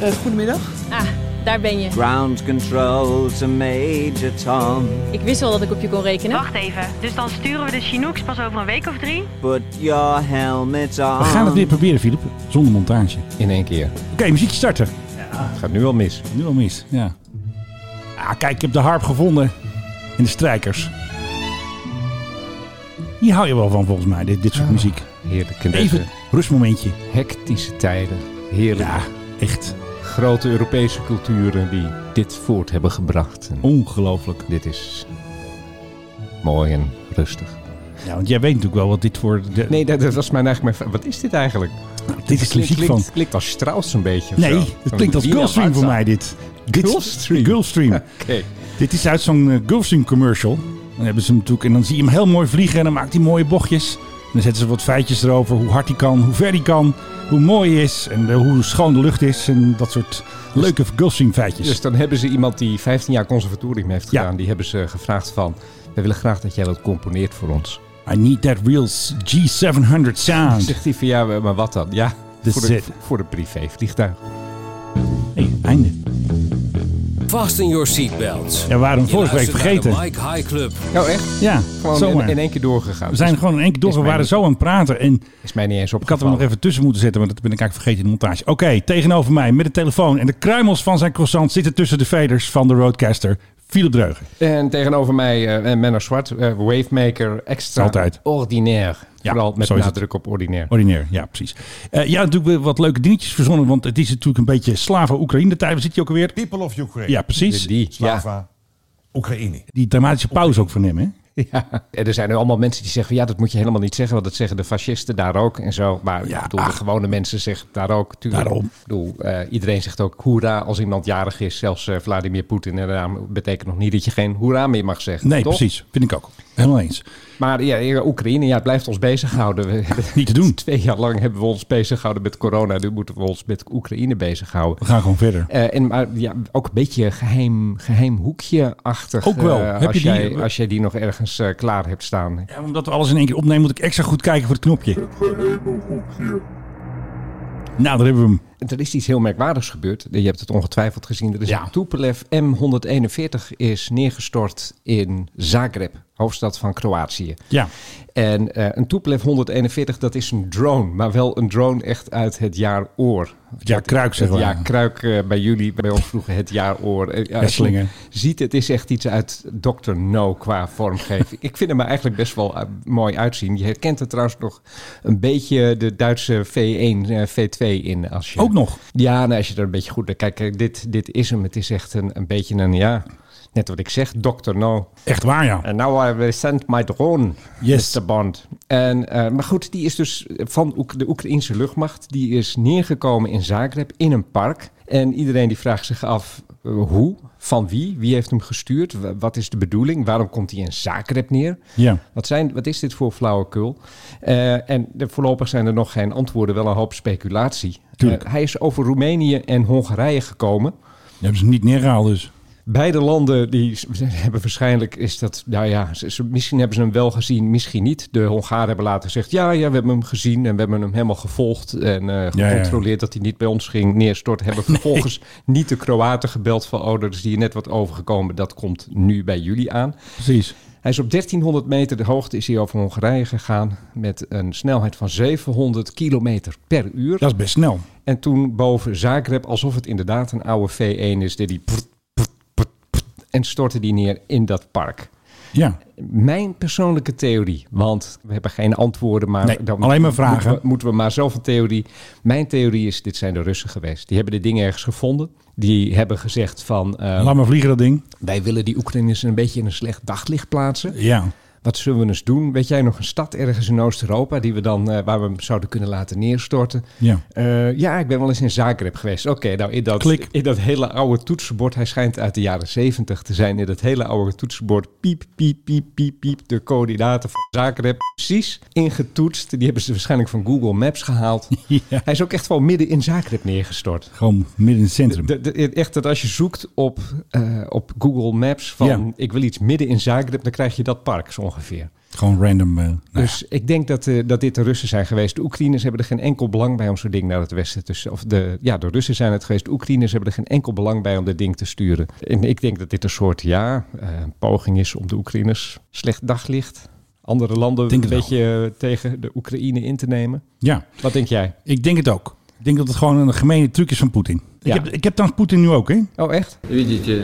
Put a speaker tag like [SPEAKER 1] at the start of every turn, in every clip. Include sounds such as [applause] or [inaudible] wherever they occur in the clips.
[SPEAKER 1] Eh, goedemiddag.
[SPEAKER 2] Ah, daar ben je.
[SPEAKER 3] Ground control to Major Tom.
[SPEAKER 2] Ik wist wel dat ik op je kon rekenen.
[SPEAKER 4] Wacht even, dus dan sturen we de Chinooks pas over een week of drie?
[SPEAKER 3] Put your helmets on.
[SPEAKER 5] We gaan het weer proberen, Filip. Zonder montage. Ehm. Oké,
[SPEAKER 6] In één keer.
[SPEAKER 5] muziekje starten.
[SPEAKER 6] Het gaat nu al mis.
[SPEAKER 5] Nu al mis, ja. Ah, kijk, ik heb de harp gevonden. En de strijkers. Hier hou je wel van, volgens mij, dit, dit soort muziek.
[SPEAKER 6] Heerlijk. in deze
[SPEAKER 5] Even rustmomentje.
[SPEAKER 6] hectische tijden. Heerlijk.
[SPEAKER 5] Ja, echt
[SPEAKER 6] Grote Europese culturen die dit voort hebben gebracht. En
[SPEAKER 5] ongelooflijk.
[SPEAKER 6] dit is mooi en rustig.
[SPEAKER 5] Ja, want jij weet natuurlijk wel wat dit voor... De,
[SPEAKER 6] Nee, dat, dat was mijn eigenlijk mijn vraag. Wat is dit eigenlijk?
[SPEAKER 5] dit is de muziek
[SPEAKER 6] klinkt,
[SPEAKER 5] van...
[SPEAKER 6] klinkt als Strauss een beetje. of
[SPEAKER 5] Nee,
[SPEAKER 6] zo.
[SPEAKER 5] het
[SPEAKER 6] Van
[SPEAKER 5] klinkt als
[SPEAKER 6] Wiener
[SPEAKER 5] Gulfstream voor mij,
[SPEAKER 6] Walzer.
[SPEAKER 5] dit. Dit-
[SPEAKER 6] Gulfstream?
[SPEAKER 5] Gulfstream.
[SPEAKER 6] [laughs] Oké.
[SPEAKER 5] Dit is uit zo'n eh, Gulfstream commercial. Dan hebben ze hem natuurlijk en dan zie je hem heel mooi vliegen en dan maakt hij mooie bochtjes. En dan zetten ze wat feitjes erover, hoe hard hij kan, hoe ver hij kan, hoe mooi hij is en eh, hoe schoon de lucht is en dat soort leuke Gulfstream feitjes.
[SPEAKER 6] Dus dan hebben ze iemand die 15 jaar conservatorium heeft
[SPEAKER 5] Ja.
[SPEAKER 6] gedaan. Die hebben ze gevraagd van... We willen graag dat jij wat componeert voor ons.
[SPEAKER 5] I need that real G700 sound.
[SPEAKER 6] Zegt hij van ja, maar wat dan? Ja,
[SPEAKER 5] Dit
[SPEAKER 6] voor de,
[SPEAKER 5] zit.
[SPEAKER 6] voor de privévliegtuig.
[SPEAKER 5] hey, einde.
[SPEAKER 7] Fasten your seatbelts.
[SPEAKER 5] Ja, we waren hem
[SPEAKER 7] Je
[SPEAKER 8] nou,
[SPEAKER 5] vorige week
[SPEAKER 7] luistert naar de
[SPEAKER 5] vergeten.
[SPEAKER 7] Mike High Club.
[SPEAKER 6] Oh echt?
[SPEAKER 5] Ja,
[SPEAKER 6] Gewoon
[SPEAKER 5] zomaar.
[SPEAKER 6] in, in één keer doorgegaan.
[SPEAKER 5] we zijn
[SPEAKER 6] Is-
[SPEAKER 5] gewoon in één keer door. We
[SPEAKER 6] mij
[SPEAKER 5] waren
[SPEAKER 6] niet-
[SPEAKER 5] zo aan het praten. En
[SPEAKER 6] Is mij niet eens
[SPEAKER 5] ik had hem
[SPEAKER 6] opgevallen.
[SPEAKER 5] nog even tussen moeten zetten, want dat ben ik eigenlijk vergeten in de montage. Oké, tegenover mij met de telefoon en de kruimels van zijn croissant zitten tussen de veders van de roadcaster Philip Dreugen.
[SPEAKER 6] En tegenover mij eh, eh, Menno Zwart, eh, Wavemaker, extra
[SPEAKER 5] Altijd.
[SPEAKER 6] ordinair.
[SPEAKER 5] Ja,
[SPEAKER 6] Vooral met
[SPEAKER 5] zo is het. Oh,
[SPEAKER 6] nadruk op ordinair.
[SPEAKER 5] Ordinair, ja, precies. Eh ja, natuurlijk weer wat leuke dingetjes verzonnen, want het is natuurlijk een beetje Slava-Oekraïne-tijd. Waar zit je ook alweer?
[SPEAKER 9] People of Ukraine.
[SPEAKER 5] Ja, precies.
[SPEAKER 6] Die, ja.
[SPEAKER 9] Slava Oekraïne.
[SPEAKER 5] Die dramatische pauze ook van hem, hè?
[SPEAKER 6] Ja. En er zijn nu allemaal mensen die zeggen... ja, dat moet je helemaal niet zeggen... want dat zeggen de fascisten daar ook en zo. Maar
[SPEAKER 5] Ja,
[SPEAKER 6] ik bedoel, de
[SPEAKER 5] ach.
[SPEAKER 6] gewone mensen zeggen daar ook... Tuurlijk,
[SPEAKER 5] Daarom.
[SPEAKER 6] Ik bedoel, eh, iedereen zegt ook hoera als iemand jarig is. Zelfs eh, Vladimir Poetin. En daarom betekent nog niet dat je geen hoera meer mag zeggen.
[SPEAKER 5] Nee,
[SPEAKER 6] toch?
[SPEAKER 5] precies. Vind ik ook. Helemaal eens.
[SPEAKER 6] Maar ja, ja, Oekraïne, ja, het blijft ons bezighouden. We-
[SPEAKER 5] Niet te doen.
[SPEAKER 6] [laughs] Twee jaar lang hebben we ons bezighouden met corona. Nu moeten we ons met Oekraïne bezighouden.
[SPEAKER 5] We gaan gewoon verder.
[SPEAKER 6] Eh, en maar ja, ook een beetje een geheim, geheim hoekje-achtig.
[SPEAKER 5] Ook wel.
[SPEAKER 6] eh,
[SPEAKER 5] Heb
[SPEAKER 6] als,
[SPEAKER 5] je die-
[SPEAKER 6] jij, als jij die nog ergens eh, klaar hebt staan.
[SPEAKER 5] Ja, omdat we alles in één keer opnemen, moet ik extra goed kijken voor het knopje. Nou, daar hebben we hem.
[SPEAKER 6] Er is iets heel merkwaardigs gebeurd. Je hebt het ongetwijfeld gezien. Er is
[SPEAKER 5] Ja.
[SPEAKER 6] een Tupolev M141 is neergestort in Zagreb, hoofdstad van Kroatië.
[SPEAKER 5] Ja.
[SPEAKER 6] En eh, een Tupolev 141, dat is een drone. Maar wel een drone echt uit het jaar oor.
[SPEAKER 5] Het jaar Kruik,
[SPEAKER 6] Het
[SPEAKER 5] zeggen we.
[SPEAKER 6] jaar Kruik eh, bij jullie, bij ons vroeger het jaar oor. Eh, ja, als je
[SPEAKER 5] Wesslingen.
[SPEAKER 6] Ziet, het is echt iets uit Dr. No qua vormgeving. Ik vind hem er eigenlijk best wel eh, mooi uitzien. Je herkent er trouwens nog een beetje de Duitse V1, eh, V2 in. Als je,
[SPEAKER 5] Ook nog.
[SPEAKER 6] Ja, nou, als je er een beetje goed naar kijkt. Kijk, dit, dit is hem. Het is echt een, een beetje een, ja, net wat ik zeg, Dr. No.
[SPEAKER 5] Echt waar, ja.
[SPEAKER 6] En nou, we send my drone,
[SPEAKER 5] Yes.
[SPEAKER 6] Mr. Bond. En, eh, maar goed, die is dus van Oek- de Oekraïnse luchtmacht. Die is neergekomen in Zagreb in een park. En iedereen die vraagt zich af eh, hoe, van wie, wie heeft hem gestuurd, Wa- wat is de bedoeling, waarom komt hij in Zagreb neer?
[SPEAKER 5] Ja.
[SPEAKER 6] Wat, zijn, wat is dit voor flauwekul? Eh, en de, voorlopig zijn er nog geen antwoorden, wel een hoop speculatie.
[SPEAKER 5] Tuurlijk.
[SPEAKER 6] Eh, hij is over Roemenië en Hongarije gekomen.
[SPEAKER 5] Die hebben ze hem niet neergehaald, dus.
[SPEAKER 6] Beide landen die s- hebben waarschijnlijk is dat, nou ja, ze- ze- misschien hebben ze hem wel gezien, misschien niet. De Hongaren hebben later gezegd, ja, ja, we hebben hem gezien en we hebben hem helemaal gevolgd en eh,
[SPEAKER 5] ja.
[SPEAKER 6] gecontroleerd dat hij niet bij ons ging
[SPEAKER 5] [laughs]
[SPEAKER 6] neerstorten. Hebben vervolgens niet de Kroaten gebeld van, oh, dat is hier net wat overgekomen, dat komt nu bij jullie aan.
[SPEAKER 5] Precies.
[SPEAKER 6] Hij is op 1300 meter de hoogte is hij over Hongarije gegaan met een snelheid van 700 kilometer per uur.
[SPEAKER 5] Dat is best snel.
[SPEAKER 6] En toen boven Zagreb, alsof het inderdaad een oude V1 is, deed die prrt, prrt, prrt, prrt, en stortte die neer in dat park.
[SPEAKER 5] Ja.
[SPEAKER 6] Mijn persoonlijke theorie, want we hebben geen antwoorden, maar
[SPEAKER 5] Nee, alleen maar vragen.
[SPEAKER 6] Moeten we, moeten we maar zelf een theorie. Mijn theorie is: dit zijn de Russen geweest. Die hebben de dingen ergens gevonden. Die hebben gezegd van eh,
[SPEAKER 5] Laat maar vliegen, dat ding.
[SPEAKER 6] wij willen die Oekraïners een beetje in een slecht daglicht plaatsen.
[SPEAKER 5] Ja.
[SPEAKER 6] Wat zullen we eens doen? Weet jij nog een stad ergens in Oost-Europa die we dan, eh, waar we hem zouden kunnen laten neerstorten?
[SPEAKER 5] Ja.
[SPEAKER 6] [laughs] Eh, ja, ik ben wel eens in Zagreb geweest. Oké, nou in dat,
[SPEAKER 5] Klik.
[SPEAKER 6] in dat hele oude toetsenbord, hij schijnt uit de jaren zeventig te zijn, in dat hele oude toetsenbord, piep, piep, piep, piep, piep, de coördinaten van Zagreb precies ingetoetst. Die hebben ze waarschijnlijk van Google Maps gehaald.
[SPEAKER 5] Ja.
[SPEAKER 6] Hij is ook echt wel midden in Zagreb neergestort.
[SPEAKER 5] Gewoon midden in het centrum.
[SPEAKER 6] De, de- echt dat als je zoekt op, eh, op Google Maps van
[SPEAKER 5] Ja.
[SPEAKER 6] ik wil iets midden in Zagreb, dan krijg je dat park zo ongeveer.
[SPEAKER 5] Gewoon random. eh, nou ja.
[SPEAKER 6] Dus ik denk dat, eh, dat dit de Russen zijn geweest. De Oekraïners hebben er geen enkel belang bij om zo'n ding naar het westen te sturen. Of de, ja, de Russen zijn het geweest. De Oekraïners hebben er geen enkel belang bij om dit ding te sturen. En ik denk dat dit een soort, ja, eh, poging is om de Oekraïners slecht daglicht. Andere landen
[SPEAKER 5] Denk
[SPEAKER 6] een
[SPEAKER 5] het
[SPEAKER 6] beetje eh, tegen de Oekraïne in te nemen.
[SPEAKER 5] ja,
[SPEAKER 6] Wat denk jij?
[SPEAKER 5] ik denk het ook. Ik denk dat het gewoon een gemene truc is van Poetin.
[SPEAKER 6] Ja.
[SPEAKER 5] Ik, heb, ik heb dan Poetin nu ook, hè? Ik
[SPEAKER 6] Oh, echt?
[SPEAKER 1] Видите,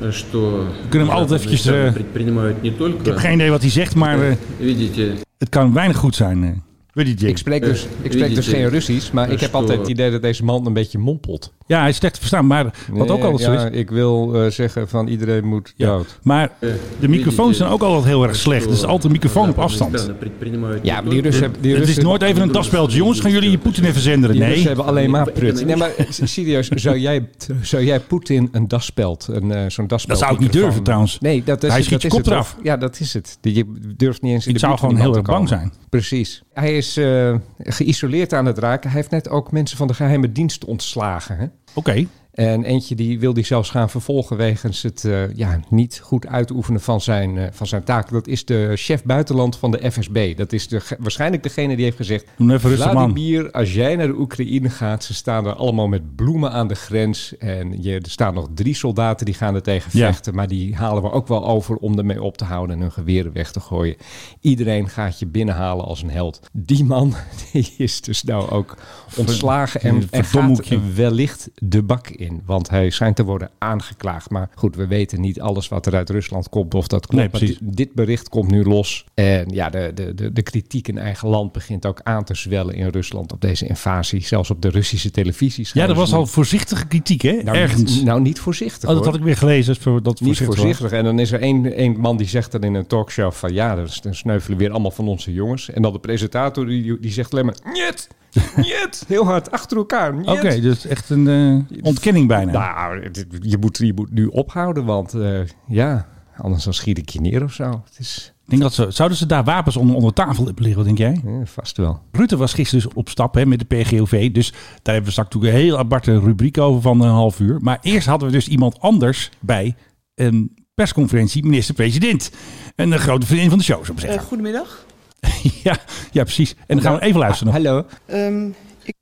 [SPEAKER 1] э, что
[SPEAKER 5] Kunnen hem altijd
[SPEAKER 1] западные
[SPEAKER 5] eventjes,
[SPEAKER 1] страны
[SPEAKER 5] eh,
[SPEAKER 1] предпринимают не только,
[SPEAKER 5] heb geen idee wat hij zegt, maar eh,
[SPEAKER 1] видите,
[SPEAKER 5] het kan weinig goed zijn. eh. Weet je, Jim?
[SPEAKER 6] Ik spreek dus, ik spreek dus geen Russisch, maar ik heb altijd het idee dat deze man een beetje mompelt. Eh,
[SPEAKER 5] Ja, hij is slecht te verstaan, maar wat ook altijd zo
[SPEAKER 6] ja,
[SPEAKER 5] is...
[SPEAKER 6] Ik wil eh, zeggen van iedereen moet
[SPEAKER 5] Ja,
[SPEAKER 6] dood.
[SPEAKER 5] maar de microfoons zijn ook altijd heel erg slecht. Dus altijd een microfoon op afstand.
[SPEAKER 1] страны предпринимают
[SPEAKER 6] Ja,
[SPEAKER 1] не
[SPEAKER 6] maar die Russen... hebben- Die
[SPEAKER 5] Het is
[SPEAKER 6] Russen-
[SPEAKER 5] nooit even een daspeltje. Jongens, gaan jullie je Poetin even zenderen?
[SPEAKER 6] Die Russen
[SPEAKER 5] Nee.
[SPEAKER 6] hebben alleen maar prut. Nee, maar serieus, zou jij, zou jij Poetin een daspeld, een, eh, zo'n daspeld...
[SPEAKER 5] Dat zou ik niet durven trouwens.
[SPEAKER 6] Nee, dat is,
[SPEAKER 5] Hij
[SPEAKER 6] het,
[SPEAKER 5] schiet
[SPEAKER 6] dat
[SPEAKER 5] je
[SPEAKER 6] is
[SPEAKER 5] kop
[SPEAKER 6] het.
[SPEAKER 5] eraf.
[SPEAKER 6] Ja, dat is het. Je durft niet eens in
[SPEAKER 5] Ik
[SPEAKER 6] de
[SPEAKER 5] zou
[SPEAKER 6] buurt van
[SPEAKER 5] gewoon heel erg
[SPEAKER 6] iemand
[SPEAKER 5] bang
[SPEAKER 6] te
[SPEAKER 5] zijn.
[SPEAKER 6] komen. Precies. Hij is eh, geïsoleerd aan het raken. Hij heeft net ook mensen van de geheime dienst ontslagen. Hè?
[SPEAKER 5] Oké.
[SPEAKER 6] En eentje die wil die zelfs gaan vervolgen wegens het eh, ja, niet goed uitoefenen van zijn, eh, van zijn taak. Dat is de chef buitenland van de FSB. Dat is de, ge- waarschijnlijk degene die heeft gezegd...
[SPEAKER 5] Doe even rustig, man.
[SPEAKER 6] Vladimir, als jij naar de Oekraïne gaat, ze staan er allemaal met bloemen aan de grens. En je, er staan nog drie soldaten die gaan er tegen
[SPEAKER 5] Ja.
[SPEAKER 6] vechten. Maar die halen we ook wel over om ermee op te houden en hun geweren weg te gooien. Iedereen gaat je binnenhalen als een held. Die man [laughs] die is dus nou ook ontslagen en, en gaat
[SPEAKER 5] verdomhoekje.
[SPEAKER 6] wellicht de bak in. Want hij schijnt te worden aangeklaagd. Maar goed, we weten niet alles wat er uit Rusland komt of dat klopt.
[SPEAKER 5] Nee, precies.
[SPEAKER 6] Maar di- dit bericht komt nu los. En ja, de, de, de, de kritiek in eigen land begint ook aan te zwellen in Rusland op deze invasie. Zelfs op de Russische televisie.
[SPEAKER 5] Ja,
[SPEAKER 6] schijnen
[SPEAKER 5] er was
[SPEAKER 6] ze nu-
[SPEAKER 5] al voorzichtige kritiek, hè?
[SPEAKER 6] nou,
[SPEAKER 5] Ergens.
[SPEAKER 6] Niet, nou, niet voorzichtig.
[SPEAKER 5] Oh, dat
[SPEAKER 6] hoor.
[SPEAKER 5] had ik weer gelezen. Dat het
[SPEAKER 6] Niet
[SPEAKER 5] voorzichtig was.
[SPEAKER 6] voorzichtig. En dan is er één, één man die zegt dan in een talkshow van... ja, dan s- dan sneuvelen weer allemaal van onze jongens. En dan de presentator die, die zegt alleen maar... Niet! Niet! [laughs] Heel hard achter elkaar. Niet!
[SPEAKER 5] Oké, dus echt een eh, ontkenning bijna.
[SPEAKER 6] Nou, dit- je moet, je moet nu ophouden, want eh, ja, anders dan schiet ik je neer of zo. Het is
[SPEAKER 5] Ik denk dat ze, zouden ze daar wapens onder, onder tafel hebben liggen, wat denk jij?
[SPEAKER 6] eh, vast wel.
[SPEAKER 5] Rutte was gisteren dus op stap hè, met de PGOV. Dus daar hebben we straks natuurlijk een heel aparte rubriek over van een half uur. Maar eerst hadden we dus iemand anders bij een persconferentie, minister-president. Een eh, grote vriendin van de show, zou ik maar zeggen.
[SPEAKER 10] goedemiddag.
[SPEAKER 5] [laughs] ja, ja, precies. En dan gaan we even luisteren. nog.
[SPEAKER 6] Hallo.
[SPEAKER 10] Ehm, ik,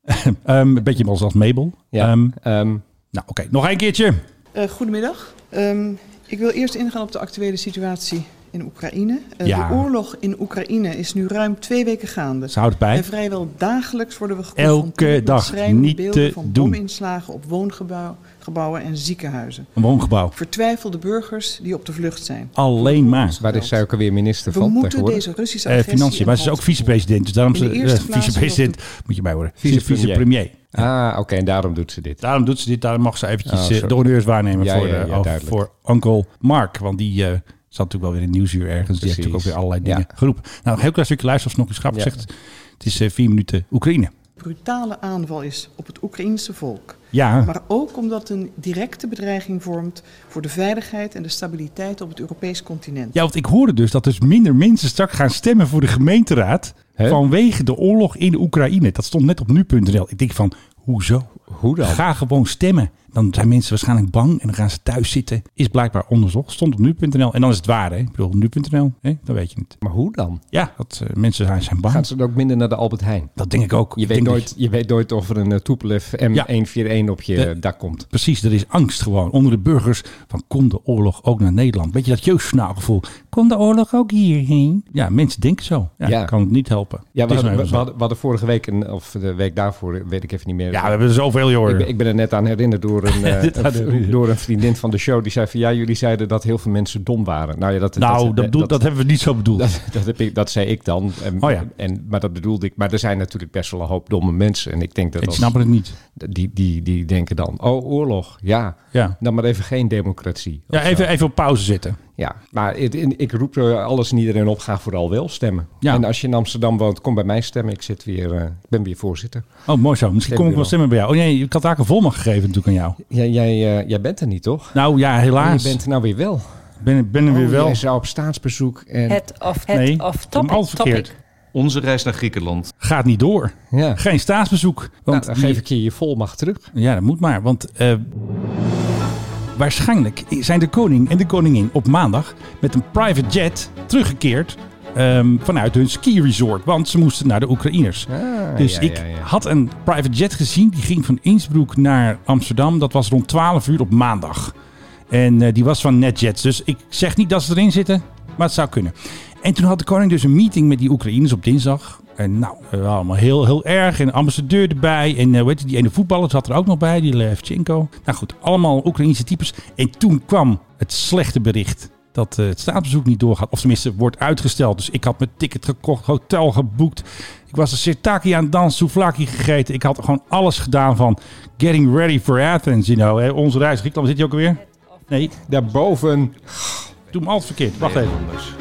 [SPEAKER 5] Ehm, een beetje als als Mabel.
[SPEAKER 6] Ja,
[SPEAKER 5] Ehm,
[SPEAKER 6] ehm,
[SPEAKER 5] nou, oké. Nog een keertje.
[SPEAKER 10] eh, goedemiddag. Ehm, ik wil eerst ingaan op de actuele situatie in Oekraïne. Eh,
[SPEAKER 5] Ja.
[SPEAKER 10] De oorlog in Oekraïne is nu ruim twee weken gaande.
[SPEAKER 5] Ze houdt het bij.
[SPEAKER 10] En vrijwel dagelijks worden we
[SPEAKER 5] Elke
[SPEAKER 10] geconfronteerd
[SPEAKER 5] dag.
[SPEAKER 10] met schrijnende
[SPEAKER 5] Niet
[SPEAKER 10] beelden
[SPEAKER 5] te
[SPEAKER 10] van
[SPEAKER 5] doen.
[SPEAKER 10] bominslagen op woongebouwen en ziekenhuizen.
[SPEAKER 5] Een woongebouw.
[SPEAKER 10] Vertwijfelde burgers die op de vlucht zijn.
[SPEAKER 5] Alleen maar.
[SPEAKER 6] waar is zij ook alweer minister
[SPEAKER 10] We
[SPEAKER 6] van
[SPEAKER 10] moeten
[SPEAKER 6] tegenwoordig?
[SPEAKER 10] deze Russische
[SPEAKER 5] Eh,
[SPEAKER 10] agressie...
[SPEAKER 5] financiën,
[SPEAKER 10] een
[SPEAKER 5] maar ze is
[SPEAKER 10] halt
[SPEAKER 5] ook vicepresident. Dus daarom
[SPEAKER 10] In de
[SPEAKER 5] ze
[SPEAKER 10] eerste
[SPEAKER 5] eh,
[SPEAKER 10] plaats
[SPEAKER 5] vicepresident. Moet je bij horen. Ze is
[SPEAKER 6] Vicepremier.
[SPEAKER 5] Vicepremier.
[SPEAKER 6] Ah, oké, en daarom doet ze dit.
[SPEAKER 5] Daarom doet ze dit. Daarom mag ze eventjes
[SPEAKER 6] Oh,
[SPEAKER 5] eh,
[SPEAKER 6] sorry.
[SPEAKER 5] de honneurs waarnemen
[SPEAKER 6] Ja,
[SPEAKER 5] voor,
[SPEAKER 6] ja,
[SPEAKER 5] eh,
[SPEAKER 6] ja,
[SPEAKER 5] of
[SPEAKER 6] duidelijk.
[SPEAKER 5] voor Uncle Mark. Want die eh, zat natuurlijk wel weer in het nieuwsuur ergens. Die heeft
[SPEAKER 6] Precies.
[SPEAKER 5] natuurlijk ook weer allerlei dingen
[SPEAKER 6] Ja.
[SPEAKER 5] geroepen. Nou, een heel klein stukje luisteren als nog iets grappig
[SPEAKER 6] Ja.
[SPEAKER 5] zegt. Het is eh, vier minuten Oekraïne.
[SPEAKER 10] brutale aanval is op het Oekraïense volk.
[SPEAKER 5] Ja,
[SPEAKER 10] Maar ook omdat het een directe bedreiging vormt voor de veiligheid en de stabiliteit op het Europees continent.
[SPEAKER 5] ja, want ik hoorde dus dat dus minder mensen straks gaan stemmen voor de gemeenteraad.
[SPEAKER 6] Hè?
[SPEAKER 5] Vanwege de oorlog in de Oekraïne. Dat stond net op nu.nl. Ik denk van, hoezo?
[SPEAKER 6] Hoe dan?
[SPEAKER 5] Ga gewoon stemmen. Dan zijn mensen waarschijnlijk bang en dan gaan ze thuis zitten. Is blijkbaar onderzocht. Stond op nu.nl. En dan is het waar, hè? Ik bedoel, nu.nl, hè? Dan weet je het.
[SPEAKER 6] Maar hoe dan?
[SPEAKER 5] Ja, dat eh, mensen zijn, zijn bang.
[SPEAKER 6] Gaan ze dan ook minder naar de Albert Heijn?
[SPEAKER 5] Dat denk ik ook.
[SPEAKER 6] Je
[SPEAKER 5] Ik
[SPEAKER 6] weet,
[SPEAKER 5] denk
[SPEAKER 6] nooit,
[SPEAKER 5] dat
[SPEAKER 6] je weet nooit of er een eh, Tupolev M141 op je
[SPEAKER 5] Ja.
[SPEAKER 6] eh, dak komt.
[SPEAKER 5] Precies, er is angst gewoon onder de burgers van kon de oorlog ook naar Nederland. Weet je dat jeugdsnauwgevoel? Kon de oorlog ook hierheen? Ja, mensen denken zo. Ja,
[SPEAKER 6] Ja.
[SPEAKER 5] Ik kan het niet helpen.
[SPEAKER 6] Ja,
[SPEAKER 5] Het
[SPEAKER 6] we
[SPEAKER 5] is
[SPEAKER 6] hadden,
[SPEAKER 5] nou
[SPEAKER 6] we,
[SPEAKER 5] even zo.
[SPEAKER 6] hadden, we hadden vorige week, een, of de week daarvoor, weet ik even niet meer.
[SPEAKER 5] ja, we hebben er zoveel, joh.
[SPEAKER 6] Ik ben, ik ben er net aan herinnerd door
[SPEAKER 5] [laughs]
[SPEAKER 6] een, eh,
[SPEAKER 5] Dit hadden we
[SPEAKER 6] een-
[SPEAKER 5] niet.
[SPEAKER 6] door een vriendin van de show. Die zei van ja, jullie zeiden dat heel veel mensen dom waren. Nou, ja, dat,
[SPEAKER 5] nou, dat,
[SPEAKER 6] eh,
[SPEAKER 5] bedoel- dat hebben we niet zo bedoeld.
[SPEAKER 6] [laughs] dat, dat heb ik, dat zei ik dan. En,
[SPEAKER 5] Oh ja.
[SPEAKER 6] en, maar dat bedoelde ik. Maar er zijn natuurlijk best wel een hoop domme mensen. En ik denk dat
[SPEAKER 5] ik
[SPEAKER 6] als-
[SPEAKER 5] snap het niet.
[SPEAKER 6] die, die, die denken dan, oh oorlog, ja.
[SPEAKER 5] Ja.
[SPEAKER 6] Dan maar even geen democratie. of
[SPEAKER 5] Ja, even, even op pauze zitten.
[SPEAKER 6] ja, maar het- in- ik roep er alles en iedereen op, ga vooral wel stemmen.
[SPEAKER 5] Ja.
[SPEAKER 6] En als je in Amsterdam woont, kom bij mij stemmen. Ik, zit weer, eh, ik ben weer voorzitter.
[SPEAKER 5] Oh, mooi zo. Misschien kom ik wel
[SPEAKER 6] Stembureau.
[SPEAKER 5] stemmen bij jou. Oh nee, ik had eigenlijk een volmacht gegeven natuurlijk aan jou.
[SPEAKER 6] Jij, jij, eh, jij bent er niet, toch?
[SPEAKER 5] Nou ja, helaas.
[SPEAKER 6] Je bent er nou weer wel.
[SPEAKER 5] ben, ben er weer
[SPEAKER 6] Oh,
[SPEAKER 5] wel.
[SPEAKER 6] Jij zou op staatsbezoek en...
[SPEAKER 11] Het of, het
[SPEAKER 5] nee,
[SPEAKER 11] of
[SPEAKER 5] ik heb hem
[SPEAKER 11] topic.
[SPEAKER 5] al verkeerd.
[SPEAKER 11] topic.
[SPEAKER 12] Onze reis naar Griekenland.
[SPEAKER 5] Gaat niet door.
[SPEAKER 6] Ja.
[SPEAKER 5] Geen staatsbezoek.
[SPEAKER 6] Nou,
[SPEAKER 5] Want
[SPEAKER 6] dan
[SPEAKER 5] die-
[SPEAKER 6] geef ik je je volmacht terug.
[SPEAKER 5] Ja, dat moet maar. Want eh, waarschijnlijk zijn de koning en de koningin op maandag met een private jet teruggekeerd ehm, vanuit hun ski-resort. Want ze moesten naar de Oekraïners.
[SPEAKER 6] Ah,
[SPEAKER 5] Dus
[SPEAKER 6] ja,
[SPEAKER 5] ik
[SPEAKER 6] ja, ja.
[SPEAKER 5] had een private jet gezien. Die ging van Innsbruck naar Amsterdam. Dat was rond 12 uur op maandag. En eh, die was van NetJets. Dus ik zeg niet dat ze erin zitten. Maar het zou kunnen. En toen had de koning dus een meeting met die Oekraïners op dinsdag. En nou, eh, allemaal heel, heel erg. En een ambassadeur erbij. En eh, weet je, die ene voetballer zat er ook nog bij. Die Levchenko. Nou goed, allemaal Oekraïnse types. En toen kwam het slechte bericht. Dat eh, het staatsbezoek niet doorgaat. Of tenminste, wordt uitgesteld. Dus ik had mijn ticket gekocht, hotel geboekt. Ik was een sirtaki aan het dansen, souvlaki gegeten. Ik had gewoon alles gedaan van getting ready for Athens, you know. Hè. Onze reis Griekenland, zit je ook alweer? Nee,
[SPEAKER 6] Daarboven.
[SPEAKER 5] doe hem altijd verkeerd. Wacht even.
[SPEAKER 12] Nederlanders.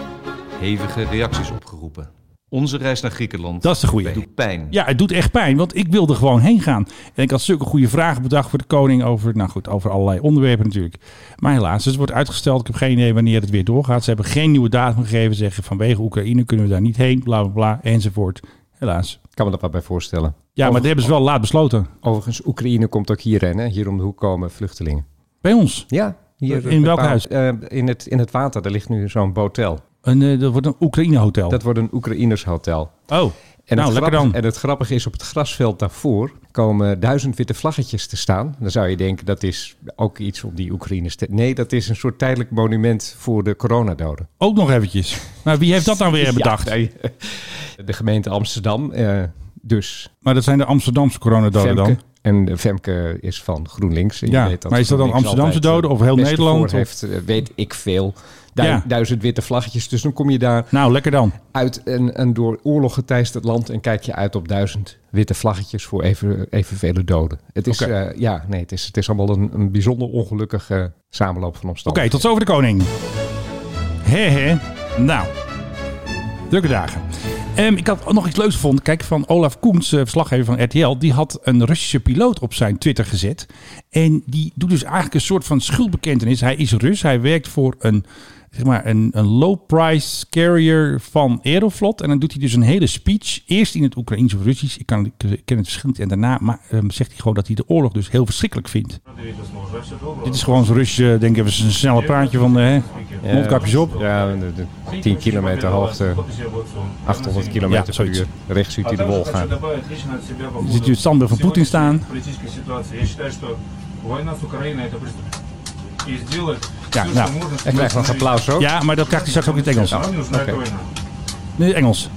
[SPEAKER 12] Hevige reacties opgeroepen. Onze reis naar Griekenland.
[SPEAKER 5] Dat is de goeie.
[SPEAKER 12] Doet pijn.
[SPEAKER 5] Ja, het doet echt pijn, want ik wilde gewoon heen gaan. En ik had zulke goede vragen bedacht voor de koning over, nou goed, over allerlei onderwerpen natuurlijk. Maar helaas, dus het wordt uitgesteld. Ik heb geen idee wanneer het weer doorgaat. Ze hebben geen nieuwe datum gegeven. Zeggen vanwege Oekraïne kunnen we daar niet heen, bla bla bla, enzovoort. Helaas.
[SPEAKER 6] Kan me dat wat bij voorstellen.
[SPEAKER 5] Ja, maar dat hebben ze wel laat besloten.
[SPEAKER 6] Overigens, Oekraïne komt ook hierheen. Hè? Hier om de hoek komen vluchtelingen.
[SPEAKER 5] Bij ons.
[SPEAKER 6] Ja. Hier
[SPEAKER 5] In welk
[SPEAKER 6] bepaald-
[SPEAKER 5] huis?
[SPEAKER 6] eh, in, het, in het water. Daar ligt nu zo'n botel.
[SPEAKER 5] Een, eh, dat wordt een Oekraïne-hotel.
[SPEAKER 6] Dat wordt een Oekraïnershotel.
[SPEAKER 5] Oh,
[SPEAKER 6] En
[SPEAKER 5] nou,
[SPEAKER 6] het
[SPEAKER 5] lekker
[SPEAKER 6] grappige-
[SPEAKER 5] dan.
[SPEAKER 6] En het grappige is, op het grasveld daarvoor komen duizend witte vlaggetjes te staan. Dan zou je denken, dat is ook iets om die Oekraïners te... Nee, dat is een soort tijdelijk monument voor de coronadoden.
[SPEAKER 5] Ook nog eventjes. Maar wie heeft dat dan
[SPEAKER 6] [laughs]
[SPEAKER 5] weer bedacht?
[SPEAKER 6] Ja, nee. De gemeente Amsterdam, eh, dus
[SPEAKER 5] Maar dat zijn de Amsterdamse coronadoden
[SPEAKER 6] Femke.
[SPEAKER 5] dan.
[SPEAKER 6] En eh, Femke is van GroenLinks. En je
[SPEAKER 5] Ja,
[SPEAKER 6] weet dat
[SPEAKER 5] maar is dat dan
[SPEAKER 6] GroenLinks
[SPEAKER 5] Amsterdamse
[SPEAKER 6] altijd, eh,
[SPEAKER 5] doden of heel
[SPEAKER 6] het beste
[SPEAKER 5] Nederland,
[SPEAKER 6] voor Heeft, eh, weet ik veel. Du-
[SPEAKER 5] Ja.
[SPEAKER 6] Duizend witte vlaggetjes. Dus dan kom je daar
[SPEAKER 5] Nou, lekker dan.
[SPEAKER 6] uit een, een door oorlog geteisterd land en kijk je uit op duizend witte vlaggetjes voor even, evenvele doden. Het is,
[SPEAKER 5] Oké.
[SPEAKER 6] eh, ja, nee, het is, het is allemaal een, een bijzonder ongelukkige samenloop van
[SPEAKER 5] Oké,
[SPEAKER 6] omstandigheden.
[SPEAKER 5] tot zover de koning. Hé hé. Nou, drukke dagen. Ehm, ik had ook nog iets leuks gevonden. Kijk, van Olaf Koens, eh, verslaggever van RTL. Die had een Russische piloot op zijn Twitter gezet. En die doet dus eigenlijk een soort van schuldbekentenis. Hij is Rus. Hij werkt voor een, zeg maar, een, een low-price carrier van Aeroflot. En dan doet hij dus een hele speech. Eerst in het Oekraïens of Russisch. Ik, kan, ik ken het verschil niet. En daarna maar, ehm, zegt hij gewoon dat hij de oorlog dus heel verschrikkelijk vindt. Dit is gewoon zo'n Russische, denk ik, even een snelle praatje van de hè,
[SPEAKER 6] Ja,
[SPEAKER 5] mondkapjes op.
[SPEAKER 6] Ja, de, de 10 kilometer hoogte, 800
[SPEAKER 5] Ja,
[SPEAKER 6] kilometer per
[SPEAKER 5] zoiets.
[SPEAKER 6] uur. Rechts ziet hij de wol gaan.
[SPEAKER 5] Er zit hier het standbeeld van Poetin staan. Ja, nou.
[SPEAKER 6] Hij krijgt nog applaus ook.
[SPEAKER 5] Ja, maar dat krijgt hij straks ook in het Engels.
[SPEAKER 6] Oké.
[SPEAKER 5] In het Engels.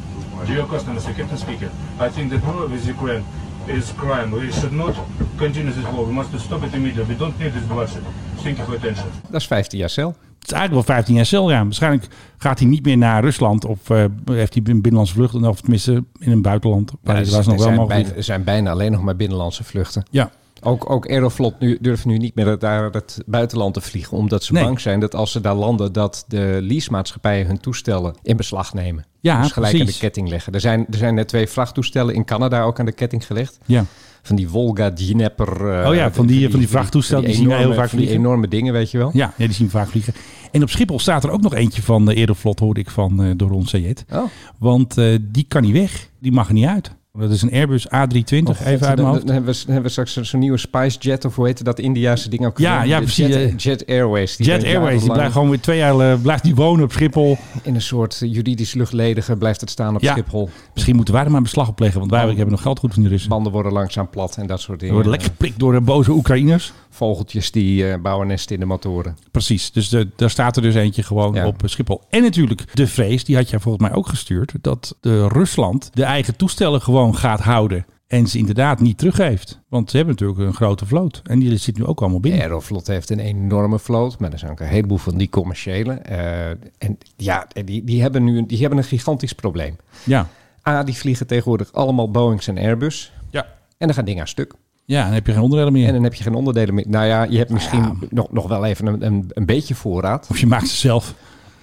[SPEAKER 9] Dear customers, I Captain speaker, I think that war with Ukraine is crime. We should not continue this war. We must stop it immediately. We don't need this bloodshed. Thank you for attention.
[SPEAKER 6] Dat is 15 jaar cel.
[SPEAKER 5] Het is eigenlijk wel 15 jaar cel, ja. Waarschijnlijk gaat hij niet meer naar Rusland of eh, heeft hij een binnenlandse vlucht. Of tenminste in een buitenland. Maar
[SPEAKER 6] Ja, dus
[SPEAKER 5] dat was
[SPEAKER 6] er
[SPEAKER 5] nog wel
[SPEAKER 6] zijn
[SPEAKER 5] mogelijk.
[SPEAKER 6] bijna- Er zijn bijna alleen nog maar binnenlandse vluchten.
[SPEAKER 5] Ja,
[SPEAKER 6] Ook, ook Aeroflot nu, durft nu niet meer naar het buitenland te vliegen. Omdat ze
[SPEAKER 5] Nee.
[SPEAKER 6] bang zijn dat als ze daar landen, dat de leasemaatschappijen hun toestellen in beslag nemen.
[SPEAKER 5] Ja,
[SPEAKER 6] dus gelijk aan
[SPEAKER 5] precies.
[SPEAKER 6] de ketting leggen. Er zijn, er zijn net twee vrachttoestellen in Canada ook aan de ketting gelegd.
[SPEAKER 5] ja.
[SPEAKER 6] Van die Volga, Dnieper. eh,
[SPEAKER 5] Oh ja, van die- van die vrachttoestellen, die zien wij heel
[SPEAKER 6] enorme-
[SPEAKER 5] vaak
[SPEAKER 6] van die
[SPEAKER 5] vliegen.
[SPEAKER 6] enorme dingen, weet je wel.
[SPEAKER 5] Ja, ja, die zien we vaak vliegen. En op Schiphol staat er ook nog eentje van de Aeroflot, hoorde ik van eh, door ons Sayed.
[SPEAKER 6] Oh.
[SPEAKER 5] Want eh, die kan niet weg. Die mag er niet uit. Dat is een Airbus A320, even uit
[SPEAKER 6] Dan,
[SPEAKER 5] mijn
[SPEAKER 6] dan,
[SPEAKER 5] hoofd.
[SPEAKER 6] dan hebben we, dan hebben we straks zo- zo'n nieuwe Spicejet of hoe heet dat Indiaanse ding ook?
[SPEAKER 5] Ja,
[SPEAKER 6] genoemd?
[SPEAKER 5] ja,
[SPEAKER 6] De
[SPEAKER 5] precies, eh,
[SPEAKER 6] Jet, Jet Airways. Die
[SPEAKER 5] Jet
[SPEAKER 6] zijn
[SPEAKER 5] Airways, die
[SPEAKER 6] jarenlang
[SPEAKER 5] blijft gewoon weer twee jaar eh, blijft die wonen op Schiphol.
[SPEAKER 6] In een soort eh, juridisch luchtledige blijft het staan op
[SPEAKER 5] Ja.
[SPEAKER 6] Schiphol.
[SPEAKER 5] Misschien moeten wij er maar een beslag op leggen, want wij hebben nog geld goed van die Russen.
[SPEAKER 6] Banden worden langzaam plat en dat soort
[SPEAKER 5] We
[SPEAKER 6] dingen. Eh,
[SPEAKER 5] worden lekker geprikt door de boze Oekraïners.
[SPEAKER 6] Vogeltjes die eh, bouwen nesten in de motoren.
[SPEAKER 5] Precies, dus de, daar staat er dus eentje gewoon
[SPEAKER 6] Ja.
[SPEAKER 5] op Schiphol. En natuurlijk de vrees, die had jij volgens mij ook gestuurd, dat de Rusland de eigen toestellen gewoon gaat houden. En ze inderdaad niet teruggeeft. Want ze hebben natuurlijk een grote vloot. En die zit nu ook allemaal binnen.
[SPEAKER 6] Aeroflot heeft een enorme vloot, maar er zijn ook een heleboel van die commerciële. eh, en ja, en die, die hebben nu die hebben een gigantisch probleem.
[SPEAKER 5] Ja.
[SPEAKER 6] A, die vliegen tegenwoordig allemaal Boeings en Airbus.
[SPEAKER 5] Ja.
[SPEAKER 6] En dan gaan dingen aan stuk.
[SPEAKER 5] ja, dan heb je geen onderdelen meer.
[SPEAKER 6] En dan heb je geen onderdelen meer. Nou ja, je hebt misschien nog, nog wel even een, een, een beetje voorraad.
[SPEAKER 5] Of je maakt ze zelf.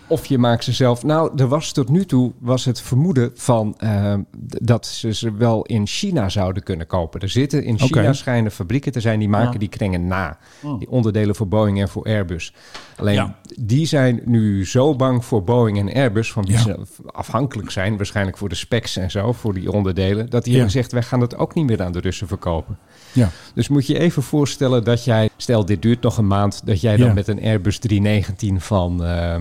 [SPEAKER 6] Of je maakt ze zelf. Nou, er was tot nu toe was het vermoeden van eh, d- dat ze ze wel in China zouden kunnen kopen. Er zitten in
[SPEAKER 5] Oké. Oh.
[SPEAKER 6] China schijnen fabrieken te zijn die maken die kringen na. Die onderdelen voor Boeing en voor Airbus. Alleen
[SPEAKER 5] Ja.
[SPEAKER 6] die zijn nu zo bang voor Boeing en Airbus, van wie
[SPEAKER 5] Ja.
[SPEAKER 6] ze afhankelijk zijn, waarschijnlijk voor de specs en zo, voor die onderdelen, dat die
[SPEAKER 5] Ja.
[SPEAKER 6] hebben gezegd: wij gaan dat ook niet meer aan de Russen verkopen.
[SPEAKER 5] Ja.
[SPEAKER 6] Dus moet je even voorstellen dat jij, stel dit duurt nog een maand, dat jij dan
[SPEAKER 5] Ja.
[SPEAKER 6] met een Airbus 319 van, eh,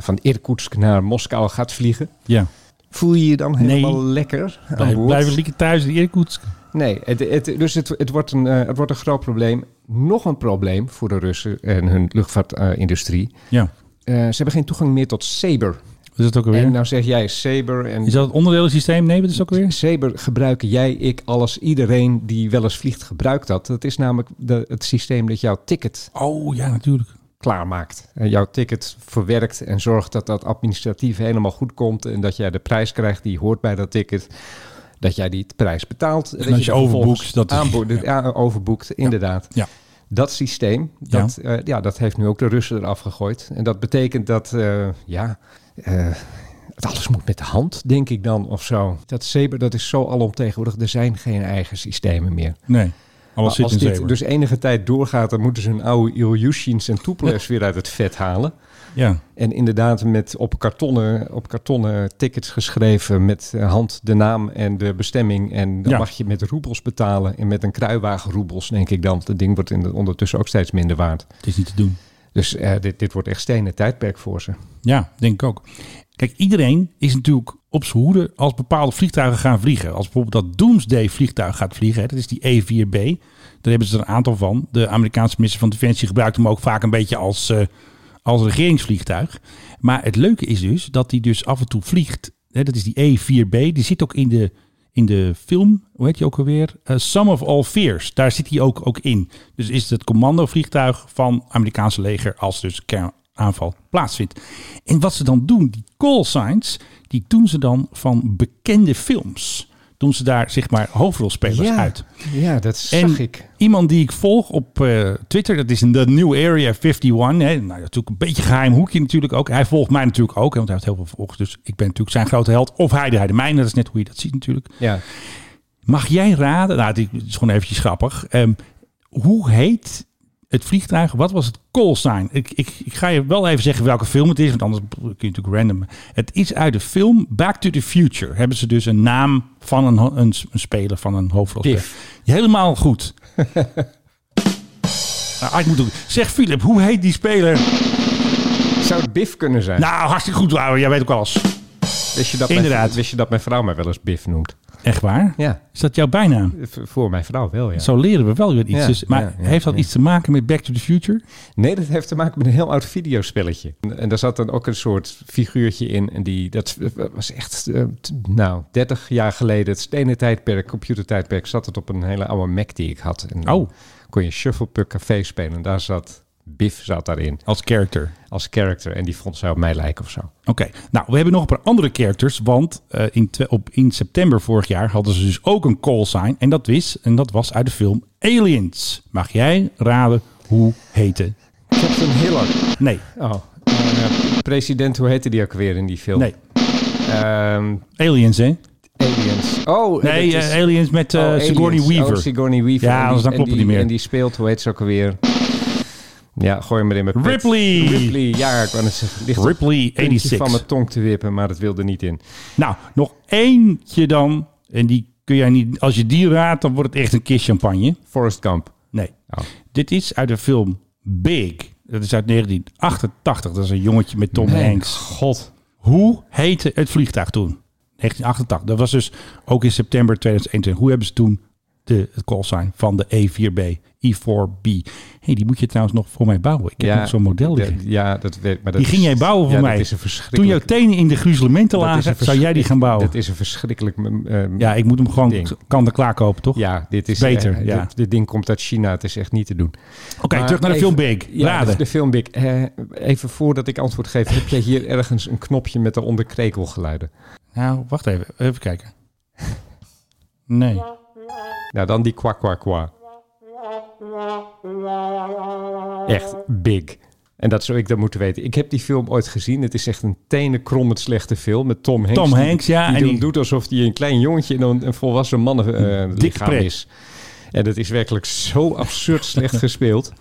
[SPEAKER 6] van Irkutsk naar Moskou gaat vliegen.
[SPEAKER 5] Ja.
[SPEAKER 6] Voel je je dan
[SPEAKER 5] Nee.
[SPEAKER 6] helemaal lekker aan
[SPEAKER 5] Blijf,
[SPEAKER 6] boord?
[SPEAKER 5] blijven liggen thuis in Irkutsk.
[SPEAKER 6] Nee, het, het, dus het, het, wordt een, eh, het wordt een groot probleem. Nog een probleem voor de Russen en hun luchtvaartindustrie.
[SPEAKER 5] Ja.
[SPEAKER 6] Eh, ze hebben geen toegang meer tot Saber.
[SPEAKER 5] Wat is dat ook alweer?
[SPEAKER 6] En nou zeg jij Saber. En
[SPEAKER 5] Is dat het onderdelensysteem? Nee, wat is dat ook alweer?
[SPEAKER 6] Saber gebruiken jij, ik, alles, iedereen die wel eens vliegt gebruikt dat. Dat is namelijk de, het systeem dat jouw ticket
[SPEAKER 5] Oh ja, natuurlijk.
[SPEAKER 6] klaarmaakt. En jouw ticket verwerkt en zorgt dat dat administratief helemaal goed komt. En dat jij de prijs krijgt die hoort bij dat ticket. Dat jij die prijs betaalt. En dat
[SPEAKER 5] als je
[SPEAKER 6] die vervolgens
[SPEAKER 5] overboekt, dat is- [laughs]
[SPEAKER 6] aanbo- ja, overboekt, inderdaad.
[SPEAKER 5] Ja.
[SPEAKER 6] Dat systeem, dat, ja. ja, dat heeft nu ook de Russen eraf gegooid. En dat betekent dat, eh, ja, eh, het alles moet met de hand, denk ik dan, of zo. Dat Saber, dat is zo alomtegenwoordig. Er zijn geen eigen systemen meer.
[SPEAKER 5] Nee,
[SPEAKER 6] Maar
[SPEAKER 5] alles zit
[SPEAKER 6] als
[SPEAKER 5] in
[SPEAKER 6] dit
[SPEAKER 5] Zeeburg.
[SPEAKER 6] dus enige tijd doorgaat, dan moeten ze hun oude Ilyushins en Tupolevs weer uit het vet halen.
[SPEAKER 5] Ja.
[SPEAKER 6] En inderdaad met op kartonnen, op kartonnen tickets geschreven met eh, hand de naam en de bestemming. En dan
[SPEAKER 5] Ja.
[SPEAKER 6] mag je met roebels betalen en met een kruiwagen roebels, denk ik dan. Dat ding wordt in de- ondertussen ook steeds minder waard.
[SPEAKER 5] Het is niet te doen.
[SPEAKER 6] Dus eh, dit, dit wordt echt stenen tijdperk voor ze.
[SPEAKER 5] Ja, denk ik ook. Kijk, iedereen is natuurlijk op zijn hoede als bepaalde vliegtuigen gaan vliegen. Als bijvoorbeeld dat Doomsday vliegtuig gaat vliegen, hè, dat is die E4B. Daar hebben ze er een aantal van. De Amerikaanse minister van Defensie gebruikt hem ook vaak een beetje als, eh, als regeringsvliegtuig. Maar het leuke is dus dat die dus af en toe vliegt. Hè, dat is die E4B. Die zit ook in de, in de film, hoe heet die ook alweer? Eh, Some of All Fears. Daar zit hij ook, ook in. Dus is het het commandovliegtuig van Amerikaanse leger als dus kernaanval plaatsvindt. En wat ze dan doen, die call signs, die doen ze dan van bekende films. Doen ze daar zeg maar hoofdrolspelers uit.
[SPEAKER 6] ja, dat
[SPEAKER 5] En
[SPEAKER 6] zag ik.
[SPEAKER 5] iemand die ik volg op eh, Twitter, dat is in de New Area 51. Hè. Nou, natuurlijk een beetje geheim hoekje natuurlijk ook. Hij volgt mij natuurlijk ook, hè, want hij heeft heel veel volgers. Dus ik ben natuurlijk zijn grote held. Of hij de, hij de mijne, dat is net hoe je dat ziet natuurlijk.
[SPEAKER 6] Ja.
[SPEAKER 5] Mag jij raden, nou, dit is gewoon eventjes grappig. Ehm, hoe heet het vliegtuig? Wat was het call sign? Ik, ik, ik ga je wel even zeggen welke film het is, want anders kun je natuurlijk random. Het is uit de film Back to the Future. Hebben ze dus een naam van een, ho- een, s- een speler, van een hoofdrolspeler. Helemaal
[SPEAKER 6] [laughs]
[SPEAKER 5] goed. nou, ik moet ook- zeg Philip, hoe heet die speler?
[SPEAKER 6] Zou het Biff kunnen zijn?
[SPEAKER 5] Nou, hartstikke goed, Wouter. Jij weet ook alles.
[SPEAKER 6] wist, je dat
[SPEAKER 5] inderdaad.
[SPEAKER 6] Mijn, wist je dat mijn vrouw mij wel eens Biff noemt?
[SPEAKER 5] Echt waar?
[SPEAKER 6] Ja,
[SPEAKER 5] Is dat jouw bijnaam?
[SPEAKER 6] v- voor mijn vrouw wel, ja.
[SPEAKER 5] Zo leren we wel weer iets.
[SPEAKER 6] Ja,
[SPEAKER 5] dus, maar
[SPEAKER 6] ja, ja,
[SPEAKER 5] heeft dat
[SPEAKER 6] ja.
[SPEAKER 5] iets te maken met Back to the Future?
[SPEAKER 6] Nee, dat heeft te maken met een heel oud videospelletje. En, en daar zat dan ook een soort figuurtje in. En die, dat was echt, eh, t- nou, 30 jaar geleden, het stenen tijdperk, computertijdperk, zat het op een hele oude Mac die ik had. En dan
[SPEAKER 5] Oh.
[SPEAKER 6] kon je Shufflepuck Café spelen. En daar zat, Biff zat daarin
[SPEAKER 5] Als character.
[SPEAKER 6] als character. En die vond zij op mij lijken of zo.
[SPEAKER 5] Oké, nou, we hebben nog een paar andere characters. Want eh, in, twe- op, in september vorig jaar hadden ze dus ook een call sign. En dat, wist, en dat was uit de film Aliens. Mag jij raden hoe heette?
[SPEAKER 6] Captain Hiller.
[SPEAKER 5] Nee,
[SPEAKER 6] Oh, eh, president, hoe heette die ook weer in die film?
[SPEAKER 5] nee.
[SPEAKER 6] Ehm,
[SPEAKER 5] Aliens, hè?
[SPEAKER 6] aliens. Oh,
[SPEAKER 5] Nee,
[SPEAKER 6] dat is-
[SPEAKER 5] eh, Aliens met eh,
[SPEAKER 6] Oh,
[SPEAKER 5] Sigourney
[SPEAKER 6] Aliens.
[SPEAKER 5] Weaver.
[SPEAKER 6] Oh, Sigourney Weaver.
[SPEAKER 5] Ja,
[SPEAKER 6] En die-
[SPEAKER 5] anders dan
[SPEAKER 6] en
[SPEAKER 5] klopt het
[SPEAKER 6] die-
[SPEAKER 5] niet meer.
[SPEAKER 6] En die speelt, hoe heet ze ook alweer? Ja, gooi hem erin met
[SPEAKER 5] Ripley!
[SPEAKER 6] Ripley, ja, ik wou net zeggen. Ligt op het
[SPEAKER 5] Ripley
[SPEAKER 6] puntje
[SPEAKER 5] 86.
[SPEAKER 6] van mijn tong te wippen, maar dat wilde niet in.
[SPEAKER 5] Nou, nog eentje dan. En die kun jij niet... Als je die raadt, dan wordt het echt een kist champagne.
[SPEAKER 6] Forrest Gump.
[SPEAKER 5] Nee.
[SPEAKER 6] Oh.
[SPEAKER 5] Dit is uit de film Big. Dat is uit 1988. Dat is een jongetje met Tom
[SPEAKER 6] Mijn
[SPEAKER 5] Hanks. God. Hoe heette het vliegtuig toen? 1988. Dat was dus ook in september 2021. Hoe hebben ze toen de, het callsign van de E E4B, E4B? hey, die moet je trouwens nog voor mij bouwen. Ik heb nog zo'n model
[SPEAKER 6] Ja,
[SPEAKER 5] liggen.
[SPEAKER 6] Ja, dat weet maar dat
[SPEAKER 5] die ging
[SPEAKER 6] is-
[SPEAKER 5] jij bouwen voor
[SPEAKER 6] ja,
[SPEAKER 5] mij.
[SPEAKER 6] Dat is een
[SPEAKER 5] toen jouw
[SPEAKER 6] verschrikkelijk...
[SPEAKER 5] tenen in de gruzelementen
[SPEAKER 6] dat is een
[SPEAKER 5] lagen, zou
[SPEAKER 6] verschrik-
[SPEAKER 5] jij die gaan bouwen?
[SPEAKER 6] Dat is een verschrikkelijk... eh,
[SPEAKER 5] ja, ik moet hem gewoon
[SPEAKER 6] ding.
[SPEAKER 5] kan de klaar kopen, toch?
[SPEAKER 6] Ja, dit is...
[SPEAKER 5] Beter,
[SPEAKER 6] eh,
[SPEAKER 5] ja.
[SPEAKER 6] Dit, dit ding komt uit China, het is echt niet te doen.
[SPEAKER 5] Oké, terug naar de film Big.
[SPEAKER 6] Ja, de,
[SPEAKER 5] Raden.
[SPEAKER 6] de film Big. Eh, even voordat ik antwoord geef, heb jij hier ergens een knopje met daaronder krekelgeluiden?
[SPEAKER 5] Nou, wacht even. Even kijken. Nee.
[SPEAKER 6] Nou, dan die kwa kwa kwa. Echt big. En dat zou ik dan moeten weten. Ik heb die film ooit gezien. Het is echt een tenenkrommend slechte film met Tom Hanks.
[SPEAKER 5] Tom
[SPEAKER 6] die-
[SPEAKER 5] Hanks, ja,
[SPEAKER 6] Die,
[SPEAKER 5] en
[SPEAKER 6] dan
[SPEAKER 5] die-
[SPEAKER 6] doet alsof hij een klein jongetje en een, een volwassen man eh lichaam
[SPEAKER 5] pret.
[SPEAKER 6] is. En dat is werkelijk zo absurd
[SPEAKER 5] [laughs]
[SPEAKER 6] slecht gespeeld.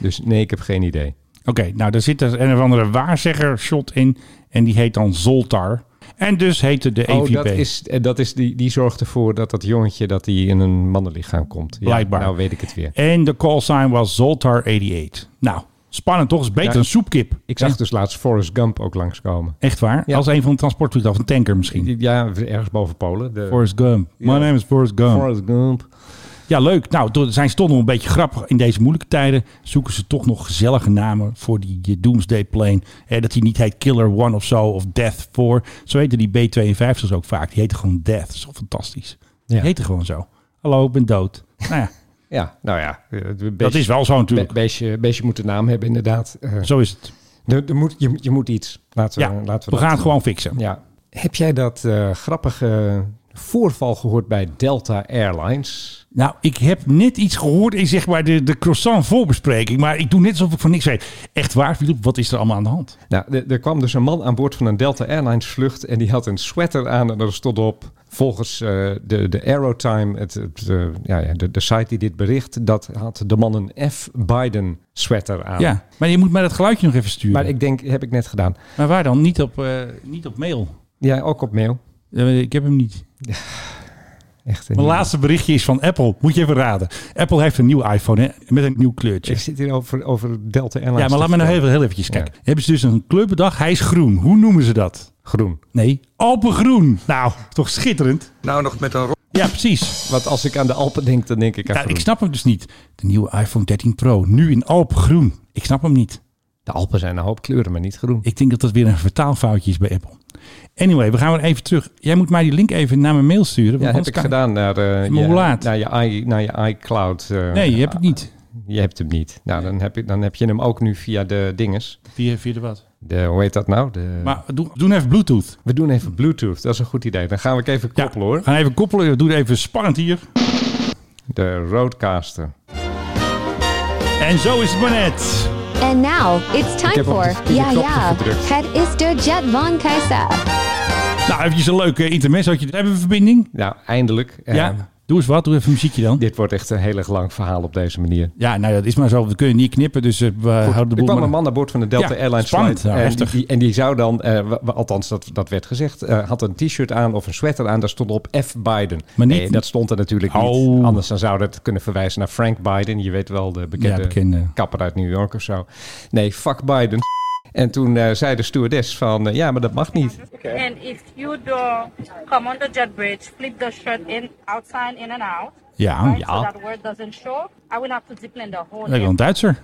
[SPEAKER 6] Dus nee, ik heb geen idee.
[SPEAKER 5] Oké, nou daar zit er een of andere waarzegger shot in. En die heet dan Zoltar. En dus heette de EVP.
[SPEAKER 6] Oh, dat is, eh, dat is die, die zorgt ervoor dat dat jongetje dat hij in een mannenlichaam komt. Ja,
[SPEAKER 5] Blijkbaar.
[SPEAKER 6] Nou weet ik het weer.
[SPEAKER 5] En de callsign was Zoltar 88. Nou, Spannend toch? Is beter
[SPEAKER 6] Ja.
[SPEAKER 5] een soepkip.
[SPEAKER 6] Ik zag
[SPEAKER 5] Ja.
[SPEAKER 6] dus laatst Forrest Gump ook langskomen.
[SPEAKER 5] Echt waar?
[SPEAKER 6] Ja.
[SPEAKER 5] Als een van de transportvliegtuigen, of een tanker misschien.
[SPEAKER 6] Ja, ergens boven Polen. De
[SPEAKER 5] Forrest Gump. My name is Forrest Gump.
[SPEAKER 6] Forrest Gump.
[SPEAKER 5] Ja, leuk. Nou, toen- zijn ze toch nog een beetje grappig. In deze moeilijke tijden zoeken ze toch nog gezellige namen voor die eh, Doomsday Plane. Eh, dat die niet heet Killer One of zo, of Death 4. Zo heten die B-52's ook vaak. Die heten gewoon Death. Dat is toch fantastisch.
[SPEAKER 6] Ja.
[SPEAKER 5] Die heten gewoon zo. Hallo, ik ben dood. Nou
[SPEAKER 6] [laughs]
[SPEAKER 5] ja,
[SPEAKER 6] Ja, nou ja. eh, het Beestje,
[SPEAKER 5] dat is wel zo natuurlijk.
[SPEAKER 6] be- beestje, beestje moet een naam hebben, inderdaad. Eh,
[SPEAKER 5] Zo is het.
[SPEAKER 6] de- de moet, je, je moet iets. Laten
[SPEAKER 5] Ja,
[SPEAKER 6] we, laten
[SPEAKER 5] we
[SPEAKER 6] we,
[SPEAKER 5] gaan het
[SPEAKER 6] dat-
[SPEAKER 5] gewoon fixen.
[SPEAKER 6] Ja. Heb jij dat eh, grappige voorval gehoord bij Delta Airlines?
[SPEAKER 5] Nou, ik heb net iets gehoord in zeg maar de, de croissant voorbespreking. Maar ik doe net alsof ik van niks weet. Echt waar, Filip? Wat is er allemaal aan de hand?
[SPEAKER 6] Nou, er, er kwam dus een man aan boord van een Delta Airlines vlucht en die had een sweater aan en er stond op, volgens eh, de, de Aerotime, het, het, eh, ja, ja, de, de site die dit bericht, dat had de man een F. Biden sweater aan.
[SPEAKER 5] Ja, maar je moet mij dat geluidje nog even sturen.
[SPEAKER 6] Nou. Maar ik denk, heb ik net gedaan.
[SPEAKER 5] maar waar dan? Niet op, eh, niet op mail.
[SPEAKER 6] Ja, ook op mail.
[SPEAKER 5] Eh, Ik heb hem niet.
[SPEAKER 6] Echt. eh,
[SPEAKER 5] Mijn laatste berichtje is van Apple. Moet je even raden. Apple heeft een nieuw iPhone hè, met een nieuw kleurtje.
[SPEAKER 6] Ik zit hier over, over Delta Airlines.
[SPEAKER 5] Ja, maar laat me nog
[SPEAKER 6] nog
[SPEAKER 5] even, heel eventjes kijken. Hebben ze dus een kleur bedacht? Hij is groen. Hoe noemen ze dat?
[SPEAKER 6] Groen.
[SPEAKER 5] Nee, Alpengroen. Nou, toch schitterend.
[SPEAKER 12] Nou, nog met een
[SPEAKER 5] Ja, precies.
[SPEAKER 6] Want als ik aan de Alpen denk, dan denk ik aan
[SPEAKER 5] Nou,
[SPEAKER 6] groen.
[SPEAKER 5] ik snap hem dus niet. De nieuwe iPhone 13 Pro, nu in Alpengroen. Ik snap hem niet.
[SPEAKER 6] De Alpen zijn een hoop kleuren, maar niet groen.
[SPEAKER 5] Ik denk dat dat weer een vertaalfoutje is bij Apple. Anyway, we gaan weer even terug. Jij moet mij die link even naar mijn mail sturen.
[SPEAKER 6] Ja,
[SPEAKER 5] Want
[SPEAKER 6] heb
[SPEAKER 5] anders
[SPEAKER 6] ik
[SPEAKER 5] kan-
[SPEAKER 6] gedaan naar, eh,
[SPEAKER 5] Maar
[SPEAKER 6] je,
[SPEAKER 5] hoe laat?
[SPEAKER 6] naar, je, i, naar je iCloud. eh,
[SPEAKER 5] Nee, je hebt het niet.
[SPEAKER 6] Je hebt hem niet. Nou, dan heb, je, dan heb je hem ook nu via de dinges.
[SPEAKER 5] Via, via de wat?
[SPEAKER 6] De, hoe heet dat nou? De,
[SPEAKER 5] Maar doe, doe even Bluetooth.
[SPEAKER 6] we doen even Bluetooth. Dat is een goed idee. Dan gaan we ook even koppelen hoor.
[SPEAKER 5] Gaan even koppelen. Doe het even spannend hier.
[SPEAKER 6] De Roadcaster.
[SPEAKER 5] En zo is het maar net.
[SPEAKER 11] And now it's
[SPEAKER 6] Ik
[SPEAKER 11] time
[SPEAKER 6] heb op
[SPEAKER 11] for
[SPEAKER 6] de verkeerde
[SPEAKER 11] Yeah
[SPEAKER 6] knop
[SPEAKER 11] Yeah.
[SPEAKER 6] gedrukt.
[SPEAKER 11] Het is de Jet Von Kaiser.
[SPEAKER 5] Nou, eventjes een leuke intermezzootje. Hebben we verbinding?
[SPEAKER 6] Nou, eindelijk. Eh,
[SPEAKER 5] ja. Doe eens wat. Doe even muziekje dan.
[SPEAKER 6] Dit wordt echt een heel erg lang verhaal op deze manier.
[SPEAKER 5] Ja, nou ja, dat is maar zo. We kunnen niet knippen, dus eh, we houden de
[SPEAKER 6] Er
[SPEAKER 5] boel
[SPEAKER 6] kwam
[SPEAKER 5] maar-
[SPEAKER 6] een man aan boord van de Delta
[SPEAKER 5] Ja,
[SPEAKER 6] Airlines
[SPEAKER 5] spannend,
[SPEAKER 6] flight.
[SPEAKER 5] ja,
[SPEAKER 6] en, die,
[SPEAKER 5] heftig.
[SPEAKER 6] die- en die zou dan, eh, wa- wa- althans dat, dat werd gezegd, eh, had een t-shirt aan of een sweater aan. Daar stond op F. Biden.
[SPEAKER 5] Maar niet-
[SPEAKER 6] nee, dat stond er natuurlijk
[SPEAKER 5] Oh.
[SPEAKER 6] niet. Anders dan zou dat kunnen verwijzen naar Frank Biden. Je weet wel, de bekende,
[SPEAKER 5] Ja, bekende.
[SPEAKER 6] kapper uit New York of zo. Nee, fuck Biden. En toen eh, zei de stewardess van, eh, ja, maar dat mag niet.
[SPEAKER 4] And if you do come on the jet bridge, flip the shirt in outside in and out.
[SPEAKER 5] Ja, ja.
[SPEAKER 4] that word doesn't show. I will have to discipline the whole
[SPEAKER 5] Lekker een Duitser.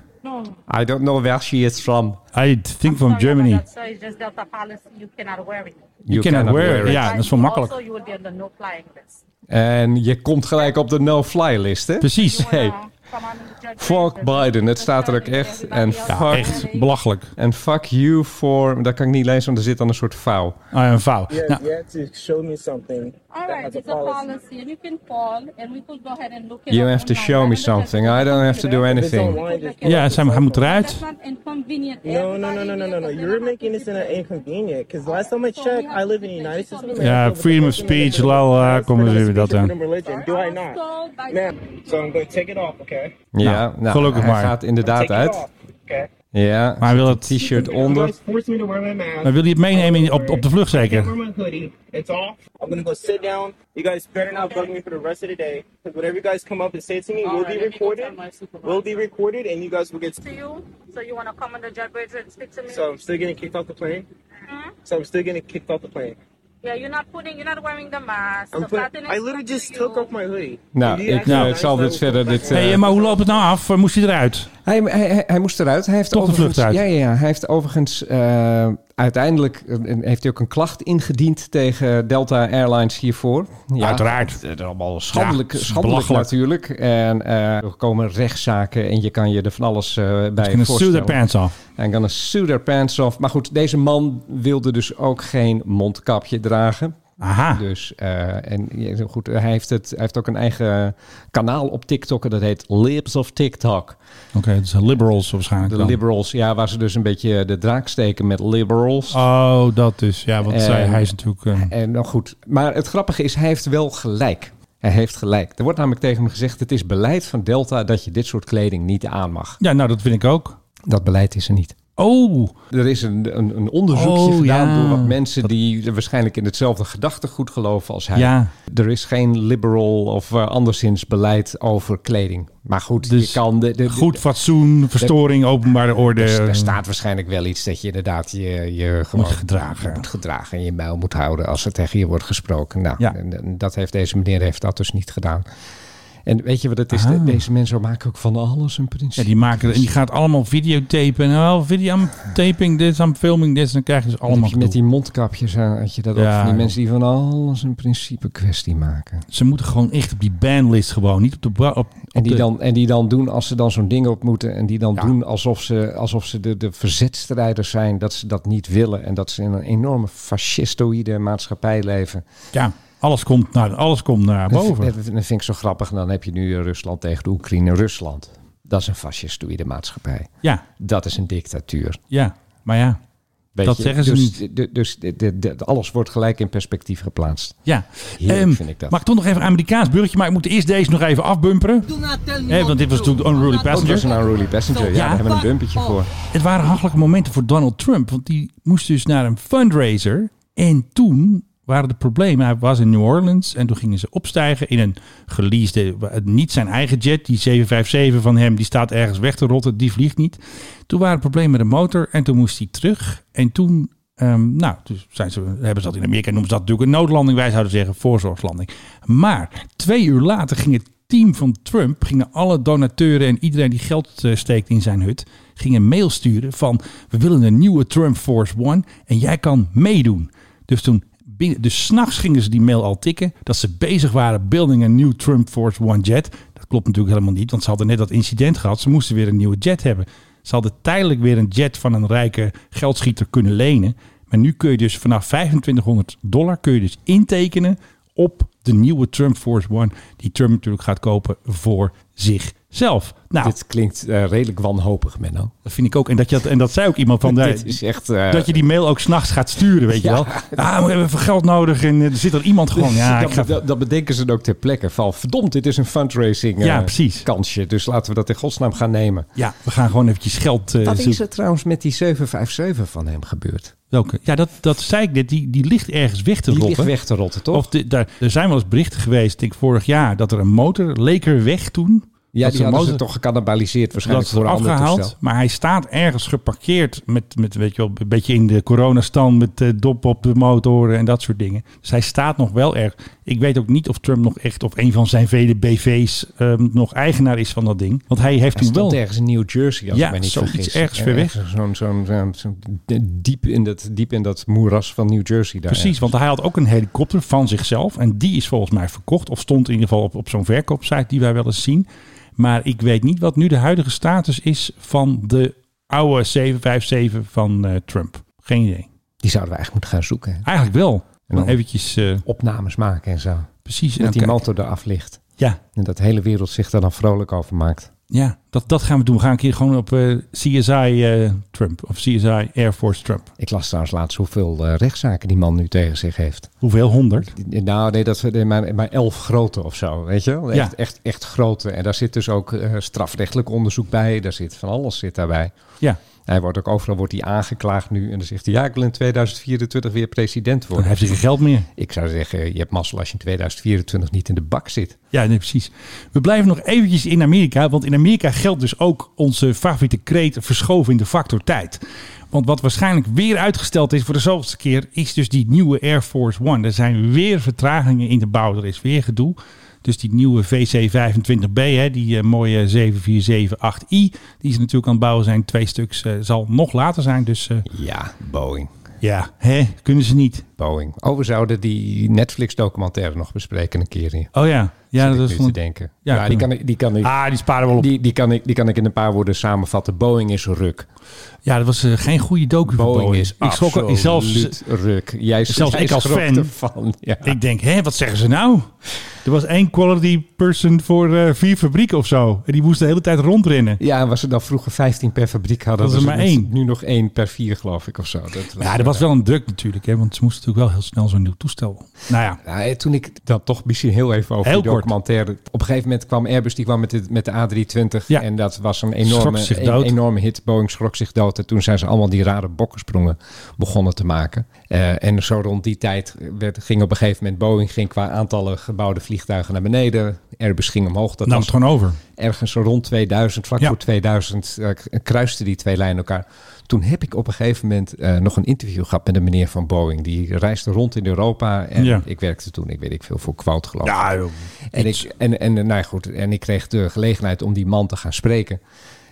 [SPEAKER 6] I don't know where she is from.
[SPEAKER 5] I think from Germany.
[SPEAKER 4] So it's just Delta policy. You cannot wear it.
[SPEAKER 5] You cannot wear.
[SPEAKER 6] it.
[SPEAKER 5] Ja, dat is wel makkelijk.
[SPEAKER 4] you will be on the no flying list.
[SPEAKER 6] En je komt gelijk op de no-fly list, hè?
[SPEAKER 5] [laughs] Precies.
[SPEAKER 6] Hey,
[SPEAKER 4] Come on the jet
[SPEAKER 6] fuck Biden. Het staat er ook echt. En fuck
[SPEAKER 5] Ja, echt belachelijk.
[SPEAKER 6] En fuck you for... Dat kan ik niet lezen, want er zit dan een soort vouw.
[SPEAKER 5] Ah, een vouw. Nou,
[SPEAKER 4] All right, it's a policy, and you can call, and we could go ahead and look it
[SPEAKER 6] You
[SPEAKER 4] up
[SPEAKER 6] have to
[SPEAKER 4] online.
[SPEAKER 6] show me
[SPEAKER 4] And the
[SPEAKER 6] something.
[SPEAKER 4] jet-
[SPEAKER 6] I don't have to do anything.
[SPEAKER 5] ja, Sam, hij moet
[SPEAKER 4] That's
[SPEAKER 5] eruit.
[SPEAKER 4] not inconvenient. No, no, no, no, no, no, no. You're making this an
[SPEAKER 11] Inconvenient, because last
[SPEAKER 4] time I checked, I live in the United States of America.
[SPEAKER 5] Ja, freedom of speech, la la, kom eens even dat eh. aan.
[SPEAKER 11] religion,
[SPEAKER 4] Do I not?
[SPEAKER 11] So I'm going to take it off, okay?
[SPEAKER 6] Ja, nou,
[SPEAKER 5] gelukkig
[SPEAKER 6] hij
[SPEAKER 5] maar.
[SPEAKER 6] gaat inderdaad uit. Ja,
[SPEAKER 5] Maar hij wil het-
[SPEAKER 6] t-shirt onder.
[SPEAKER 11] Force me to wear my mask.
[SPEAKER 5] Maar wil je het meenemen in- op, op de vlucht
[SPEAKER 6] Eh,
[SPEAKER 5] zeker?
[SPEAKER 11] my hoodie. It's off. I'm going to go sit down. You guys better not bug me for the rest of the day. Because whatever you guys come up and say to me will be recorded. Will be recorded, and you guys will get.
[SPEAKER 4] To you, so you want to come on the jet bridge and speak to me?
[SPEAKER 11] So I'm still getting kicked off the plane. So I'm still getting kicked off the plane.
[SPEAKER 4] yeah, you're not putting, you're not wearing the mask.
[SPEAKER 11] I'm
[SPEAKER 4] the
[SPEAKER 11] putting-
[SPEAKER 4] captain is
[SPEAKER 11] I literally
[SPEAKER 4] talking
[SPEAKER 11] just
[SPEAKER 4] to
[SPEAKER 11] took
[SPEAKER 4] you.
[SPEAKER 11] off my hoodie.
[SPEAKER 6] Nou, ik
[SPEAKER 5] Nou.
[SPEAKER 6] eh, het zal dit verder... Dit, eh,
[SPEAKER 5] Hey, maar hoe loopt het nou af? Moest hij eruit?
[SPEAKER 6] Hij, hij, hij- hij moest eruit. Hij heeft
[SPEAKER 5] Toch de
[SPEAKER 6] overigens-
[SPEAKER 5] vlucht uit.
[SPEAKER 6] Ja, ja, ja. Hij heeft overigens eh, uiteindelijk eh, heeft hij ook een klacht ingediend tegen Delta Airlines hiervoor. Ja,
[SPEAKER 5] Uiteraard.
[SPEAKER 6] Het is allemaal schandelijk,
[SPEAKER 5] Ja, het is
[SPEAKER 6] schandelijk
[SPEAKER 5] belachelijk.
[SPEAKER 6] natuurlijk. En eh, er komen rechtszaken en je kan je er van alles eh, bij
[SPEAKER 5] Kunnen stew their
[SPEAKER 6] voorstellen.
[SPEAKER 5] pants off.
[SPEAKER 6] En kan een suit their pants off. Maar goed, deze man wilde dus ook geen mondkapje dragen.
[SPEAKER 5] Aha.
[SPEAKER 6] Dus, eh, en ja, goed, hij heeft, het, hij heeft ook een eigen kanaal op TikTok en dat heet Lips of TikTok.
[SPEAKER 5] Oké, het zijn liberals waarschijnlijk
[SPEAKER 6] De
[SPEAKER 5] dan.
[SPEAKER 6] liberals, ja, waar ze dus een beetje de draak steken met liberals.
[SPEAKER 5] Oh, dat dus. Ja, want
[SPEAKER 6] Eh,
[SPEAKER 5] zij- hij is natuurlijk... eh,
[SPEAKER 6] En nou goed, maar het grappige is, hij heeft wel gelijk. Hij heeft gelijk. Er wordt namelijk tegen hem gezegd, het is beleid van Delta dat je dit soort kleding niet aan mag.
[SPEAKER 5] ja, nou, dat vind ik ook.
[SPEAKER 6] Dat beleid is er niet.
[SPEAKER 5] Oh.
[SPEAKER 6] Er is een, een, een onderzoekje
[SPEAKER 5] Oh,
[SPEAKER 6] gedaan
[SPEAKER 5] ja.
[SPEAKER 6] door wat mensen die waarschijnlijk in hetzelfde gedachtegoed geloven als hij.
[SPEAKER 5] Ja.
[SPEAKER 6] Er is geen liberal of eh, anderszins beleid over kleding. Maar goed, je kan... De, de-
[SPEAKER 5] Dus Goed fatsoen, verstoring, openbare orde.
[SPEAKER 6] Dus Er, er staat waarschijnlijk wel iets dat je inderdaad je, je gewoon
[SPEAKER 5] Moet gedragen.
[SPEAKER 6] je moet gedragen en je mijl moet houden als er tegen je wordt gesproken. Nou,
[SPEAKER 5] Ja.
[SPEAKER 6] en, en dat heeft deze meneer heeft dat dus niet gedaan. En weet je wat het is?
[SPEAKER 5] Ah.
[SPEAKER 6] Deze mensen maken ook van alles een principe.
[SPEAKER 5] Ja, die, maken, en die gaat allemaal videotapen. Nou, video, I'm taping this, I'm filming this. Dan krijg je dus
[SPEAKER 6] Dat heb
[SPEAKER 5] allemaal
[SPEAKER 6] je met
[SPEAKER 5] gedoe.
[SPEAKER 6] die mondkapjes aan, had je dat ook
[SPEAKER 5] Ja,
[SPEAKER 6] van die
[SPEAKER 5] joh.
[SPEAKER 6] mensen die van alles een principe kwestie maken.
[SPEAKER 5] Ze moeten gewoon echt op die banlist gewoon. Niet op de... ba- Op, op
[SPEAKER 6] En die,
[SPEAKER 5] de-
[SPEAKER 6] dan, en die dan doen als ze dan zo'n ding op moeten. En die dan
[SPEAKER 5] Ja.
[SPEAKER 6] doen alsof ze, alsof ze de, de verzetstrijders zijn. Dat ze dat niet willen. En dat ze in een enorme fascistoïde maatschappij leven.
[SPEAKER 5] Ja, alles komt naar, alles komt naar boven.
[SPEAKER 6] Dat, dat- dat vind ik zo grappig. En dan heb je nu Rusland tegen de Oekraïne. Rusland, dat is een fascistoïde maatschappij.
[SPEAKER 5] Ja,
[SPEAKER 6] Dat is een dictatuur.
[SPEAKER 5] ja. Maar ja,
[SPEAKER 6] Weet
[SPEAKER 5] Dat
[SPEAKER 6] je?
[SPEAKER 5] zeggen ze
[SPEAKER 6] dus, Dus, dus de, de- de- alles wordt gelijk in perspectief geplaatst.
[SPEAKER 5] ja.
[SPEAKER 6] Heerlijk
[SPEAKER 5] Ehm,
[SPEAKER 6] vind ik dat.
[SPEAKER 5] Mag ik toch nog even een Amerikaans burgertje? Maar ik moet eerst deze nog even afbumperen. Hè, want dit was natuurlijk Unruly
[SPEAKER 6] Oh, dat
[SPEAKER 5] Passenger.
[SPEAKER 6] is een unruly passenger. Ja,
[SPEAKER 5] Ja.
[SPEAKER 6] daar hebben we een bumpetje voor.
[SPEAKER 5] Het waren hachelijke momenten voor Donald Trump. Want die moest dus naar een fundraiser. En toen waren de problemen. Hij was in New Orleans. En toen gingen ze opstijgen in een geleasede... Niet zijn eigen jet. Die 757 van hem. Die staat ergens weg te rotten. Die vliegt niet. Toen waren er problemen met de motor. En toen moest hij terug. En toen... ehm, nou, dus zijn ze, hebben ze dat in Amerika noemen ze dat natuurlijk een noodlanding. Wij zouden zeggen voorzorgslanding. Maar twee uur later ging het team van Trump gingen alle donateuren en iedereen die geld eh, steekt in zijn hut, gingen een mail sturen van we willen een nieuwe Trump Force One en jij kan meedoen. Dus toen binnen, dus s'nachts gingen ze die mail al tikken dat ze bezig waren building een nieuw Trump Force One jet. Dat klopt natuurlijk helemaal niet, want ze hadden net dat incident gehad. Ze moesten weer een nieuwe jet hebben. Ze hadden tijdelijk weer een jet van een rijke geldschieter kunnen lenen. Maar nu kun je dus vanaf 2500 dollar kun je dus intekenen op de nieuwe Trump Force One. Die Trump natuurlijk gaat kopen voor zichzelf. Nou,
[SPEAKER 6] Dit klinkt eh, redelijk wanhopig, Menno.
[SPEAKER 5] dat vind ik ook. En dat, je dat, en dat zei ook iemand [laughs]
[SPEAKER 6] [laughs]
[SPEAKER 5] van... daar-
[SPEAKER 6] Dit is echt... eh,
[SPEAKER 5] dat je die mail ook s'nachts gaat sturen, weet
[SPEAKER 6] Ja.
[SPEAKER 5] je wel. Ah, we hebben even geld nodig en eh, er zit er iemand gewoon... Ja,
[SPEAKER 6] [laughs] [laughs] dat,
[SPEAKER 5] ik ga,
[SPEAKER 6] dat, dat bedenken ze dan ook ter plekke. Van verdomd, dit is een fundraising eh,
[SPEAKER 5] Ja, precies. Eh,
[SPEAKER 6] kansje. Dus laten we dat in godsnaam gaan nemen.
[SPEAKER 5] ja we gaan gewoon eventjes geld eh,
[SPEAKER 6] Wat is
[SPEAKER 5] zoeken.
[SPEAKER 6] er trouwens met die 757 van hem gebeurd?
[SPEAKER 5] Welke? Ja, dat, dat zei ik net. Die, die ligt ergens weg te
[SPEAKER 6] Die
[SPEAKER 5] rotten.
[SPEAKER 6] ligt weg te rotten, toch?
[SPEAKER 5] Of de- daar, er zijn wel eens berichten geweest, denk ik, vorig jaar, dat er een motor leek er weg toen.
[SPEAKER 6] ja,
[SPEAKER 5] dat
[SPEAKER 6] die
[SPEAKER 5] ze
[SPEAKER 6] hadden ze
[SPEAKER 5] motor-
[SPEAKER 6] toch gecannibaliseerd
[SPEAKER 5] Dat
[SPEAKER 6] waarschijnlijk
[SPEAKER 5] is er
[SPEAKER 6] voor een ander
[SPEAKER 5] afgehaald.
[SPEAKER 6] toestel.
[SPEAKER 5] Maar hij staat ergens geparkeerd met, met weet je wel, een beetje in de coronastand met eh, dop op de motoren en dat soort dingen. Dus hij staat nog wel erg. Ik weet ook niet of Trump nog echt, of een van zijn vele BV's ehm, nog eigenaar is van dat ding. Want hij heeft
[SPEAKER 6] Hij
[SPEAKER 5] toen wel...
[SPEAKER 6] stond ergens in New Jersey, als
[SPEAKER 5] Ja,
[SPEAKER 6] ik mij niet
[SPEAKER 5] zoiets
[SPEAKER 6] vergis.
[SPEAKER 5] ergens ver weg.
[SPEAKER 6] Zo'n zo'n zo'n- zo'n- diep, in dat, diep in dat moeras van New Jersey daar.
[SPEAKER 5] Precies, want hij had ook een helikopter van zichzelf. En die is volgens mij verkocht. Of stond in ieder geval op, op zo'n verkoopsite die wij wel eens zien. Maar ik weet niet wat nu de huidige status is van de oude 757 van eh, Trump. Geen idee.
[SPEAKER 6] Die zouden we eigenlijk moeten gaan zoeken. hè.
[SPEAKER 5] Eigenlijk wel. En dan
[SPEAKER 6] dan-
[SPEAKER 5] eventjes eh,
[SPEAKER 6] Opnames maken en zo.
[SPEAKER 5] precies. en
[SPEAKER 6] Dat die
[SPEAKER 5] dan
[SPEAKER 6] motor eraf ligt.
[SPEAKER 5] kijken. Ja,
[SPEAKER 6] En dat de hele wereld zich daar dan vrolijk over maakt.
[SPEAKER 5] ja dat, dat gaan we doen. We gaan een keer gewoon op eh, CSI eh, Trump. Of CSI Air Force Trump.
[SPEAKER 6] Ik las trouwens laatst hoeveel eh, rechtszaken die man nu tegen zich heeft.
[SPEAKER 5] Hoeveel? 100?
[SPEAKER 6] Die- Nou, nee, dat nee, maar, maar elf grote of zo, weet je wel? Echt,
[SPEAKER 5] Ja.
[SPEAKER 6] echt, echt grote. En daar zit dus ook eh, strafrechtelijk onderzoek bij. Daar zit van alles zit daarbij.
[SPEAKER 5] Ja.
[SPEAKER 6] Hij wordt ook overal wordt hij aangeklaagd nu. En dan zegt hij, ja, ik wil in 2024 weer president
[SPEAKER 5] Dan
[SPEAKER 6] worden.
[SPEAKER 5] heeft hij geen geld meer.
[SPEAKER 6] Ik zou zeggen, je hebt mazzel als je in 2024 niet in de bak zit.
[SPEAKER 5] Ja, nee, precies. We blijven nog eventjes in Amerika, want in Amerika geldt dus ook onze favoriete kreet verschoven in de factor tijd. Want wat waarschijnlijk weer uitgesteld is voor de zoveelste keer, is dus die nieuwe Air Force One. Er zijn weer vertragingen in de bouw, er is weer gedoe. Dus die nieuwe VC25B, hè, die eh, mooie 7478i, die ze natuurlijk aan het bouwen zijn, twee stuks, eh, zal nog later zijn. Dus eh,
[SPEAKER 6] Ja, Boeing.
[SPEAKER 5] ja, hè, kunnen ze niet.
[SPEAKER 6] Boeing. Oh, we zouden die Netflix-documentaire nog bespreken een keer. hier.
[SPEAKER 5] Oh ja, ja
[SPEAKER 6] Zit ik
[SPEAKER 5] dat
[SPEAKER 6] nu
[SPEAKER 5] is van...
[SPEAKER 6] te denken.
[SPEAKER 5] Ja,
[SPEAKER 6] Ja, die,
[SPEAKER 5] kunnen
[SPEAKER 6] kan
[SPEAKER 5] we.
[SPEAKER 6] ik, die, kan ik,
[SPEAKER 5] Ah, die sparen we op.
[SPEAKER 6] die, die, kan ik, die kan ik in een paar woorden samenvatten. Boeing is ruk.
[SPEAKER 5] Ja, dat was eh, geen goede docu van
[SPEAKER 6] Boeing,
[SPEAKER 5] Boeing.
[SPEAKER 6] is
[SPEAKER 5] ik schrok er-
[SPEAKER 6] absoluut
[SPEAKER 5] zelfs,
[SPEAKER 6] ruk. Jij,
[SPEAKER 5] zelfs
[SPEAKER 6] jij
[SPEAKER 5] ik als
[SPEAKER 6] schrok
[SPEAKER 5] fan.
[SPEAKER 6] ervan. Ja.
[SPEAKER 5] Ik denk, hè, wat zeggen ze nou? Er was één quality person voor eh, vier fabrieken of zo. En die moest de hele tijd rondrennen.
[SPEAKER 6] Ja, was er dan vroeger 15 per fabriek hadden.
[SPEAKER 5] Dat is
[SPEAKER 6] was
[SPEAKER 5] er
[SPEAKER 6] het
[SPEAKER 5] maar
[SPEAKER 6] nu-
[SPEAKER 5] één.
[SPEAKER 6] Nu nog één per vier, geloof ik, of zo. Dat was-
[SPEAKER 5] Ja, er was wel een druk natuurlijk, hè, want ze moesten natuurlijk wel heel snel zo'n nieuw toestel. Nou ja,
[SPEAKER 6] Nou, eh, toen ik dat toch misschien heel even over
[SPEAKER 5] Heel
[SPEAKER 6] die
[SPEAKER 5] kort.
[SPEAKER 6] documentaire. Op een gegeven moment kwam Airbus, die kwam met, dit- met de A320.
[SPEAKER 5] Ja.
[SPEAKER 6] En dat was een
[SPEAKER 5] Schrok
[SPEAKER 6] enorme,
[SPEAKER 5] zich
[SPEAKER 6] een-
[SPEAKER 5] dood.
[SPEAKER 6] enorme hit. Boeing schrok zich dood. En toen zijn ze allemaal die rare bokkensprongen begonnen te maken. Eh, en zo rond die tijd werd, ging op een gegeven moment Boeing ging qua aantallen gebouwde vliegtuigen naar beneden. Airbus ging omhoog. Dat
[SPEAKER 5] nam
[SPEAKER 6] was
[SPEAKER 5] het gewoon over.
[SPEAKER 6] ergens zo rond 2000, vlak
[SPEAKER 5] Ja.
[SPEAKER 6] voor 2000, eh, k- kruisten die twee lijnen elkaar. Toen heb ik op een gegeven moment eh, nog een interview gehad met een meneer van Boeing. Die reisde rond in Europa en
[SPEAKER 5] Ja.
[SPEAKER 6] ik werkte toen, ik weet ik veel, voor Quout geloof ik.
[SPEAKER 5] Ja, joh.
[SPEAKER 6] en, ik, en, en, eh, nou ja, goed, en ik kreeg de gelegenheid om die man te gaan spreken.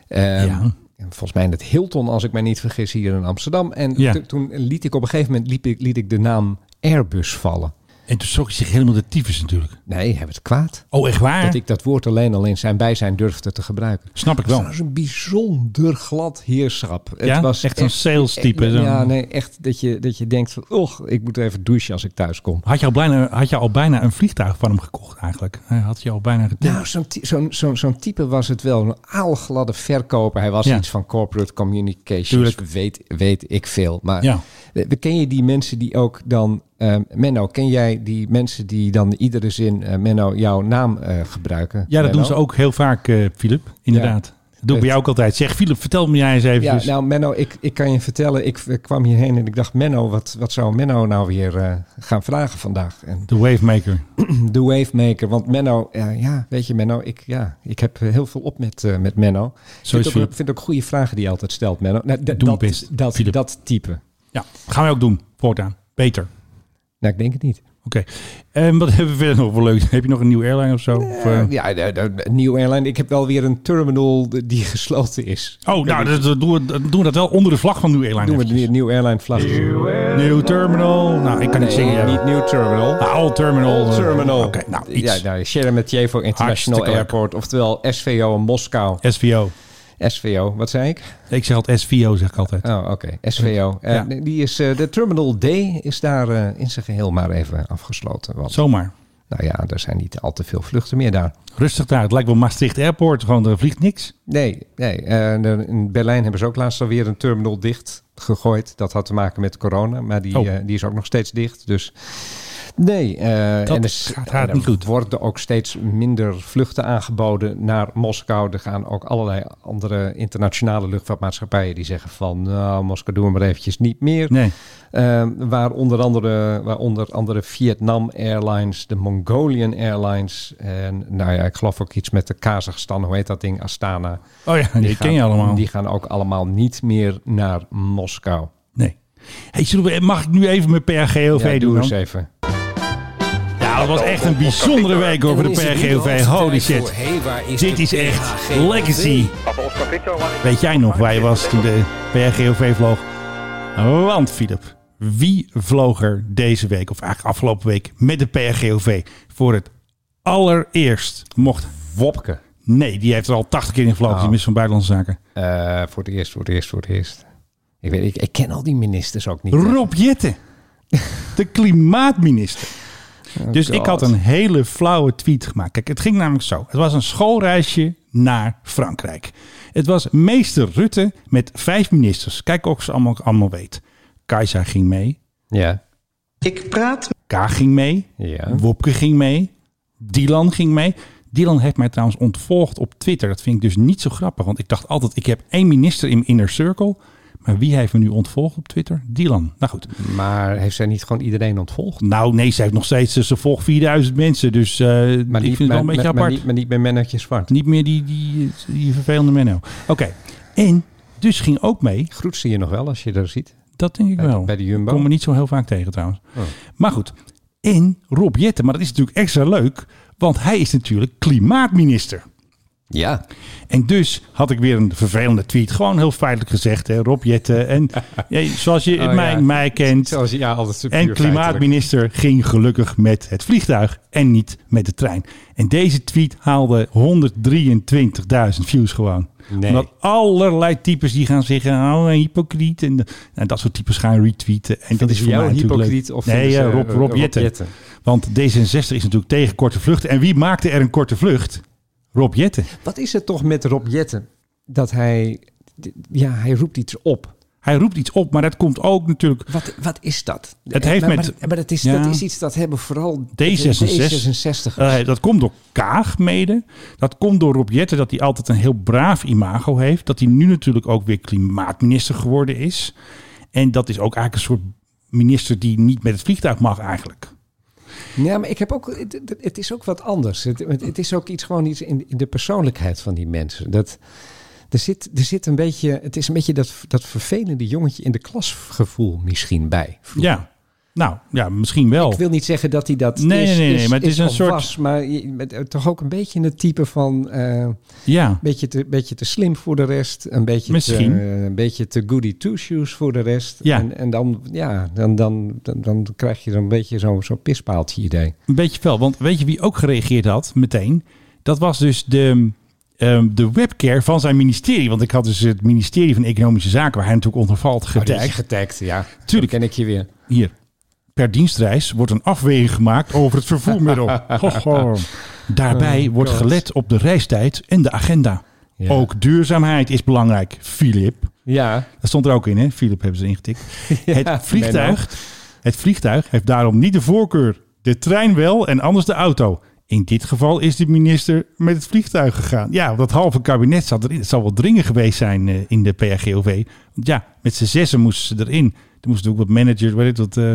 [SPEAKER 6] Ehm,
[SPEAKER 5] Ja.
[SPEAKER 6] en Volgens mij in het Hilton, als ik mij niet vergis, hier in Amsterdam. En
[SPEAKER 5] Ja.
[SPEAKER 6] to- toen liet ik op een gegeven moment liep ik, liet ik de naam Airbus vallen.
[SPEAKER 5] En toen schrok hij zich helemaal de tyfus natuurlijk.
[SPEAKER 6] Nee, heb het kwaad.
[SPEAKER 5] Oh, echt waar?
[SPEAKER 6] Dat ik dat woord alleen al in zijn bijzijn durfde te gebruiken.
[SPEAKER 5] Snap ik wel.
[SPEAKER 6] Dat was een bijzonder glad heerschap.
[SPEAKER 5] Ja? Echt een salestype,
[SPEAKER 6] eh,
[SPEAKER 5] zo'n-
[SPEAKER 6] Ja, nee, echt dat je, dat je denkt van... Och, ik moet even douchen als ik thuis kom.
[SPEAKER 5] Had je, al bijna, had je al bijna een vliegtuig van hem gekocht eigenlijk? Hij had je al bijna geteld.
[SPEAKER 6] Nou, zo'n ty- zo'n zo'n zo'n type was het wel. Een aalgladde verkoper. Hij was
[SPEAKER 5] Ja.
[SPEAKER 6] iets van corporate communications.
[SPEAKER 5] Tuurlijk.
[SPEAKER 6] Weet, weet ik veel. Maar
[SPEAKER 5] Ja.
[SPEAKER 6] we we- ken je die mensen die ook dan... eh, Menno, ken jij die mensen die dan iedere zin... eh, Menno, jouw naam eh, gebruiken?
[SPEAKER 5] Ja, dat doen ze
[SPEAKER 6] Menno?
[SPEAKER 5] ook heel vaak, eh, Philip. Inderdaad. Dat doe ik bij jou ook altijd. Zeg, Philip, vertel me jij eens even.
[SPEAKER 6] Ja, nou Menno, ik, ik kan je vertellen, ik, ik kwam hierheen en ik dacht, Menno, wat, wat zou Menno nou weer eh, gaan vragen vandaag? En
[SPEAKER 5] De Wavemaker.
[SPEAKER 6] de Wavemaker, want Menno, eh, ja, weet je Menno, ik, ja, ik heb eh, heel veel op met, eh, met Menno. ik
[SPEAKER 5] is
[SPEAKER 6] vind ook,
[SPEAKER 5] Philip.
[SPEAKER 6] vind ook goede vragen die je altijd stelt, Menno. Nou, d-
[SPEAKER 5] Doe
[SPEAKER 6] dat,
[SPEAKER 5] je best,
[SPEAKER 6] dat,
[SPEAKER 5] Philip.
[SPEAKER 6] dat type.
[SPEAKER 5] Ja, gaan wij ook doen. Voortaan. Beter.
[SPEAKER 6] Nou, ik denk het niet.
[SPEAKER 5] Oké. En wat [laughs] hebben we verder nog voor leuk? Heb je nog een nieuwe airline of zo? Of, eh,
[SPEAKER 6] Eh, ja, de, de- de nieuwe airline. Ik heb wel weer een terminal d- die [laughs] gesloten is.
[SPEAKER 5] Oh, nou, dat, dat doen, we, dat doen we dat wel onder de vlag van New Airline.
[SPEAKER 6] Doen we
[SPEAKER 5] eventjes.
[SPEAKER 6] de nieuwe airline vlag.
[SPEAKER 5] New Terminal. Nou, ik kan niet zingen.
[SPEAKER 6] Nee, niet nieuw terminal.
[SPEAKER 5] Nou, Old Terminal.
[SPEAKER 6] Old Terminal.
[SPEAKER 5] Oké, nou, iets.
[SPEAKER 6] Ja, nou, Sheremetyevo International
[SPEAKER 5] Hartstikke leuk.
[SPEAKER 6] Airport. Oftewel SVO in Moskou.
[SPEAKER 5] SVO.
[SPEAKER 6] SVO, wat zei ik?
[SPEAKER 5] Ik zeg altijd SVO, zeg ik altijd.
[SPEAKER 6] Oh, oké. SVO. Eh,
[SPEAKER 5] Ja.
[SPEAKER 6] die is, eh, de Terminal D is daar eh, in zijn geheel maar even afgesloten. Want,
[SPEAKER 5] Zomaar.
[SPEAKER 6] nou ja, er zijn niet al te veel vluchten meer daar.
[SPEAKER 5] Rustig daar. Het lijkt wel Maastricht Airport. Gewoon, er vliegt niks.
[SPEAKER 6] Nee, nee. eh, de- in Berlijn hebben ze ook laatst alweer een terminal dicht gegooid. Dat had te maken met corona, maar die,
[SPEAKER 5] Oh.
[SPEAKER 6] eh, die is ook nog steeds dicht. Dus nee. eh,
[SPEAKER 5] Dat
[SPEAKER 6] er-
[SPEAKER 5] gaat haar
[SPEAKER 6] en er
[SPEAKER 5] niet goed.
[SPEAKER 6] worden ook steeds minder vluchten aangeboden naar Moskou. Er gaan ook allerlei andere internationale luchtvaartmaatschappijen die zeggen van... nou, Moskou doen we maar eventjes niet meer.
[SPEAKER 5] Nee.
[SPEAKER 6] Eh, waar, onder andere, waar onder andere Vietnam Airlines, de Mongolian Airlines... en nou ja, ik geloof ook iets met de Kazachstan, hoe heet dat ding? Astana.
[SPEAKER 5] Oh ja, die,
[SPEAKER 6] gaan-
[SPEAKER 5] ken je allemaal.
[SPEAKER 6] Die gaan ook allemaal niet meer naar Moskou.
[SPEAKER 5] Nee. Hey, zullen we- mag ik nu even mijn PRGOV
[SPEAKER 6] Ja,
[SPEAKER 5] doen?
[SPEAKER 6] doe
[SPEAKER 5] dan?
[SPEAKER 6] eens even.
[SPEAKER 5] Ja, dat was echt een bijzondere week over de
[SPEAKER 7] En dan is het nu de
[SPEAKER 5] PRGOV.
[SPEAKER 7] hoogste
[SPEAKER 5] Holy
[SPEAKER 7] tijd voor,
[SPEAKER 5] shit.
[SPEAKER 7] hey, waar is
[SPEAKER 5] Dit
[SPEAKER 7] de
[SPEAKER 5] is echt
[SPEAKER 7] PHGOV?
[SPEAKER 5] legacy. Weet jij nog waar je was toen de PRGOV vloog? Want, Philip, wie vloog er deze week, of eigenlijk afgelopen week, met de PRGOV voor het allereerst? Mocht
[SPEAKER 6] Wopke. Oh.
[SPEAKER 5] Nee, die heeft er al 80 keer in gevlogen, die minister van Buitenlandse Zaken.
[SPEAKER 6] Eh, voor het eerst, voor het eerst, voor het eerst. Ik, weet, ik, ik ken al die ministers ook niet.
[SPEAKER 5] Rob Jetten, de klimaatminister. dus ik had een hele flauwe tweet gemaakt. Kijk, het ging namelijk zo. Het was een schoolreisje naar Frankrijk. Het was meester Rutte met vijf ministers. Kijk of ze allemaal, allemaal weet. Kajsa ging mee.
[SPEAKER 6] Ja.
[SPEAKER 10] Ik praat
[SPEAKER 5] K ging mee.
[SPEAKER 6] Ja.
[SPEAKER 5] Wopke ging mee. Dylan ging mee. Dylan heeft mij trouwens ontvolgd op Twitter. Dat vind ik dus niet zo grappig. Want ik dacht altijd, ik heb één minister in mijn inner circle. Maar wie heeft me nu ontvolgd op Twitter? Dylan. Nou goed.
[SPEAKER 6] Maar heeft zij niet gewoon iedereen ontvolgd?
[SPEAKER 5] Nou, nee, ze heeft nog steeds, ze volgt 4000 mensen. Dus eh,
[SPEAKER 6] Maar
[SPEAKER 5] ik
[SPEAKER 6] niet,
[SPEAKER 5] vind het wel een
[SPEAKER 6] maar-
[SPEAKER 5] beetje
[SPEAKER 6] maar- maar
[SPEAKER 5] apart.
[SPEAKER 6] niet- maar niet bij Mennetje Zwart.
[SPEAKER 5] niet meer die, die, die vervelende Menno. Oké, en dus ging ook mee,
[SPEAKER 6] Groet ze je nog wel als je er ziet.
[SPEAKER 5] dat denk ik
[SPEAKER 6] Bij de-
[SPEAKER 5] wel.
[SPEAKER 6] bij de Jumbo? Oh.
[SPEAKER 5] Ik kom me niet zo heel vaak tegen trouwens. Maar goed, en Rob Jetten, maar dat is natuurlijk extra leuk, want hij is natuurlijk klimaatminister.
[SPEAKER 6] Ja.
[SPEAKER 5] En dus had ik weer een vervelende tweet. Gewoon heel feitelijk gezegd, hè, Rob Jetten. En
[SPEAKER 6] [laughs]
[SPEAKER 5] ja, zoals je
[SPEAKER 6] Oh,
[SPEAKER 5] mij,
[SPEAKER 6] ja.
[SPEAKER 5] mij kent.
[SPEAKER 6] Zoals je- ja, altijd puur
[SPEAKER 5] en
[SPEAKER 6] feitelijk.
[SPEAKER 5] klimaatminister ging gelukkig met het vliegtuig en niet met de trein. En deze tweet haalde 123.000 views gewoon.
[SPEAKER 6] Nee.
[SPEAKER 5] Omdat allerlei types die gaan zeggen, oh, een hypocriet. En, en dat soort types gaan retweeten. En dat
[SPEAKER 6] Vinden
[SPEAKER 5] is
[SPEAKER 6] ze
[SPEAKER 5] voor mij
[SPEAKER 6] jou een
[SPEAKER 5] natuurlijk
[SPEAKER 6] hypocriet
[SPEAKER 5] leuk.
[SPEAKER 6] of
[SPEAKER 5] nee,
[SPEAKER 6] vinden ze,
[SPEAKER 5] eh, Rob,
[SPEAKER 6] eh,
[SPEAKER 5] Rob
[SPEAKER 6] Rob
[SPEAKER 5] Jetten.
[SPEAKER 6] Jetten?
[SPEAKER 5] Want D66 is natuurlijk tegen korte vluchten. En wie maakte er een korte vlucht? Rob Jetten.
[SPEAKER 6] Wat is het toch met Rob Jetten? Dat hij, d- ja, hij roept iets op.
[SPEAKER 5] Hij roept iets op, maar dat komt ook natuurlijk...
[SPEAKER 6] Wat, wat is dat?
[SPEAKER 5] Het heeft
[SPEAKER 6] maar,
[SPEAKER 5] met-
[SPEAKER 6] maar, maar dat, is,
[SPEAKER 5] Ja.
[SPEAKER 6] dat is iets dat hebben vooral
[SPEAKER 5] D66. Eh, dat komt door Kaag mede. Dat komt door Rob Jetten, dat hij altijd een heel braaf imago heeft. Dat hij nu natuurlijk ook weer klimaatminister geworden is. En dat is ook eigenlijk een soort minister die niet met het vliegtuig mag eigenlijk.
[SPEAKER 6] Ja, maar ik heb ook, het, het- het is ook wat anders. Het, het het is ook iets gewoon iets in, in de persoonlijkheid van die mensen. Dat, er, zit, er zit een beetje, het is een beetje dat, dat vervelende jongetje in de klas gevoel misschien bij.
[SPEAKER 5] Ja, nou ja, misschien wel.
[SPEAKER 6] Ik wil niet zeggen dat hij dat
[SPEAKER 5] Nee,
[SPEAKER 6] is,
[SPEAKER 5] nee, nee, nee, maar het is een
[SPEAKER 6] of
[SPEAKER 5] soort-
[SPEAKER 6] was, maar je- met- toch ook een beetje het type van... eh,
[SPEAKER 5] Ja.
[SPEAKER 6] beetje te, beetje te slim voor de rest. Een beetje
[SPEAKER 5] Misschien.
[SPEAKER 6] Te, eh, een beetje te goody two-shoes voor de rest.
[SPEAKER 5] Ja.
[SPEAKER 6] En, en dan, ja, dan, dan, dan, dan krijg je dan een beetje zo'n zo'n pispaaltje idee.
[SPEAKER 5] Een beetje fel. Want weet je wie ook gereageerd had meteen? Dat was dus de, ehm, de webcare van zijn ministerie. Want ik had dus het ministerie van Economische Zaken, waar hij natuurlijk onder valt,
[SPEAKER 6] Oh,
[SPEAKER 5] getagd.
[SPEAKER 6] Getagd, ja.
[SPEAKER 5] Tuurlijk.
[SPEAKER 6] ken ik je weer.
[SPEAKER 5] Hier. Per dienstreis wordt een afweging gemaakt over het
[SPEAKER 6] [laughs]
[SPEAKER 5] vervoermiddel. Ho, ho. Daarbij
[SPEAKER 6] Oh,
[SPEAKER 5] wordt
[SPEAKER 6] God.
[SPEAKER 5] gelet op de reistijd en de agenda.
[SPEAKER 6] Ja.
[SPEAKER 5] Ook duurzaamheid is belangrijk, Filip.
[SPEAKER 6] Ja.
[SPEAKER 5] Dat stond er ook in, hè? Filip hebben ze ingetikt. het, vliegtuig,
[SPEAKER 6] Menno.
[SPEAKER 5] het vliegtuig heeft daarom niet de voorkeur. De trein wel en anders de auto. In dit geval is de minister met het vliegtuig gegaan. Ja, dat halve kabinet zat erin. Het zal wel dringend geweest zijn eh, in de PAGOV. Want ja, met z'n zessen moesten ze erin. Er moesten ook wat managers, weet ik wat... eh,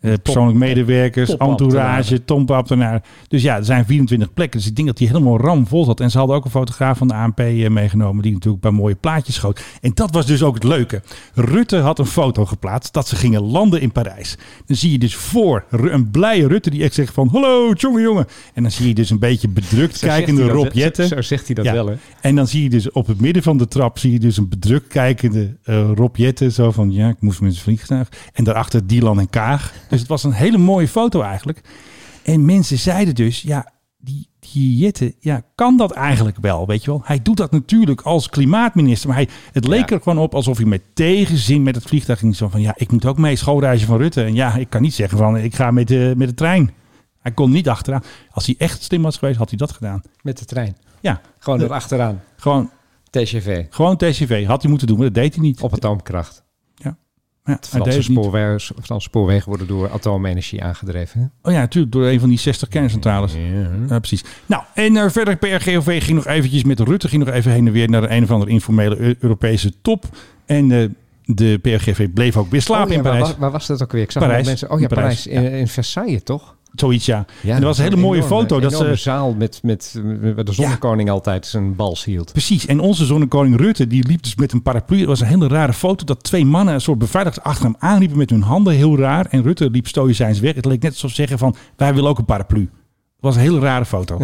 [SPEAKER 5] eh, persoonlijk medewerkers,
[SPEAKER 6] topambtenaren.
[SPEAKER 5] entourage, topambtenaar. Dus ja, er zijn 24 plekken. Dus ik denk dat die helemaal ramvol zat. En ze hadden ook een fotograaf van de ANP eh, meegenomen... die natuurlijk een paar mooie plaatjes schoot. En dat was dus ook het leuke. Rutte had een foto geplaatst dat ze gingen landen in Parijs. Dan zie je dus voor Ru- een blije Rutte die echt zegt van... Hallo, jongen, jongen. En dan zie je dus een beetje bedrukt
[SPEAKER 6] zegt
[SPEAKER 5] kijkende
[SPEAKER 6] hij dat-
[SPEAKER 5] Rob Jetten.
[SPEAKER 6] zo- zo zegt hij dat wel, hè?
[SPEAKER 5] En dan zie je dus op het midden van de trap... zie je dus een bedrukt kijkende eh Rob Jetten. Zo van, ja, ik moest met zijn vliegtuig. En daarachter Dylan en Kaag. Dus het was een hele mooie foto eigenlijk. En mensen zeiden dus, ja, die, die Jetten, ja, kan dat eigenlijk wel, weet je wel? Hij doet dat natuurlijk als klimaatminister, maar hij, het leek er gewoon op alsof hij met tegenzin met het vliegtuig ging. Zo van, ja, ik moet ook mee schoolreizen van Rutte. En ja, ik kan niet zeggen van, ik ga met de, met de trein. Hij kon niet achteraan. Als hij echt slim was geweest, had hij dat gedaan.
[SPEAKER 6] Met de trein.
[SPEAKER 5] Ja.
[SPEAKER 6] Gewoon
[SPEAKER 5] De-
[SPEAKER 6] erachteraan.
[SPEAKER 5] Gewoon,
[SPEAKER 6] TCV.
[SPEAKER 5] gewoon TCV. Had hij moeten doen, maar dat deed hij niet.
[SPEAKER 6] Op atoomkracht.
[SPEAKER 5] Ja. ja hij deed
[SPEAKER 6] Franse
[SPEAKER 5] het niet.
[SPEAKER 6] spoorwegen, Franse spoorwegen worden door atoomenergie aangedreven. hè?
[SPEAKER 5] Oh ja, natuurlijk, door een van die 60 kerncentrales. Ja, precies. Nou, en eh, verder, PRGOV ging nog eventjes met Rutte, ging nog even heen en weer naar een of andere informele Eu- Europese top. En eh, de PRGV bleef ook weer slapen
[SPEAKER 6] Oh, ja,
[SPEAKER 5] in
[SPEAKER 6] waar
[SPEAKER 5] Parijs.
[SPEAKER 6] wa- Waar was dat ook weer? Ik zag
[SPEAKER 5] Parijs.
[SPEAKER 6] allemaal mensen. Oh ja,
[SPEAKER 5] In Parijs,
[SPEAKER 6] Parijs. In, in Versailles, toch?
[SPEAKER 5] Zoiets, ja. en er was een hele
[SPEAKER 6] zo'n
[SPEAKER 5] mooie
[SPEAKER 6] enorme-
[SPEAKER 5] foto. Dat
[SPEAKER 6] enorme
[SPEAKER 5] ze,
[SPEAKER 6] zaal met, met, eh, waar de zonnekoning altijd zijn bals hield.
[SPEAKER 5] precies. En onze zonnekoning Rutte, die liep dus met een paraplu. Het was een hele rare foto dat twee mannen, een soort beveiligers, achter hem aanliepen met hun handen. Heel raar. En Rutte liep stoïcijns weg. Het leek net alsof ze zeggen van, wij willen ook een paraplu. Het was een hele rare foto.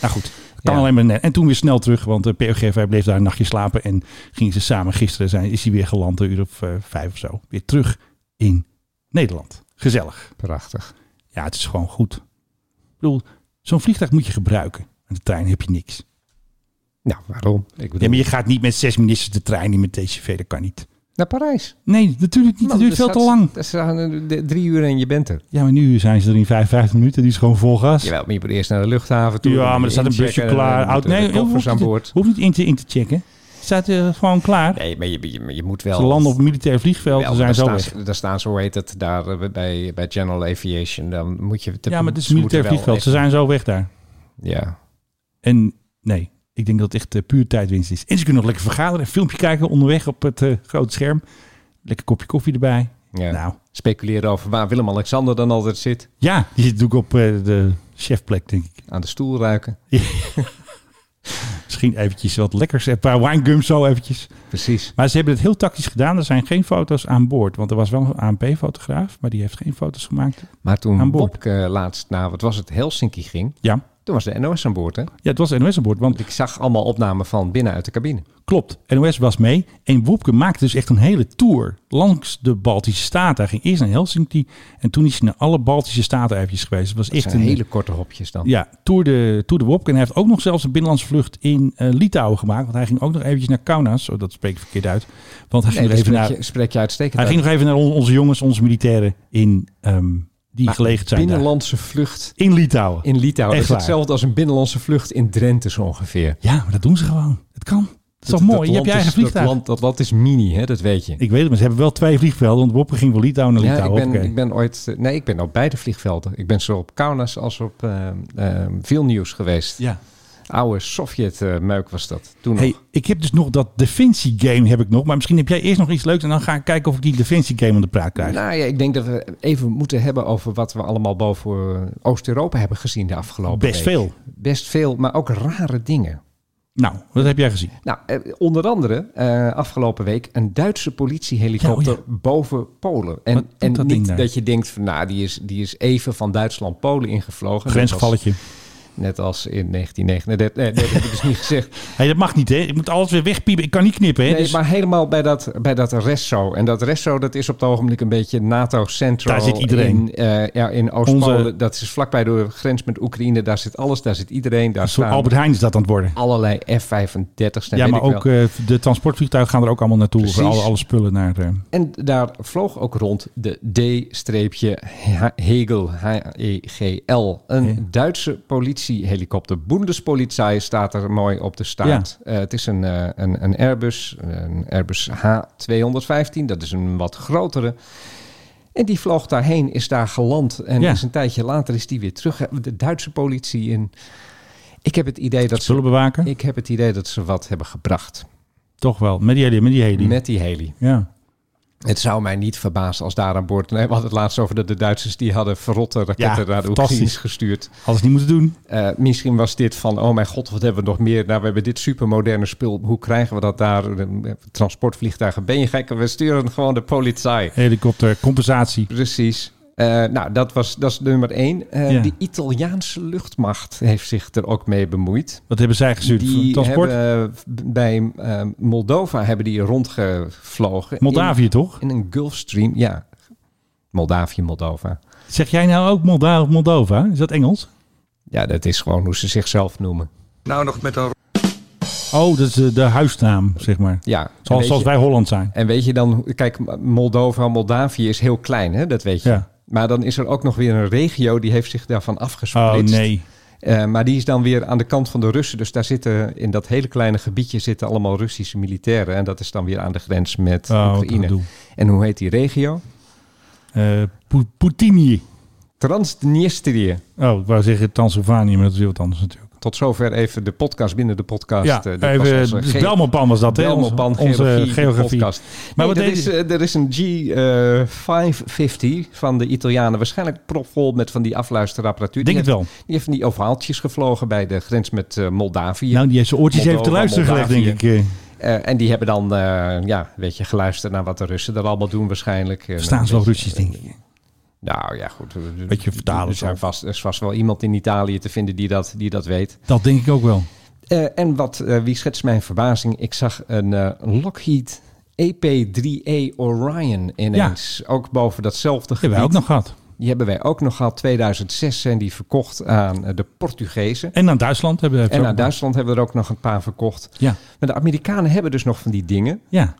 [SPEAKER 5] nou goed, kan
[SPEAKER 6] Ja.
[SPEAKER 5] alleen maar net. En toen weer snel terug, want eh, de POGV bleef daar een nachtje slapen. En gingen ze samen gisteren zijn, is hij weer geland, een uur of eh, vijf of zo. Weer terug in Nederland. Gezellig.
[SPEAKER 6] Prachtig.
[SPEAKER 5] Ja, het is gewoon goed. Ik bedoel, zo'n vliegtuig moet je gebruiken. En de trein heb je niks.
[SPEAKER 6] Nou, waarom? Ik bedoel,
[SPEAKER 5] Ja, maar je gaat niet met zes ministers de trein in met TCV, dat kan niet.
[SPEAKER 6] Naar Parijs.
[SPEAKER 5] Nee, natuurlijk niet. Dat
[SPEAKER 6] Man,
[SPEAKER 5] duurt
[SPEAKER 6] er
[SPEAKER 5] veel te
[SPEAKER 6] staat-
[SPEAKER 5] lang.
[SPEAKER 6] Er staan eh, d- drie uur en je bent er.
[SPEAKER 5] Ja, maar nu zijn ze er in 55 minuten. Die is gewoon vol gas.
[SPEAKER 6] Jawel, maar je moet eerst naar de luchthaven toe.
[SPEAKER 5] ja, maar er staat een busje
[SPEAKER 6] inchecken,
[SPEAKER 5] klaar.
[SPEAKER 6] dan
[SPEAKER 5] Oud,
[SPEAKER 6] moeten de
[SPEAKER 5] nee,
[SPEAKER 6] koffers
[SPEAKER 5] hoeft
[SPEAKER 6] aan
[SPEAKER 5] niet,
[SPEAKER 6] boord.
[SPEAKER 5] hoeft niet in te, in te checken. Staat eh, gewoon klaar.
[SPEAKER 6] Nee, maar je, je, je moet wel...
[SPEAKER 5] ze landen op een militair vliegveld.
[SPEAKER 6] Wel,
[SPEAKER 5] ze zijn
[SPEAKER 6] daar
[SPEAKER 5] zo
[SPEAKER 6] staan,
[SPEAKER 5] weg.
[SPEAKER 6] ze- daar staan ze, hoe heet het, daar eh, bij, bij General Aviation. Dan moet je...
[SPEAKER 5] ja, maar het is
[SPEAKER 6] ze
[SPEAKER 5] een
[SPEAKER 6] moeten
[SPEAKER 5] militair
[SPEAKER 6] wel
[SPEAKER 5] vliegveld. Ze
[SPEAKER 6] even-
[SPEAKER 5] zijn zo weg daar.
[SPEAKER 6] Ja.
[SPEAKER 5] En nee, ik denk dat het echt eh, puur tijdwinst is. En ze kunnen nog lekker vergaderen. Een filmpje kijken onderweg op het eh, grote scherm. Lekker kopje koffie erbij.
[SPEAKER 6] ja.
[SPEAKER 5] Nou,
[SPEAKER 6] Speculeren over waar Willem-Alexander dan altijd zit.
[SPEAKER 5] ja, die zit natuurlijk op eh, de chefplek, denk ik.
[SPEAKER 6] Aan de stoel ruiken.
[SPEAKER 5] Misschien eventjes wat lekkers. Een paar winegums zo eventjes.
[SPEAKER 6] Precies.
[SPEAKER 5] Maar ze hebben het heel tactisch gedaan. Er zijn geen foto's aan boord. Want er was wel een ANP-fotograaf, maar die heeft geen foto's gemaakt.
[SPEAKER 6] Maar
[SPEAKER 5] Aan
[SPEAKER 6] toen eh,
[SPEAKER 5] boord.
[SPEAKER 6] Bobke laatst naar, wat was het, Helsinki ging...
[SPEAKER 5] Ja,
[SPEAKER 6] Toen was de NOS aan boord, hè?
[SPEAKER 5] Ja, het was de NOS aan boord. Want
[SPEAKER 6] ik zag allemaal opnamen van binnenuit de cabine.
[SPEAKER 5] Klopt, NOS was mee. En Woepke maakte dus echt een hele tour langs de Baltische Staten. Hij ging eerst naar Helsinki en toen is hij naar alle Baltische Staten eventjes geweest. Het was
[SPEAKER 6] Dat
[SPEAKER 5] echt
[SPEAKER 6] zijn
[SPEAKER 5] een
[SPEAKER 6] hele korte hopjes dan.
[SPEAKER 5] Ja, Tour de, Tour de Wopke. En hij heeft ook nog zelfs een binnenlandse vlucht in eh, Litouwen gemaakt. Want hij ging ook nog eventjes naar Kaunas. Oh, dat spreek ik verkeerd uit. Want hij
[SPEAKER 6] Nee,
[SPEAKER 5] ging nog
[SPEAKER 6] dat
[SPEAKER 5] even
[SPEAKER 6] spreek
[SPEAKER 5] naar...
[SPEAKER 6] je, spreek je uitstekend
[SPEAKER 5] Hij
[SPEAKER 6] uit.
[SPEAKER 5] ging nog even naar on- onze jongens, onze militairen in, ehm, die
[SPEAKER 6] Maar
[SPEAKER 5] gelegen zijn daar.
[SPEAKER 6] binnenlandse vlucht
[SPEAKER 5] in Litouwen.
[SPEAKER 6] in Litouwen
[SPEAKER 5] Echt
[SPEAKER 6] is
[SPEAKER 5] waar.
[SPEAKER 6] hetzelfde als een binnenlandse vlucht in Drenthe zo ongeveer.
[SPEAKER 5] Ja, maar dat doen ze gewoon. Het kan. Dat is toch mooi? Je hebt je eigen
[SPEAKER 6] Dat
[SPEAKER 5] vliegtuig.
[SPEAKER 6] land, dat land is mini, hè? dat weet je.
[SPEAKER 5] Ik weet het, maar ze hebben wel twee vliegvelden. Want Wopke ging van Litouwen naar
[SPEAKER 6] Ja, ik
[SPEAKER 5] Litouwen.
[SPEAKER 6] ben,
[SPEAKER 5] Hoppakee.
[SPEAKER 6] ik ben ooit... eh, Nee, ik ben op beide vliegvelden. Ik ben zowel op Kaunas als op eh, eh, Vilnius geweest.
[SPEAKER 5] Ja.
[SPEAKER 6] Oude Sovjet-meuk was dat. Toen
[SPEAKER 5] Hey,
[SPEAKER 6] nog.
[SPEAKER 5] ik heb dus nog dat Defensie game heb ik nog. Maar misschien heb jij eerst nog iets leuks. En dan ga ik kijken of ik die Defensie game aan de praat krijg.
[SPEAKER 6] Nou ja, ik denk dat we even moeten hebben over wat we allemaal boven eh, Oost-Europa hebben gezien de afgelopen
[SPEAKER 5] Best
[SPEAKER 6] week.
[SPEAKER 5] veel.
[SPEAKER 6] Best veel, maar ook rare dingen.
[SPEAKER 5] Nou, wat heb jij gezien?
[SPEAKER 6] Nou, eh, onder andere eh, afgelopen week een Duitse politiehelikopter
[SPEAKER 5] Ja,
[SPEAKER 6] boven Polen.
[SPEAKER 5] Wat
[SPEAKER 6] En,
[SPEAKER 5] doet
[SPEAKER 6] en
[SPEAKER 5] dat ding
[SPEAKER 6] niet
[SPEAKER 5] daar?
[SPEAKER 6] dat je denkt van nou, die is, die is even van Duitsland Polen ingevlogen.
[SPEAKER 5] Grensgevalletje.
[SPEAKER 6] Net als, net als in 1939. Nee, nee, dat heb ik dus niet gezegd.
[SPEAKER 5] Hey, dat mag niet, hè? Ik moet alles weer wegpiepen. Ik kan niet knippen, hè?
[SPEAKER 6] Nee,
[SPEAKER 5] Dus
[SPEAKER 6] maar helemaal bij dat, bij dat resto. En dat resto, dat is op het ogenblik een beetje NATO-centro.
[SPEAKER 5] Daar zit iedereen.
[SPEAKER 6] In, eh, ja, in Oost-Polen. Dat is vlakbij de grens met Oekraïne. Daar zit alles, daar zit iedereen. Daar
[SPEAKER 5] een soort
[SPEAKER 6] staan
[SPEAKER 5] Dus Albert Heijn is dat aan het worden.
[SPEAKER 6] allerlei F-35's.
[SPEAKER 5] ja, maar ook eh, de transportvliegtuigen gaan er ook allemaal naartoe. Voor
[SPEAKER 6] Precies.
[SPEAKER 5] alle, alle spullen naar... eh,
[SPEAKER 6] En daar vloog ook rond de D-Hegel, H-E-G-L. Een
[SPEAKER 5] Ja.
[SPEAKER 6] Duitse politiehelikopter. Bundespolizei staat er mooi op de staart. Eh, het is een, eh, een, een Airbus, een Airbus H215. Dat is een wat grotere. En die vloog daarheen, is daar geland. En
[SPEAKER 5] Ja.
[SPEAKER 6] is een tijdje later is die weer terug. De Duitse politie in... Ik heb het idee dat
[SPEAKER 5] spullen
[SPEAKER 6] ze...
[SPEAKER 5] bewaken.
[SPEAKER 6] Ik heb het idee dat ze wat hebben gebracht
[SPEAKER 5] Toch wel. Met die heli. Met die heli.
[SPEAKER 6] met die heli.
[SPEAKER 5] Ja.
[SPEAKER 6] Het zou mij niet verbazen als daar aan boord... Nee, we hadden het laatst over dat de Duitsers die hadden verrotte raketten
[SPEAKER 5] Ja,
[SPEAKER 6] naar de
[SPEAKER 5] fantastisch.
[SPEAKER 6] Oekraïners gestuurd.
[SPEAKER 5] Alles niet moeten doen.
[SPEAKER 6] Eh, misschien was dit van, oh mijn god, wat hebben we nog meer? Nou, we hebben dit supermoderne spul. Hoe krijgen we dat daar? Eh, Transportvliegtuigen, ben je gek? We sturen gewoon de politie.
[SPEAKER 5] Helikopter, compensatie.
[SPEAKER 6] Precies. Eh, nou, dat was dat is nummer één. Eh,
[SPEAKER 5] Ja.
[SPEAKER 6] De Italiaanse luchtmacht heeft zich er ook mee bemoeid.
[SPEAKER 5] Wat hebben zij gestuurd?
[SPEAKER 6] Die
[SPEAKER 5] Transport?
[SPEAKER 6] hebben eh, bij eh, Moldova hebben die rondgevlogen. In-
[SPEAKER 5] Moldavië, toch?
[SPEAKER 6] in een Gulfstream, ja. Moldavië, Moldova.
[SPEAKER 5] Zeg jij nou ook Molda of Moldova? Is dat Engels?
[SPEAKER 6] Ja, dat is gewoon hoe ze zichzelf noemen.
[SPEAKER 12] Nou, nog met een...
[SPEAKER 5] Oh, dat is eh, de huisnaam, zeg maar.
[SPEAKER 6] Ja, en
[SPEAKER 5] Zoals,
[SPEAKER 6] weet
[SPEAKER 5] zoals
[SPEAKER 6] je-
[SPEAKER 5] wij Holland zijn.
[SPEAKER 6] En weet je dan, kijk, Moldova, Moldavië is heel klein, hè? dat weet je.
[SPEAKER 5] Ja.
[SPEAKER 6] Maar dan is er ook nog weer een regio die heeft zich daarvan
[SPEAKER 5] Oh
[SPEAKER 6] afgesplitst.
[SPEAKER 5] nee.
[SPEAKER 6] Eh, maar die is dan weer aan de kant van de Russen. Dus daar zitten, in dat hele kleine gebiedje zitten allemaal Russische militairen. En dat is dan weer aan de grens met
[SPEAKER 5] Oh, wat een
[SPEAKER 6] Oekraïne.
[SPEAKER 5] gedoe.
[SPEAKER 6] En hoe heet die regio?
[SPEAKER 5] Eh, Poe- Poetinië.
[SPEAKER 6] Transnistrië.
[SPEAKER 5] Oh, ik wou zeggen Transylvanië, maar dat is heel wat anders natuurlijk.
[SPEAKER 6] Tot zover even de podcast binnen de podcast.
[SPEAKER 5] Ja,
[SPEAKER 6] Eh, dat was
[SPEAKER 5] even,
[SPEAKER 6] onze
[SPEAKER 5] dus
[SPEAKER 6] ge-
[SPEAKER 5] Belmopan was dat, hè?
[SPEAKER 6] Belmopan,
[SPEAKER 5] Onze- onze
[SPEAKER 6] geografie,
[SPEAKER 5] geografie.
[SPEAKER 6] podcast.
[SPEAKER 5] Maar
[SPEAKER 6] Maar
[SPEAKER 5] wat
[SPEAKER 6] er,
[SPEAKER 5] deden
[SPEAKER 6] is,
[SPEAKER 5] ze?
[SPEAKER 6] eh, er is een G550 van de Italianen. Waarschijnlijk propvol met van die afluisterapparatuur.
[SPEAKER 5] Denk het
[SPEAKER 6] die
[SPEAKER 5] wel.
[SPEAKER 6] heeft, Die heeft van die ovaaltjes gevlogen bij de grens met eh, Moldavië.
[SPEAKER 5] Nou, die heeft zijn oortjes even te
[SPEAKER 6] Moldova,
[SPEAKER 5] luisteren gelegd, denk
[SPEAKER 6] Moldavië.
[SPEAKER 5] ik. eh.
[SPEAKER 6] Eh, en die hebben dan, eh, ja, weet je, geluisterd naar wat de Russen er allemaal doen waarschijnlijk. Eh,
[SPEAKER 5] Verstaan ze
[SPEAKER 6] een
[SPEAKER 5] wel
[SPEAKER 6] beetje- eh,
[SPEAKER 5] Russisch, denk ik.
[SPEAKER 6] Nou ja, goed.
[SPEAKER 5] Beetje vertalen
[SPEAKER 6] Er, zijn
[SPEAKER 5] zo.
[SPEAKER 6] vast, er is vast wel iemand in Italië te vinden die dat, die dat weet.
[SPEAKER 5] Dat denk ik ook wel.
[SPEAKER 6] Eh, en wat, eh, wie schetst mijn verbazing? Ik zag een eh, Lockheed E EP-3A Orion ineens. Ook boven datzelfde
[SPEAKER 5] Die
[SPEAKER 6] gebied.
[SPEAKER 5] hebben wij ook nog gehad.
[SPEAKER 6] Die hebben wij ook nog gehad. 2006 zijn die verkocht aan eh, de Portugezen.
[SPEAKER 5] En aan Duitsland hebben we
[SPEAKER 6] En naar Duitsland hebben we er ook nog een paar verkocht.
[SPEAKER 5] Ja.
[SPEAKER 6] Maar de Amerikanen hebben dus nog van die dingen.
[SPEAKER 5] Ja,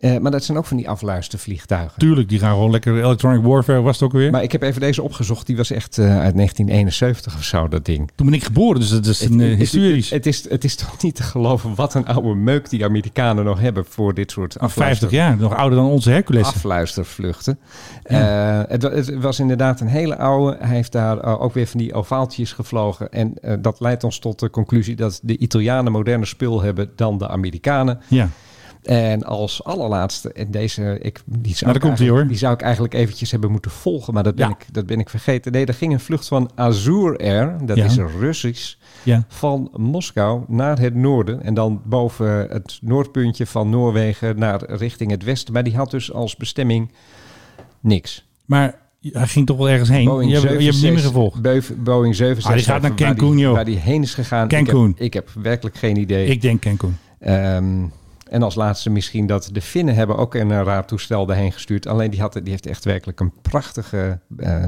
[SPEAKER 6] Eh, maar dat zijn ook van die afluistervliegtuigen.
[SPEAKER 5] tuurlijk. Die gaan gewoon lekker Electronic Warfare, was het ook weer.
[SPEAKER 6] Maar ik heb even deze opgezocht. Die was echt eh, uit 1971 of zo, dat ding.
[SPEAKER 5] Toen ben ik geboren, dus dat is een, eh, historisch.
[SPEAKER 6] Het, is, het is toch niet te geloven wat een oude meuk die Amerikanen nog hebben voor dit soort
[SPEAKER 5] Al 50
[SPEAKER 6] afluister-
[SPEAKER 5] Ah, jaar, nog ouder dan onze Hercules.
[SPEAKER 6] afluistervluchten. Eh, het, wa- het was inderdaad een hele oude. Hij heeft daar eh, ook weer van die ovaaltjes gevlogen. En eh, dat leidt ons tot de conclusie dat de Italianen moderner spul hebben dan de Amerikanen.
[SPEAKER 5] Ja,
[SPEAKER 6] En als allerlaatste, en deze, ik, die, zou
[SPEAKER 5] Nou, daar komt hij,
[SPEAKER 6] ik eigenlijk-
[SPEAKER 5] hoor.
[SPEAKER 6] die zou ik eigenlijk eventjes hebben moeten volgen, maar dat ben,
[SPEAKER 5] Ja.
[SPEAKER 6] ik, dat ben ik vergeten. Nee, er ging een vlucht van Azur Air, dat
[SPEAKER 5] Ja.
[SPEAKER 6] is Russisch,
[SPEAKER 5] ja.
[SPEAKER 6] van Moskou naar het noorden. En dan boven het noordpuntje van Noorwegen naar richting het westen. Maar die had dus als bestemming niks.
[SPEAKER 5] Maar Hij ging toch wel ergens heen.
[SPEAKER 6] Boeing
[SPEAKER 5] je, hebt- je hebt hem niet meer
[SPEAKER 6] 76
[SPEAKER 5] gevolgd.
[SPEAKER 6] Beuf- Boeing 767.
[SPEAKER 5] Ah, die gaat naar
[SPEAKER 6] waar die-
[SPEAKER 5] Cancun, joh.
[SPEAKER 6] Waar die heen is gegaan. Ik heb-
[SPEAKER 5] Cancun.
[SPEAKER 6] Ik heb, werkelijk geen idee.
[SPEAKER 5] Ik denk Cancun.
[SPEAKER 6] Ehm, en als laatste misschien dat de Finnen hebben ook een eh, raadtoestel daarheen gestuurd. Alleen die, had, die heeft echt werkelijk een prachtige eh,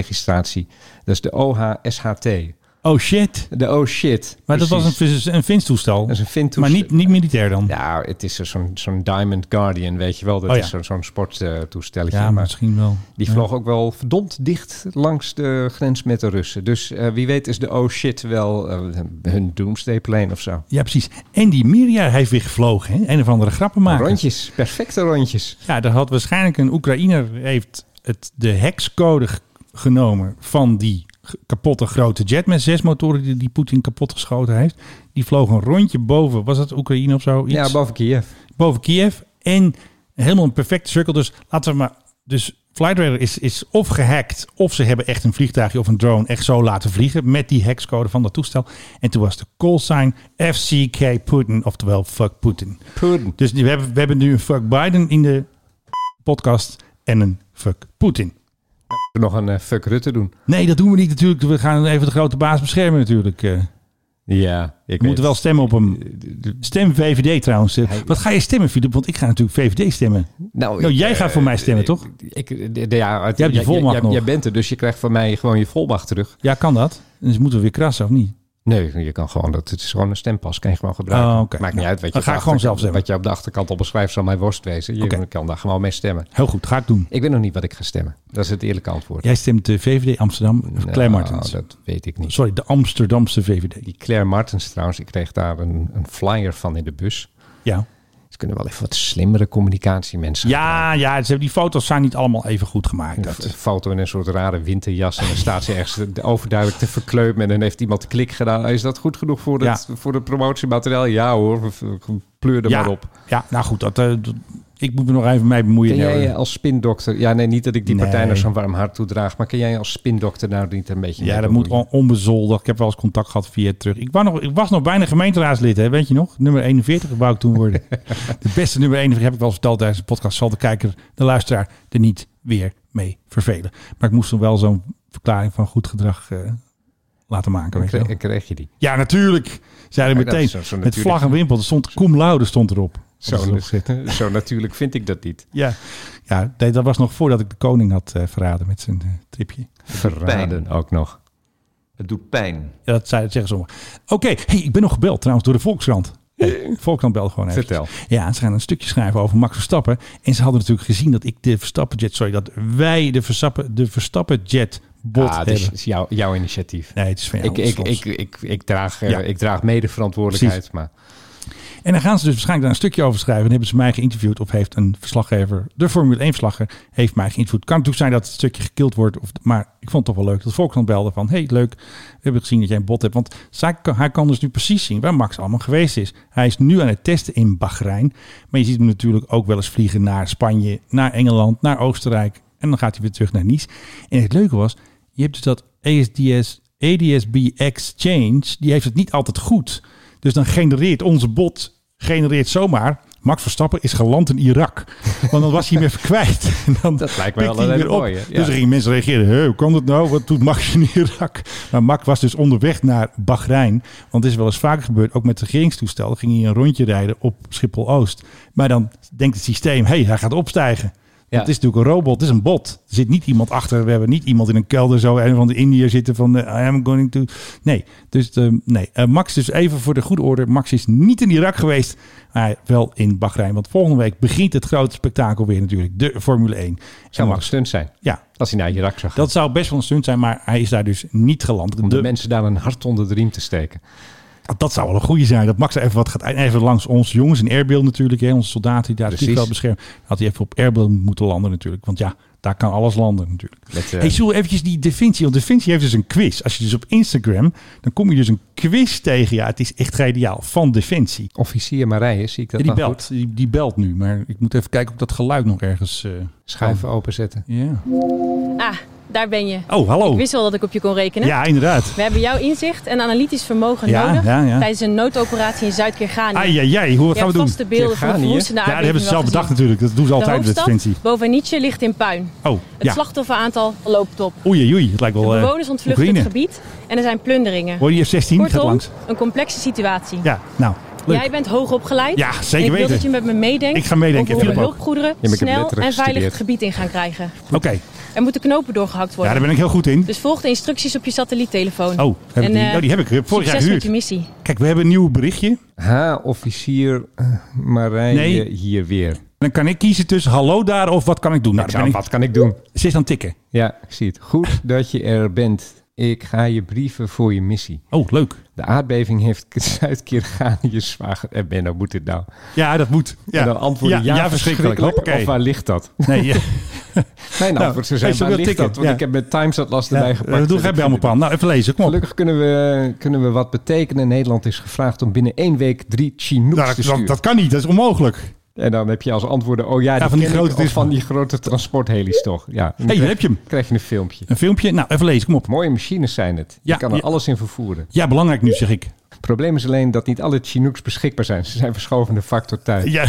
[SPEAKER 6] registratie. Dat is de OHSHT.
[SPEAKER 5] Oh shit.
[SPEAKER 6] De oh shit.
[SPEAKER 5] Maar dat
[SPEAKER 6] Precies.
[SPEAKER 5] was een, vis- een Fins-toestel.
[SPEAKER 6] Dat is een Fintoestel.
[SPEAKER 5] Maar niet, niet militair dan.
[SPEAKER 6] Ja, het is zo'n zo'n Diamond Guardian, weet je wel. Dat
[SPEAKER 5] Oh ja.
[SPEAKER 6] is zo'n zo'n sporttoestelletje.
[SPEAKER 5] Ja, misschien wel.
[SPEAKER 6] Die
[SPEAKER 5] Ja.
[SPEAKER 6] vloog ook wel verdomd dicht langs de grens met de Russen. Dus eh, wie weet is de oh shit wel eh, hun doomsday plane of zo.
[SPEAKER 5] Ja, precies. En die Mirja heeft weer gevlogen. Hè? Een of andere grappen maken.
[SPEAKER 6] Rondjes, perfecte rondjes.
[SPEAKER 5] Ja, daar had waarschijnlijk een Oekraïner heeft het, de hexcode g- genomen van die g- kapotte grote jet met zes motoren die, die Poetin kapot geschoten heeft. Die vloog een rondje boven, was dat Oekraïne of zo? Iets?
[SPEAKER 6] Ja, boven Kiev.
[SPEAKER 5] boven Kiev. En helemaal een perfecte cirkel. Dus laten we maar. Dus Flightradar is, is of gehackt. of ze hebben echt een vliegtuigje of een drone echt zo laten vliegen. met die hexcode van dat toestel. En toen was de callsign FCK Putin. oftewel fuck Putin.
[SPEAKER 6] Putin.
[SPEAKER 5] Dus nu- we hebben, we hebben nu een fuck Biden in de podcast. en een fuck Putin.
[SPEAKER 6] Nog een eh, fuck Rutte doen.
[SPEAKER 5] Nee, dat doen we niet natuurlijk. We gaan even de grote baas beschermen natuurlijk. eh.
[SPEAKER 6] Ja, ik
[SPEAKER 5] We moeten wel stemmen op hem. Stem VVD trouwens. eh.
[SPEAKER 6] Hij-
[SPEAKER 5] Wat ga je stemmen, Filip? Want ik ga natuurlijk VVD stemmen.
[SPEAKER 6] Nou,
[SPEAKER 5] Nou,
[SPEAKER 6] ik,
[SPEAKER 5] jij gaat voor mij stemmen,
[SPEAKER 6] eh,
[SPEAKER 5] toch?
[SPEAKER 6] Ik, ik- ja, het-
[SPEAKER 5] Jij hebt je volmacht
[SPEAKER 6] jij,
[SPEAKER 5] nog.
[SPEAKER 6] jij bent er, dus je krijgt van mij gewoon je volmacht terug.
[SPEAKER 5] Ja, kan dat? Dus moeten we weer krassen of niet?
[SPEAKER 6] Nee, je kan gewoon, dat het is gewoon een stempas, kan je gewoon gebruiken.
[SPEAKER 5] Oh, oké.
[SPEAKER 6] Maakt niet
[SPEAKER 5] Nou,
[SPEAKER 6] uit wat je,
[SPEAKER 5] dan
[SPEAKER 6] op
[SPEAKER 5] ga ik
[SPEAKER 6] de
[SPEAKER 5] gewoon
[SPEAKER 6] achterkant-
[SPEAKER 5] zelf stemmen.
[SPEAKER 6] wat je op de achterkant al beschrijft, zal mij worst wezen. Je
[SPEAKER 5] Oké.
[SPEAKER 6] kan daar gewoon mee stemmen.
[SPEAKER 5] Heel goed, ga ik doen.
[SPEAKER 6] Ik weet nog niet wat ik ga stemmen. Dat is het eerlijke antwoord.
[SPEAKER 5] Jij stemt de VVD Amsterdam,
[SPEAKER 6] Nou,
[SPEAKER 5] Claire Martens.
[SPEAKER 6] Dat weet ik niet.
[SPEAKER 5] Sorry, de Amsterdamse VVD.
[SPEAKER 6] Die Claire Martens trouwens, ik kreeg daar een, een flyer van in de bus.
[SPEAKER 5] Ja,
[SPEAKER 6] Ze kunnen wel even wat slimmere communicatie mensen
[SPEAKER 5] ja, ja ze hebben die foto's zijn niet allemaal even goed gemaakt.
[SPEAKER 6] dat. Een
[SPEAKER 5] Dat,
[SPEAKER 6] foto in een soort rare winterjas. En dan staat ze ergens te- overduidelijk te verkleupen. En dan heeft iemand klik gedaan. Is dat goed genoeg voor het, voor het promotiemateriaal? Ja hoor, v- v- pleur er
[SPEAKER 5] ja,
[SPEAKER 6] maar op.
[SPEAKER 5] ja, nou goed, dat, eh, dat- ik moet me nog even mee bemoeien.
[SPEAKER 6] Kun jij
[SPEAKER 5] Nee,
[SPEAKER 6] je als spindokter... Ja, nee, niet dat ik die
[SPEAKER 5] Nee.
[SPEAKER 6] partij nog zo'n warm hart toedraag. Maar kun jij je als spindokter nou niet een beetje...
[SPEAKER 5] ja,
[SPEAKER 6] mee
[SPEAKER 5] dat moet
[SPEAKER 6] bemoeien?
[SPEAKER 5] on- onbezoldigd. Ik heb wel eens contact gehad via terug. Ik was nog, ik was nog bijna gemeenteraadslid, hè, weet je nog? Nummer 41 wou ik toen
[SPEAKER 6] [laughs]
[SPEAKER 5] worden. de beste nummer 41 heb ik wel eens verteld tijdens de podcast. Zal de kijker, de luisteraar, er niet weer mee vervelen. Maar ik moest toen wel zo'n verklaring van goed gedrag eh, laten maken. Weet je wel.
[SPEAKER 6] Kre- kreeg je die.
[SPEAKER 5] Ja, natuurlijk. Zeiden
[SPEAKER 6] Ja,
[SPEAKER 5] we
[SPEAKER 6] dat
[SPEAKER 5] meteen.
[SPEAKER 6] is zo- zo
[SPEAKER 5] Met
[SPEAKER 6] natuurlijk.
[SPEAKER 5] vlag en wimpel. Er stond cum laude stond erop.
[SPEAKER 6] Zo,
[SPEAKER 5] Op het opschrift.
[SPEAKER 6] [laughs] zo natuurlijk vind ik dat niet.
[SPEAKER 5] Ja, ja nee, dat was nog voordat ik de koning had eh, verraden met zijn eh, tripje.
[SPEAKER 6] Verraden ook nog.
[SPEAKER 12] Het doet pijn.
[SPEAKER 5] Ja, dat zei, dat zeggen sommigen. Oké, hey, ik ben nog gebeld trouwens door de Volkskrant. Hey, Volkskrant belde gewoon even.
[SPEAKER 6] Vertel.
[SPEAKER 5] Ja, ze gaan een stukje schrijven over Max Verstappen. En ze hadden natuurlijk gezien dat ik de Verstappen Jet, sorry, dat wij de Verstappen, de Verstappen Jet bot
[SPEAKER 6] Ah,
[SPEAKER 5] hebben.
[SPEAKER 6] dit is jouw, jouw initiatief.
[SPEAKER 5] Nee, het is van jou,
[SPEAKER 6] ik, ik,
[SPEAKER 5] het is
[SPEAKER 6] ik,
[SPEAKER 5] van ons.
[SPEAKER 6] ik, ik, draag, eh,
[SPEAKER 5] Ja.
[SPEAKER 6] ik draag mede verantwoordelijkheid. Maar
[SPEAKER 5] En dan gaan ze dus waarschijnlijk daar een stukje over schrijven. En hebben ze mij geïnterviewd of heeft een verslaggever, de Formule 1 verslagger, heeft mij geïnterviewd. Kan natuurlijk zijn dat het stukje gekild wordt. Of, maar ik vond het toch wel leuk dat Volkskrant belde van, hey leuk, we hebben gezien dat jij een bot hebt. Want zij, kan- hij kan dus nu precies zien waar Max allemaal geweest is. Hij is nu aan het testen in Bahrein. Maar je ziet hem natuurlijk ook wel eens vliegen naar Spanje, naar Engeland, naar Oostenrijk. En dan gaat hij weer terug naar Nice. En het leuke was, je hebt dus dat ASDS, ADSB Exchange, die heeft het niet altijd goed. Dus dan genereert onze bot, genereert zomaar. Max Verstappen is geland in Irak. Want dan was hij hem even kwijt. [laughs] En dan
[SPEAKER 6] Dat lijkt mij wel
[SPEAKER 5] pikt hij
[SPEAKER 6] een
[SPEAKER 5] hem
[SPEAKER 6] hele
[SPEAKER 5] weer op.
[SPEAKER 6] mooie, ja.
[SPEAKER 5] Dus er gingen mensen reageren. Hé, hoe kan dat nou? Wat doet Max in Irak? Maar Max was dus onderweg naar Bahrein. Want het is wel eens vaker gebeurd. Ook met het regeringstoestel. Dan ging hij een rondje rijden op Schiphol-Oost. Maar dan denkt het systeem, hé, hij gaat opstijgen.
[SPEAKER 6] Ja.
[SPEAKER 5] Het is natuurlijk een robot, het is een bot. Er zit niet iemand achter. We hebben niet iemand in een kelder zo en van de Indiër zitten van eh, I am going to. Nee, dus ehm, nee. Eh, Max, dus even voor de goede orde. Max is niet in Irak geweest, maar wel in Bahrein. Want volgende week begint het grote spektakel weer natuurlijk, de Formule 1. En
[SPEAKER 6] zou wel een
[SPEAKER 5] Max,
[SPEAKER 6] stunt zijn.
[SPEAKER 5] ja,
[SPEAKER 6] Als hij naar Irak zou gaan.
[SPEAKER 5] dat zou best wel een stunt zijn, maar hij is daar dus niet geland.
[SPEAKER 6] om de,
[SPEAKER 5] De-
[SPEAKER 6] mensen daar een hart onder de riem te steken.
[SPEAKER 5] dat zou wel een goede zijn. Dat Max er even wat gaat e- even langs ons jongens in Airbeeld natuurlijk. Hè, onze soldaten die daar het
[SPEAKER 6] Precies.
[SPEAKER 5] vliegveld beschermen. Had hij even op Airbeeld moeten landen natuurlijk. Want ja, daar kan alles landen natuurlijk.
[SPEAKER 6] Met, eh,
[SPEAKER 5] Hey, zullen we eventjes die Defensie... Want Defensie heeft dus een quiz. Als je dus op Instagram... dan kom je dus een quiz tegen. Ja, het is echt geniaal. Van Defensie.
[SPEAKER 6] Officier Marije, zie ik dat
[SPEAKER 5] Ja, die,
[SPEAKER 6] dan
[SPEAKER 5] belt,
[SPEAKER 6] goed?
[SPEAKER 5] die, die belt nu. Maar ik moet even kijken of dat geluid nog ergens... eh,
[SPEAKER 6] Schuiven openzetten.
[SPEAKER 5] Ja.
[SPEAKER 2] Ah, Daar ben je.
[SPEAKER 5] Oh, hallo.
[SPEAKER 2] Ik wist wel dat ik op je kon rekenen.
[SPEAKER 5] Ja, inderdaad.
[SPEAKER 2] We hebben jouw inzicht en analytisch vermogen
[SPEAKER 5] Ja,
[SPEAKER 2] nodig
[SPEAKER 5] ja, ja.
[SPEAKER 2] tijdens een noodoperatie in Zuid-Kirganië.
[SPEAKER 5] Ai, ai, ai, hoe wat
[SPEAKER 2] Je
[SPEAKER 5] gaan we
[SPEAKER 2] hebt
[SPEAKER 5] doen?
[SPEAKER 2] vast de beelden van de verwoestende
[SPEAKER 5] Ja, die
[SPEAKER 2] aardbeving
[SPEAKER 5] hebben ze
[SPEAKER 2] wel
[SPEAKER 5] zelf bedacht
[SPEAKER 2] gezien.
[SPEAKER 5] natuurlijk. Dat doen ze altijd
[SPEAKER 2] de
[SPEAKER 5] bij
[SPEAKER 2] hoofdstad,
[SPEAKER 5] Defensie.
[SPEAKER 2] Bovanice, ligt in puin.
[SPEAKER 5] Oh,
[SPEAKER 2] Het
[SPEAKER 5] ja.
[SPEAKER 2] slachtofferaantal loopt op.
[SPEAKER 5] Oei, oei, het lijkt wel
[SPEAKER 2] De
[SPEAKER 5] eh,
[SPEAKER 2] bewoners ontvluchten
[SPEAKER 5] Oekraïne.
[SPEAKER 2] het gebied en er zijn plunderingen.
[SPEAKER 5] Hoor je F-16 gaat
[SPEAKER 2] Kortom,
[SPEAKER 5] langs?
[SPEAKER 2] een complexe situatie.
[SPEAKER 5] Ja, nou, leuk.
[SPEAKER 2] Jij bent hoog opgeleid.
[SPEAKER 5] Ja, zeker
[SPEAKER 2] en ik wil
[SPEAKER 5] weten.
[SPEAKER 2] dat je met me meedenkt
[SPEAKER 5] Ik ga meedenken,
[SPEAKER 2] over hoe we
[SPEAKER 5] Filip ook.
[SPEAKER 2] hulpgoederen
[SPEAKER 5] Ja, maar ik heb
[SPEAKER 2] snel
[SPEAKER 5] letterlijk
[SPEAKER 2] en veilig
[SPEAKER 5] gestudeerd.
[SPEAKER 2] het gebied in gaan krijgen.
[SPEAKER 5] Oké,
[SPEAKER 2] Er moeten knopen doorgehakt worden.
[SPEAKER 5] ja, daar ben ik heel goed in.
[SPEAKER 2] Dus volg de instructies op je satelliettelefoon.
[SPEAKER 5] Oh, heb ik
[SPEAKER 2] En,
[SPEAKER 5] die?
[SPEAKER 2] eh,
[SPEAKER 5] Oh, die heb ik vorig jaar
[SPEAKER 2] succes
[SPEAKER 5] gehuurd.
[SPEAKER 2] met je missie.
[SPEAKER 5] Kijk, we hebben een nieuw berichtje.
[SPEAKER 6] H-officier eh, Marije
[SPEAKER 5] Nee.
[SPEAKER 6] hier weer.
[SPEAKER 5] Dan kan ik kiezen tussen hallo daar of wat kan ik Ah. doen. Nou, dan
[SPEAKER 6] zou-
[SPEAKER 5] ben
[SPEAKER 6] wat kan ik doen?
[SPEAKER 5] Ze is aan het tikken.
[SPEAKER 6] Ja, ik zie het. Goed dat je er bent. Ik ga je brieven voor je missie.
[SPEAKER 5] Oh, leuk.
[SPEAKER 6] De aardbeving heeft [laughs] Zuid-Kirganië zwaar... ge- Eh, Benno, moet dit nou?
[SPEAKER 5] Ja, dat moet. Ja.
[SPEAKER 6] En dan antwoorden ja, verschrikkelijk.
[SPEAKER 5] Hoppakee.
[SPEAKER 6] Of eh, waar ligt
[SPEAKER 5] [laughs]
[SPEAKER 6] dat?
[SPEAKER 5] Nee,
[SPEAKER 6] [laughs]
[SPEAKER 5] ja.
[SPEAKER 6] Mijn
[SPEAKER 5] Nou,
[SPEAKER 6] antwoord zou zijn,
[SPEAKER 5] hey, zullen we
[SPEAKER 6] waar ligt
[SPEAKER 5] tikken?
[SPEAKER 6] dat? Want
[SPEAKER 5] Ja.
[SPEAKER 6] ik heb mijn Times Atlas
[SPEAKER 5] Ja,
[SPEAKER 6] erbij
[SPEAKER 5] dat
[SPEAKER 6] gepakt.
[SPEAKER 5] doe
[SPEAKER 6] Dus
[SPEAKER 5] jij
[SPEAKER 6] ik
[SPEAKER 5] bij
[SPEAKER 6] vind
[SPEAKER 5] allemaal.
[SPEAKER 6] het-
[SPEAKER 5] Nou, even lezen, kom op.
[SPEAKER 6] Gelukkig kunnen we, eh, kunnen we wat betekenen. Nederland is gevraagd om binnen één week drie Chinooks
[SPEAKER 5] Nou,
[SPEAKER 6] te
[SPEAKER 5] dat,
[SPEAKER 6] sturen.
[SPEAKER 5] dat, dat kan niet, dat is onmooglijk.
[SPEAKER 6] En dan heb je als antwoorden, oh ja,
[SPEAKER 5] Ja,
[SPEAKER 6] die
[SPEAKER 5] van die
[SPEAKER 6] ken ik,
[SPEAKER 5] grote
[SPEAKER 6] of
[SPEAKER 5] dis-
[SPEAKER 6] van die grote transporthelis toch. Ja,
[SPEAKER 5] Hé, hey, daar heb je hem.
[SPEAKER 6] krijg je een filmpje.
[SPEAKER 5] Een filmpje. Nou, even lezen, kom op.
[SPEAKER 6] Mooie machines zijn het.
[SPEAKER 5] Ja,
[SPEAKER 6] je kan er
[SPEAKER 5] ja.
[SPEAKER 6] alles in vervoeren.
[SPEAKER 5] Ja, belangrijk nu, zeg ik.
[SPEAKER 6] Het probleem is alleen dat niet alle Chinooks beschikbaar zijn. Ze zijn verschoven naar factor tijd.
[SPEAKER 5] Ja,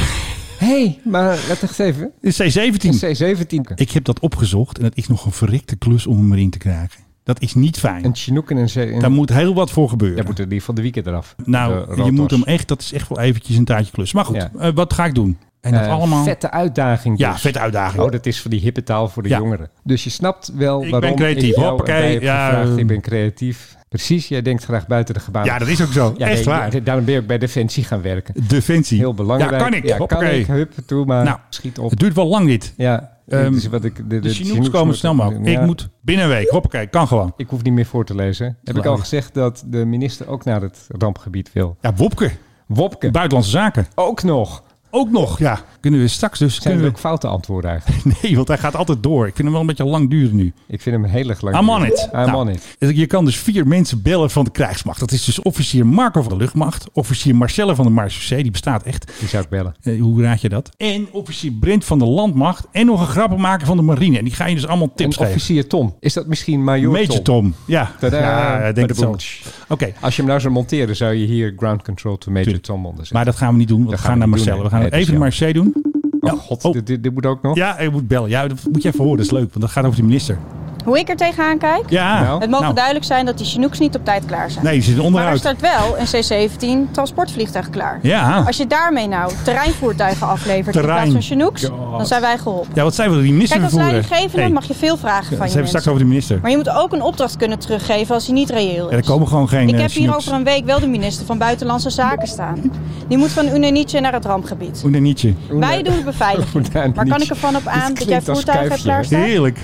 [SPEAKER 6] Hé, hey, maar let echt even.
[SPEAKER 5] C17.
[SPEAKER 6] Een C-17.
[SPEAKER 5] Ik heb dat opgezocht en het is nog een verrikte klus om hem erin te krijgen. Dat is niet fijn.
[SPEAKER 6] Een Chinook en een C... Een...
[SPEAKER 5] Daar moet heel wat voor gebeuren.
[SPEAKER 6] Ja, moeten die van de weekend eraf. De
[SPEAKER 5] nou, je
[SPEAKER 6] rotors.
[SPEAKER 5] moet hem echt, dat is echt wel eventjes een taartje klus. Maar goed,
[SPEAKER 6] Ja.
[SPEAKER 5] eh, wat ga ik doen? En dat
[SPEAKER 6] Eh,
[SPEAKER 5] allemaal.
[SPEAKER 6] Vette uitdaging
[SPEAKER 5] Ja,
[SPEAKER 6] dus.
[SPEAKER 5] vette uitdaging.
[SPEAKER 6] Oh, dat is voor die hippe taal voor de
[SPEAKER 5] Ja.
[SPEAKER 6] jongeren. Dus je snapt wel
[SPEAKER 5] Ik
[SPEAKER 6] waarom
[SPEAKER 5] ben creatief.
[SPEAKER 6] ik jou
[SPEAKER 5] Hoppakee,
[SPEAKER 6] erbij heb
[SPEAKER 5] ja,
[SPEAKER 6] gevraagd.
[SPEAKER 5] eh.
[SPEAKER 6] Ik ben creatief. Precies, jij denkt graag buiten de gebaande.
[SPEAKER 5] ja, dat is ook zo.
[SPEAKER 6] Ja,
[SPEAKER 5] echt
[SPEAKER 6] nee,
[SPEAKER 5] waar.
[SPEAKER 6] ja, Daarom ben je ook bij Defensie gaan werken.
[SPEAKER 5] Defensie.
[SPEAKER 6] Heel belangrijk.
[SPEAKER 5] Ja, kan ik.
[SPEAKER 6] Ja, kan
[SPEAKER 5] Hoppakee.
[SPEAKER 6] ik. Hup, toe maar.
[SPEAKER 5] Nou,
[SPEAKER 6] schiet op.
[SPEAKER 5] Het duurt wel lang dit.
[SPEAKER 6] Ja.
[SPEAKER 5] Ehm,
[SPEAKER 6] dus wat ik, de, de
[SPEAKER 5] De Chinooks
[SPEAKER 6] Chinooks
[SPEAKER 5] komen
[SPEAKER 6] moeten-
[SPEAKER 5] snel maar.
[SPEAKER 6] Ja.
[SPEAKER 5] Ik moet binnen een week. Hoppakee, kan gewoon.
[SPEAKER 6] Ik hoef niet meer voor te lezen. Heb ik al
[SPEAKER 5] Belangrijk.
[SPEAKER 6] gezegd dat de minister ook naar het rampgebied wil?
[SPEAKER 5] Ja, Wopke.
[SPEAKER 6] Wopke,
[SPEAKER 5] Buitenlandse zaken.
[SPEAKER 6] ook nog.
[SPEAKER 5] Ook nog, ja. Kunnen we straks dus...
[SPEAKER 6] Zijn
[SPEAKER 5] kunnen
[SPEAKER 6] er
[SPEAKER 5] we-
[SPEAKER 6] ook foute antwoorden eigenlijk?
[SPEAKER 5] [laughs] Nee, want hij gaat altijd door. Ik vind hem wel een beetje lang duren nu.
[SPEAKER 6] Ik vind hem
[SPEAKER 5] [laughs]
[SPEAKER 6] heel erg lang.
[SPEAKER 5] I'm on it.
[SPEAKER 6] I'm
[SPEAKER 5] Nou,
[SPEAKER 6] on it.
[SPEAKER 5] Je kan dus vier mensen bellen van de krijgsmacht. Dat is dus officier Marco van de luchtmacht. Officier Marcelle van de Marseillais. Die bestaat echt.
[SPEAKER 6] Die zou ik bellen.
[SPEAKER 5] Eh, hoe raad je dat? En officier Brent van de landmacht. En nog een grappenmaker van de marine. En die ga je dus allemaal tips
[SPEAKER 6] en
[SPEAKER 5] geven.
[SPEAKER 6] officier Tom. Is dat misschien major
[SPEAKER 5] Major Tom. Ja,
[SPEAKER 6] Tadaa.
[SPEAKER 5] ja ik denk het wel.
[SPEAKER 6] Badaboom.
[SPEAKER 5] Oké,
[SPEAKER 6] Als je hem nou zou monteren, zou je hier ground control to Major Tom onder
[SPEAKER 5] maar
[SPEAKER 6] zetten.
[SPEAKER 5] dat gaan we niet doen. Want we
[SPEAKER 6] Dat
[SPEAKER 5] gaan naar
[SPEAKER 6] gaan we niet
[SPEAKER 5] Marcelle.
[SPEAKER 6] doen,
[SPEAKER 5] We gaan
[SPEAKER 6] nee.
[SPEAKER 5] even naar
[SPEAKER 6] Nee,
[SPEAKER 5] Marseille doen.
[SPEAKER 6] oh god,
[SPEAKER 5] oh.
[SPEAKER 6] dit, dit, dit moet ook nog.
[SPEAKER 5] Ja, je moet bellen. Ja, dat moet je even horen. Dat is leuk. Want dat gaat over de minister.
[SPEAKER 4] Hoe ik er tegenaan kijk?
[SPEAKER 5] Ja.
[SPEAKER 6] Nou.
[SPEAKER 4] Het mogen
[SPEAKER 5] Nou,
[SPEAKER 4] duidelijk zijn dat die Chinooks niet op tijd klaar zijn.
[SPEAKER 5] Nee, die zit
[SPEAKER 4] maar er
[SPEAKER 5] onderuit.
[SPEAKER 4] staat wel een C-17 transportvliegtuig klaar.
[SPEAKER 5] Ja.
[SPEAKER 4] Als je daarmee nou terreinvoertuigen aflevert
[SPEAKER 5] Terrein.
[SPEAKER 4] in plaats van Chinooks, dan zijn wij geholpen.
[SPEAKER 5] Ja, wat zijn we? Die minister
[SPEAKER 4] Kijk, als
[SPEAKER 5] vervoeren.
[SPEAKER 4] leidinggevende
[SPEAKER 5] Hey,
[SPEAKER 4] mag je veel vragen
[SPEAKER 5] Dat
[SPEAKER 4] van je
[SPEAKER 5] hebben we straks
[SPEAKER 4] mensen.
[SPEAKER 5] over de minister.
[SPEAKER 4] Maar je moet ook een opdracht kunnen teruggeven als die niet reëel
[SPEAKER 5] Ja,
[SPEAKER 4] is.
[SPEAKER 5] er komen gewoon geen
[SPEAKER 4] Ik
[SPEAKER 5] eh,
[SPEAKER 4] heb hier
[SPEAKER 5] Chinooks.
[SPEAKER 4] over een week wel de minister van Buitenlandse Zaken staan. Die moet van Unenice naar het rampgebied.
[SPEAKER 5] Hoe dan nietje?
[SPEAKER 4] Wij doen de
[SPEAKER 5] [laughs]
[SPEAKER 4] beveiliging.
[SPEAKER 6] Unenice.
[SPEAKER 4] Maar kan ik ervan op aan dat jij
[SPEAKER 6] klinkt als
[SPEAKER 4] voertuigen hebt
[SPEAKER 6] kuifje, hè?
[SPEAKER 4] klaarstaan?
[SPEAKER 5] Heerlijk.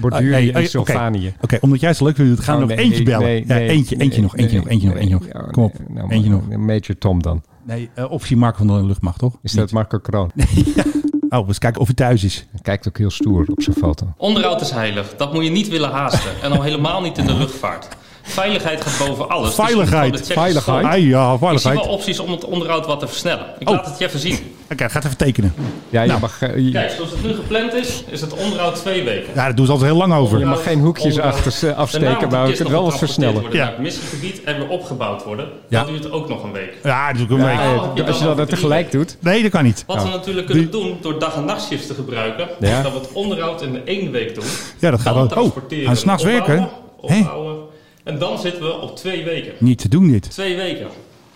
[SPEAKER 6] Borduur
[SPEAKER 5] Hey, hey,
[SPEAKER 6] Ah, in
[SPEAKER 5] Oh, oké.
[SPEAKER 6] Sylvanië.
[SPEAKER 5] Oké, omdat jij het zo leuk vindt, gaan we
[SPEAKER 6] Oh,
[SPEAKER 5] nog
[SPEAKER 6] nee,
[SPEAKER 5] eentje
[SPEAKER 6] nee,
[SPEAKER 5] bellen.
[SPEAKER 6] nee,
[SPEAKER 5] ja,
[SPEAKER 6] nee,
[SPEAKER 5] eentje, eentje
[SPEAKER 6] nee,
[SPEAKER 5] nog, eentje
[SPEAKER 6] nee,
[SPEAKER 5] nog, eentje
[SPEAKER 6] nee.
[SPEAKER 5] nog, eentje
[SPEAKER 6] Ja,
[SPEAKER 5] nog. Kom op,
[SPEAKER 6] nee, nou, maar
[SPEAKER 5] eentje nog.
[SPEAKER 6] Major Tom dan.
[SPEAKER 5] Nee, eh, officier Marco van de luchtmacht, toch?
[SPEAKER 6] Is dat Marco Kroon?
[SPEAKER 5] [laughs] Oh, eens kijken of hij thuis is.
[SPEAKER 6] Hij kijkt ook heel stoer op zijn foto.
[SPEAKER 8] Onderhoud is heilig. Dat moet je niet willen haasten. En al helemaal niet in de luchtvaart. Veiligheid gaat boven alles. Dus je moet gewoon de
[SPEAKER 5] Veiligheid.
[SPEAKER 8] checkers
[SPEAKER 5] Veiligheid. Ah,
[SPEAKER 8] staan.
[SPEAKER 5] ja,
[SPEAKER 8] Ik zie
[SPEAKER 5] veiligheid.
[SPEAKER 8] wel
[SPEAKER 5] Oké,
[SPEAKER 8] opties om het onderhoud wat te versnellen. Ik
[SPEAKER 5] Oh.
[SPEAKER 8] laat het je even zien.
[SPEAKER 5] gaat even tekenen.
[SPEAKER 6] Ja, je
[SPEAKER 5] Nou.
[SPEAKER 6] mag, eh, je-
[SPEAKER 8] Kijk, zoals het nu gepland is, is het onderhoud twee weken.
[SPEAKER 5] Ja, dat doen ze altijd heel lang over.
[SPEAKER 6] je mag geen hoekjes achter, afsteken, maar je kunt wel wat versnellen.
[SPEAKER 5] Ja.
[SPEAKER 8] Ja. Naar het missiegebied en weer opgebouwd worden.
[SPEAKER 5] Ja.
[SPEAKER 8] Dat duurt ook nog een week.
[SPEAKER 5] Ja, dat is ook een
[SPEAKER 6] Ja,
[SPEAKER 5] week.
[SPEAKER 8] Oh, je
[SPEAKER 6] Eh, als je
[SPEAKER 8] wel
[SPEAKER 6] dat tegelijk doet.
[SPEAKER 5] Nee, dat kan niet.
[SPEAKER 8] Wat we natuurlijk kunnen doen door dag- en nachtshifts te gebruiken,
[SPEAKER 6] Ja.
[SPEAKER 8] is dat we het onderhoud in de één week doen.
[SPEAKER 5] Ja, dat gaat
[SPEAKER 8] dan
[SPEAKER 5] ook. Oh,
[SPEAKER 8] transporteren,
[SPEAKER 5] gaan we 's nachts
[SPEAKER 8] opbouwen,
[SPEAKER 5] werken? Hè?
[SPEAKER 8] Opbouwen. En dan zitten we op twee weken.
[SPEAKER 5] Niet te doen dit.
[SPEAKER 8] Twee weken.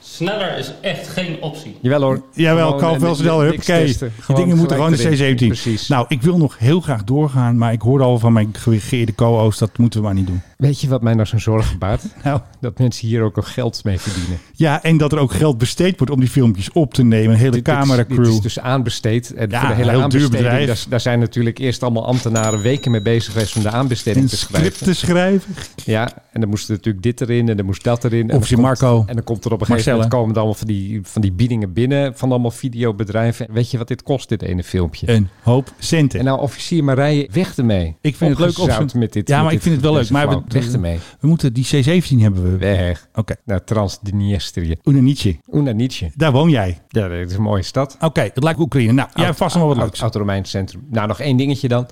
[SPEAKER 8] Sneller is echt geen optie.
[SPEAKER 6] Jawel hoor.
[SPEAKER 5] Jawel,
[SPEAKER 6] Gewoon,
[SPEAKER 5] kan
[SPEAKER 6] eh,
[SPEAKER 5] wel
[SPEAKER 6] niks
[SPEAKER 5] snel. Huppakee. Die
[SPEAKER 6] testen. Gewoon
[SPEAKER 5] dingen moeten gewoon
[SPEAKER 6] gelijk
[SPEAKER 5] de
[SPEAKER 6] erin.
[SPEAKER 5] C-17.
[SPEAKER 6] Precies.
[SPEAKER 5] Nou, ik wil nog heel graag doorgaan, maar ik hoorde al van mijn gegeerde co-host, dat moeten we maar niet doen.
[SPEAKER 6] Weet je wat mij nou zo'n zorgen baart?
[SPEAKER 5] Nou,
[SPEAKER 6] Dat mensen hier ook al geld mee verdienen.
[SPEAKER 5] ja, en dat er ook geld besteed wordt om die filmpjes op te nemen. Een hele
[SPEAKER 6] Dit- dit is-
[SPEAKER 5] cameracrew.
[SPEAKER 6] Dit is dus aanbesteed. En
[SPEAKER 5] Ja,
[SPEAKER 6] voor de
[SPEAKER 5] een
[SPEAKER 6] hele
[SPEAKER 5] heel duur
[SPEAKER 6] aanbesteding, Dus
[SPEAKER 5] bedrijf.
[SPEAKER 6] daar, daar zijn natuurlijk eerst allemaal ambtenaren weken mee bezig geweest om de aanbesteding
[SPEAKER 5] en
[SPEAKER 6] te schrijven.
[SPEAKER 5] script te schrijven.
[SPEAKER 6] Ja, en dan moest er natuurlijk dit erin en dan moest dat erin. En
[SPEAKER 5] Of je
[SPEAKER 6] dan komt-
[SPEAKER 5] Marco.
[SPEAKER 6] En dan komt er op een gegeven
[SPEAKER 5] Marcella.
[SPEAKER 6] moment komen er allemaal van die, van die biedingen binnen van allemaal videobedrijven. En Weet je wat dit kost, dit ene filmpje?
[SPEAKER 5] Een hoop centen.
[SPEAKER 6] En nou, officier Marije, weg ermee.
[SPEAKER 5] Ik vind het leuk
[SPEAKER 6] Opgezout
[SPEAKER 5] opzout.
[SPEAKER 6] met dit.
[SPEAKER 5] Ja,
[SPEAKER 6] met
[SPEAKER 5] maar ik
[SPEAKER 6] dit-
[SPEAKER 5] vind het wel
[SPEAKER 6] met
[SPEAKER 5] leuk,
[SPEAKER 6] deze
[SPEAKER 5] maar we-
[SPEAKER 6] flauw. weg ermee.
[SPEAKER 5] we moeten die C-17 hebben we.
[SPEAKER 6] Weg.
[SPEAKER 5] Oké,
[SPEAKER 6] Naar Transdniestrië.
[SPEAKER 5] Unanietje.
[SPEAKER 6] Oena Nietzsche.
[SPEAKER 5] Daar woon jij.
[SPEAKER 6] Ja, dat is een mooie stad. Oh,
[SPEAKER 5] Oké, het lijkt Oekraïne. Nou, jij hebt vast nog wel wat
[SPEAKER 6] Oud-
[SPEAKER 5] leuks.
[SPEAKER 6] Oud-Romeins centrum. Nou, nog één dingetje dan.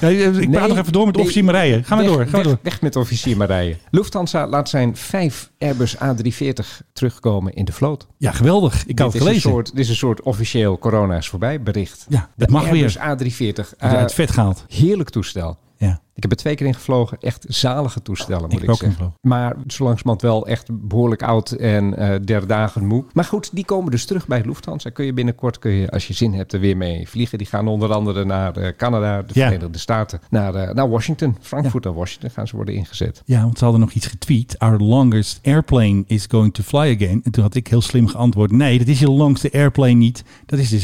[SPEAKER 5] Ja, eh, ik praat nog even door met officier Marije. Ga maar
[SPEAKER 6] weg,
[SPEAKER 5] door, ga maar
[SPEAKER 6] weg,
[SPEAKER 5] door.
[SPEAKER 6] Weg met officier Marije. Lufthansa laat zijn vijf Airbus A340 terugkomen in de vloot.
[SPEAKER 5] Ja, geweldig. Ik had het
[SPEAKER 6] dit is een
[SPEAKER 5] gelezen.
[SPEAKER 6] soort- Dit is een soort officieel corona is voorbij bericht. Ja,
[SPEAKER 5] dat mag
[SPEAKER 6] Airbus
[SPEAKER 5] weer.
[SPEAKER 6] A340.
[SPEAKER 5] Wordt uit het vet gehaald.
[SPEAKER 6] Heerlijk toestel.
[SPEAKER 5] Ja.
[SPEAKER 6] Ik heb er twee keer in gevlogen. Echt zalige toestellen, moet
[SPEAKER 5] Ik
[SPEAKER 6] ik,
[SPEAKER 5] heb ook
[SPEAKER 6] zeggen. Maar zo langzamerhand wel echt behoorlijk oud en eh der dagen moe. Maar goed, die komen dus terug bij Lufthansa. Kun je binnenkort, kun je, als je zin hebt, er weer mee vliegen. Die gaan onder andere naar eh, Canada, de
[SPEAKER 5] Ja.
[SPEAKER 6] Verenigde Staten, naar, eh, naar Washington. Frankfurt en Washington gaan ze worden ingezet.
[SPEAKER 5] Ja, want ze hadden nog iets getweet. Our longest airplane is going to fly again. En toen had ik heel slim geantwoord. Nee, dat is je langste airplane niet. Dat is de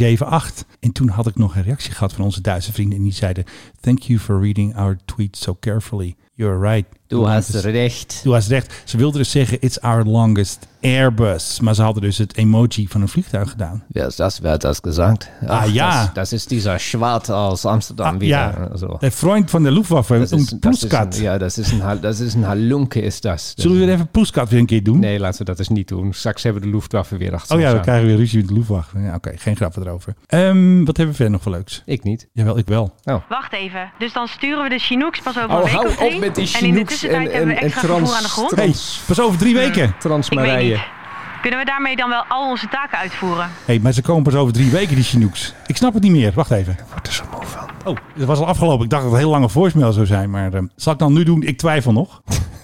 [SPEAKER 5] 7478. En toen had ik nog een reactie gehad van onze Duitse vrienden. En die zeiden, thank you for reading our tweet so carefully. You're right.
[SPEAKER 13] Du hast
[SPEAKER 5] dus-
[SPEAKER 13] recht.
[SPEAKER 5] Du hast recht. Ze wilden dus zeggen, it's our longest Airbus. Maar ze hadden dus het emoji van een vliegtuig gedaan.
[SPEAKER 13] Wer ist das? Wer hat das gesagt?
[SPEAKER 5] Ah, ja.
[SPEAKER 13] Das, das ist dieser Schwart aus Amsterdam wieder.
[SPEAKER 5] Ah, ja,
[SPEAKER 13] Also,
[SPEAKER 5] de vriend van de Luftwaffe, een
[SPEAKER 6] eh, dat is
[SPEAKER 5] poeskat.
[SPEAKER 6] een- ja, dat is, een, hal- dat is een halunke, is dat.
[SPEAKER 5] Zullen we even poeskat weer een keer doen?
[SPEAKER 6] Nee, laten we dat eens niet doen. Straks hebben we de Luftwaffe weer achter
[SPEAKER 5] Oh ja,
[SPEAKER 6] ons
[SPEAKER 5] we
[SPEAKER 6] aan.
[SPEAKER 5] krijgen weer ruzie met de Luftwaffe. Ja, Oké, geen grappen erover. Ehm, wat hebben we verder nog voor leuks?
[SPEAKER 6] Ik niet.
[SPEAKER 5] Jawel, ik wel.
[SPEAKER 14] Wacht even. Dus dan sturen we de Chinooks pas over
[SPEAKER 5] Oh,
[SPEAKER 14] een week
[SPEAKER 5] hou
[SPEAKER 14] of drie.
[SPEAKER 5] op met die
[SPEAKER 14] en in de
[SPEAKER 5] Chinooks
[SPEAKER 14] tussentijd
[SPEAKER 5] en-
[SPEAKER 14] hebben we
[SPEAKER 5] en- en
[SPEAKER 14] extra gevoel
[SPEAKER 5] trans-
[SPEAKER 14] aan de grond.
[SPEAKER 5] Hey, pas over drie weken.
[SPEAKER 6] Trans
[SPEAKER 14] Ik weet
[SPEAKER 5] Marije.
[SPEAKER 14] niet. Kunnen we daarmee dan wel al onze taken uitvoeren?
[SPEAKER 5] hey, maar ze komen pas over drie weken, die Chinooks. Ik snap het niet meer. Wacht even.
[SPEAKER 6] Wat is er moe van?
[SPEAKER 5] Oh, het was al afgelopen. Ik dacht dat het een heel lange voicemail zou zijn. Maar ehm, zal ik dan nu doen? Ik twijfel nog. [laughs]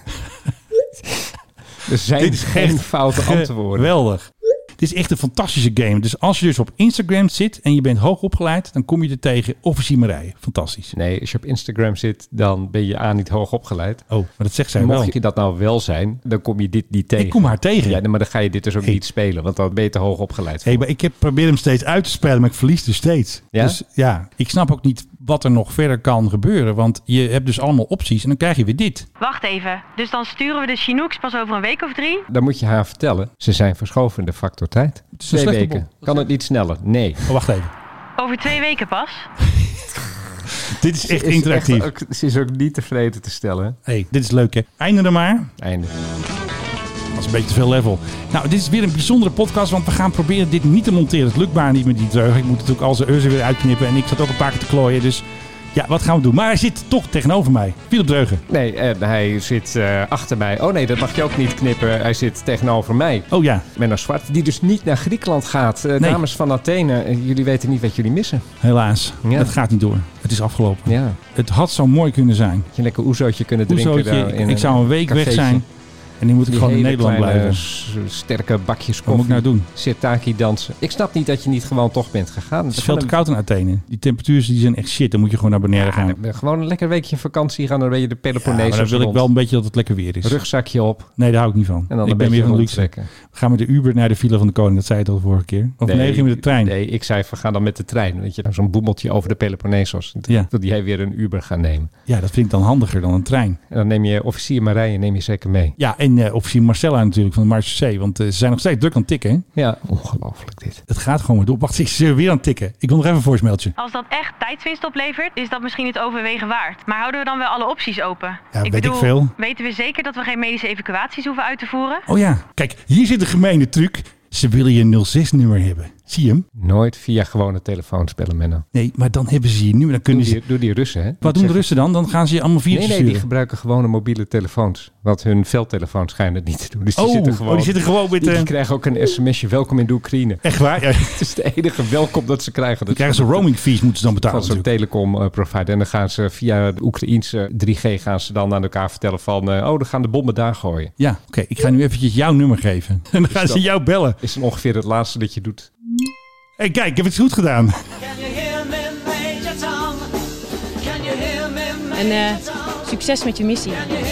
[SPEAKER 6] Er zijn geen foute
[SPEAKER 5] [laughs]
[SPEAKER 6] antwoorden.
[SPEAKER 5] Geweldig. Het is echt een fantastische game. Dus als je dus op Instagram zit en je bent hoog opgeleid, dan kom je er tegen officier Marije. Fantastisch.
[SPEAKER 6] Nee, als je op Instagram zit, dan ben je A niet hoog opgeleid.
[SPEAKER 5] Oh, maar dat zegt zij
[SPEAKER 6] Mocht
[SPEAKER 5] wel.
[SPEAKER 6] je dat nou wel zijn, dan kom je dit niet tegen.
[SPEAKER 5] kom haar tegen.
[SPEAKER 6] Ja, maar dan ga je dit dus ook niet spelen, want dan ben je te hoog opgeleid.
[SPEAKER 5] Hé, maar ik heb, probeer hem steeds uit te spelen, maar ik verlies dus steeds.
[SPEAKER 6] Ja?
[SPEAKER 5] Dus ja, ik snap ook niet wat er nog verder kan gebeuren. Want je hebt dus allemaal opties en dan krijg je weer dit.
[SPEAKER 14] Wacht even. Dus dan sturen we de Chinooks pas over een week of drie.
[SPEAKER 6] Dan moet je haar vertellen, ze zijn verschoven in de factor tijd.
[SPEAKER 5] is een
[SPEAKER 6] Twee
[SPEAKER 5] slechte
[SPEAKER 6] weken. Kan het niet sneller? Nee.
[SPEAKER 5] Oh, wacht even.
[SPEAKER 14] Over twee weken pas.
[SPEAKER 5] Dit is echt interactief.
[SPEAKER 6] ze is ook niet tevreden te stellen.
[SPEAKER 5] Hé, hey, dit is leuk hè. Einde er maar.
[SPEAKER 6] Einde.
[SPEAKER 5] Dat is een beetje te veel level. Nou, dit is weer een bijzondere podcast, want we gaan proberen dit niet te monteren. Het lukt maar niet met die dreugen. Ik moet natuurlijk al zijn urzen weer uitknippen en ik zat ook een paar keer te klooien. Dus ja, wat gaan we doen? Maar hij zit toch tegenover mij. Philip Dreugen.
[SPEAKER 6] Nee, en hij zit eh, achter mij. Oh nee, dat mag je ook niet knippen. Hij zit tegenover mij.
[SPEAKER 5] Oh ja.
[SPEAKER 6] Menno Zwart, die dus niet naar Griekenland gaat. Eh, Dames van Athene, eh, jullie weten niet wat jullie missen.
[SPEAKER 5] Helaas,
[SPEAKER 6] Ja.
[SPEAKER 5] dat gaat niet door. Het is afgelopen.
[SPEAKER 6] Ja.
[SPEAKER 5] Het had zo mooi kunnen zijn.
[SPEAKER 6] Je lekker oezootje kunnen drinken.
[SPEAKER 5] Hoezo?
[SPEAKER 6] daar in
[SPEAKER 5] Ik, ik zou een week weg
[SPEAKER 6] cafeetje.
[SPEAKER 5] zijn en nu moet ik
[SPEAKER 6] Die
[SPEAKER 5] gewoon in
[SPEAKER 6] hele
[SPEAKER 5] Nederland
[SPEAKER 6] kleine, eh,
[SPEAKER 5] blijven.
[SPEAKER 6] s- Sterke bakjes koffie.
[SPEAKER 5] Wat moet ik nou doen?
[SPEAKER 6] Sirtaki dansen. Ik snap niet dat je niet gewoon toch bent gegaan.
[SPEAKER 5] Het is veel te koud in Athene. Die temperaturen die zijn echt shit. Dan moet je gewoon naar beneden gaan. Maar
[SPEAKER 6] Gewoon een lekker weekje vakantie gaan. Dan ben je de Peloponnees
[SPEAKER 5] dan wil ik wel een beetje dat het lekker weer is.
[SPEAKER 6] Rugzakje op.
[SPEAKER 5] Nee, daar hou ik niet van.
[SPEAKER 6] En dan
[SPEAKER 5] ik ben
[SPEAKER 6] een beetje
[SPEAKER 5] meer van de luxe.
[SPEAKER 6] rondtrekken.
[SPEAKER 5] We gaan met de Uber naar de Villa van de Koning. Dat zei het al vorige keer. Of nee, gingen we de trein.
[SPEAKER 6] Nee, ik zei van ga dan met de trein. Weet je, nou, zo'n boemeltje over de Peloponnesos.
[SPEAKER 5] Ja.
[SPEAKER 6] Dat jij weer een Uber gaat nemen.
[SPEAKER 5] Ja, dat vind ik dan handiger dan een trein.
[SPEAKER 6] En dan neem je officier Marije neem je zeker mee.
[SPEAKER 5] Ja, en eh officier Marcella natuurlijk van de Marche C. Want eh, ze zijn nog steeds druk aan het tikken. hè?
[SPEAKER 6] Ja, ongelooflijk dit.
[SPEAKER 5] Het gaat gewoon maar door. Wacht, ik zit weer aan het tikken. Ik wil nog even een voicemailtje.
[SPEAKER 14] Als dat echt tijdswinst oplevert, is dat misschien het overwegen waard. Maar houden we dan wel alle opties open?
[SPEAKER 5] Ja, weet ik veel.
[SPEAKER 14] Weten we zeker dat we geen medische evacuaties hoeven uit te voeren?
[SPEAKER 5] Oh ja, kijk, hier zit een gemeene truc. Ze willen je 06-nummer hebben. Zie je hem?
[SPEAKER 6] Nooit via gewone telefoons bellen, Menno.
[SPEAKER 5] Nee, maar dan hebben ze je nu. Dan kunnen
[SPEAKER 6] Doe
[SPEAKER 5] ze...
[SPEAKER 6] die, doe die Russen, hè?
[SPEAKER 5] Wat doen de Russen dan? Dan gaan ze je allemaal via
[SPEAKER 6] Nee, nee, die gebruiken gewone mobiele telefoons. Want hun veldtelefoons schijnen het niet te doen. Dus
[SPEAKER 5] Oh,
[SPEAKER 6] die zitten gewoon,
[SPEAKER 5] oh, die zitten gewoon met,
[SPEAKER 6] Die, die
[SPEAKER 5] eh,
[SPEAKER 6] krijgen ook een sms'je, welkom in
[SPEAKER 5] [laughs]
[SPEAKER 6] de Oekraïne.
[SPEAKER 5] Echt waar?
[SPEAKER 6] [laughs] het is de enige welkom dat ze krijgen. Dat
[SPEAKER 5] krijgen ze roaming fees, moeten ze dan betalen
[SPEAKER 6] Van zo'n telecom eh, provider. En dan gaan ze via de Oekraïense 3G gaan ze dan aan elkaar vertellen van... eh, oh, dan gaan de bommen daar gooien.
[SPEAKER 5] Ja, oké. Ik ga nu eventjes jouw nummer geven. [laughs] En dan gaan
[SPEAKER 6] Dus
[SPEAKER 5] ze
[SPEAKER 6] dat
[SPEAKER 5] jou bellen.
[SPEAKER 6] Is dan ongeveer het laatste dat je doet.
[SPEAKER 5] hey, kijk, ik heb het goed gedaan.
[SPEAKER 2] En eh, succes met je missie.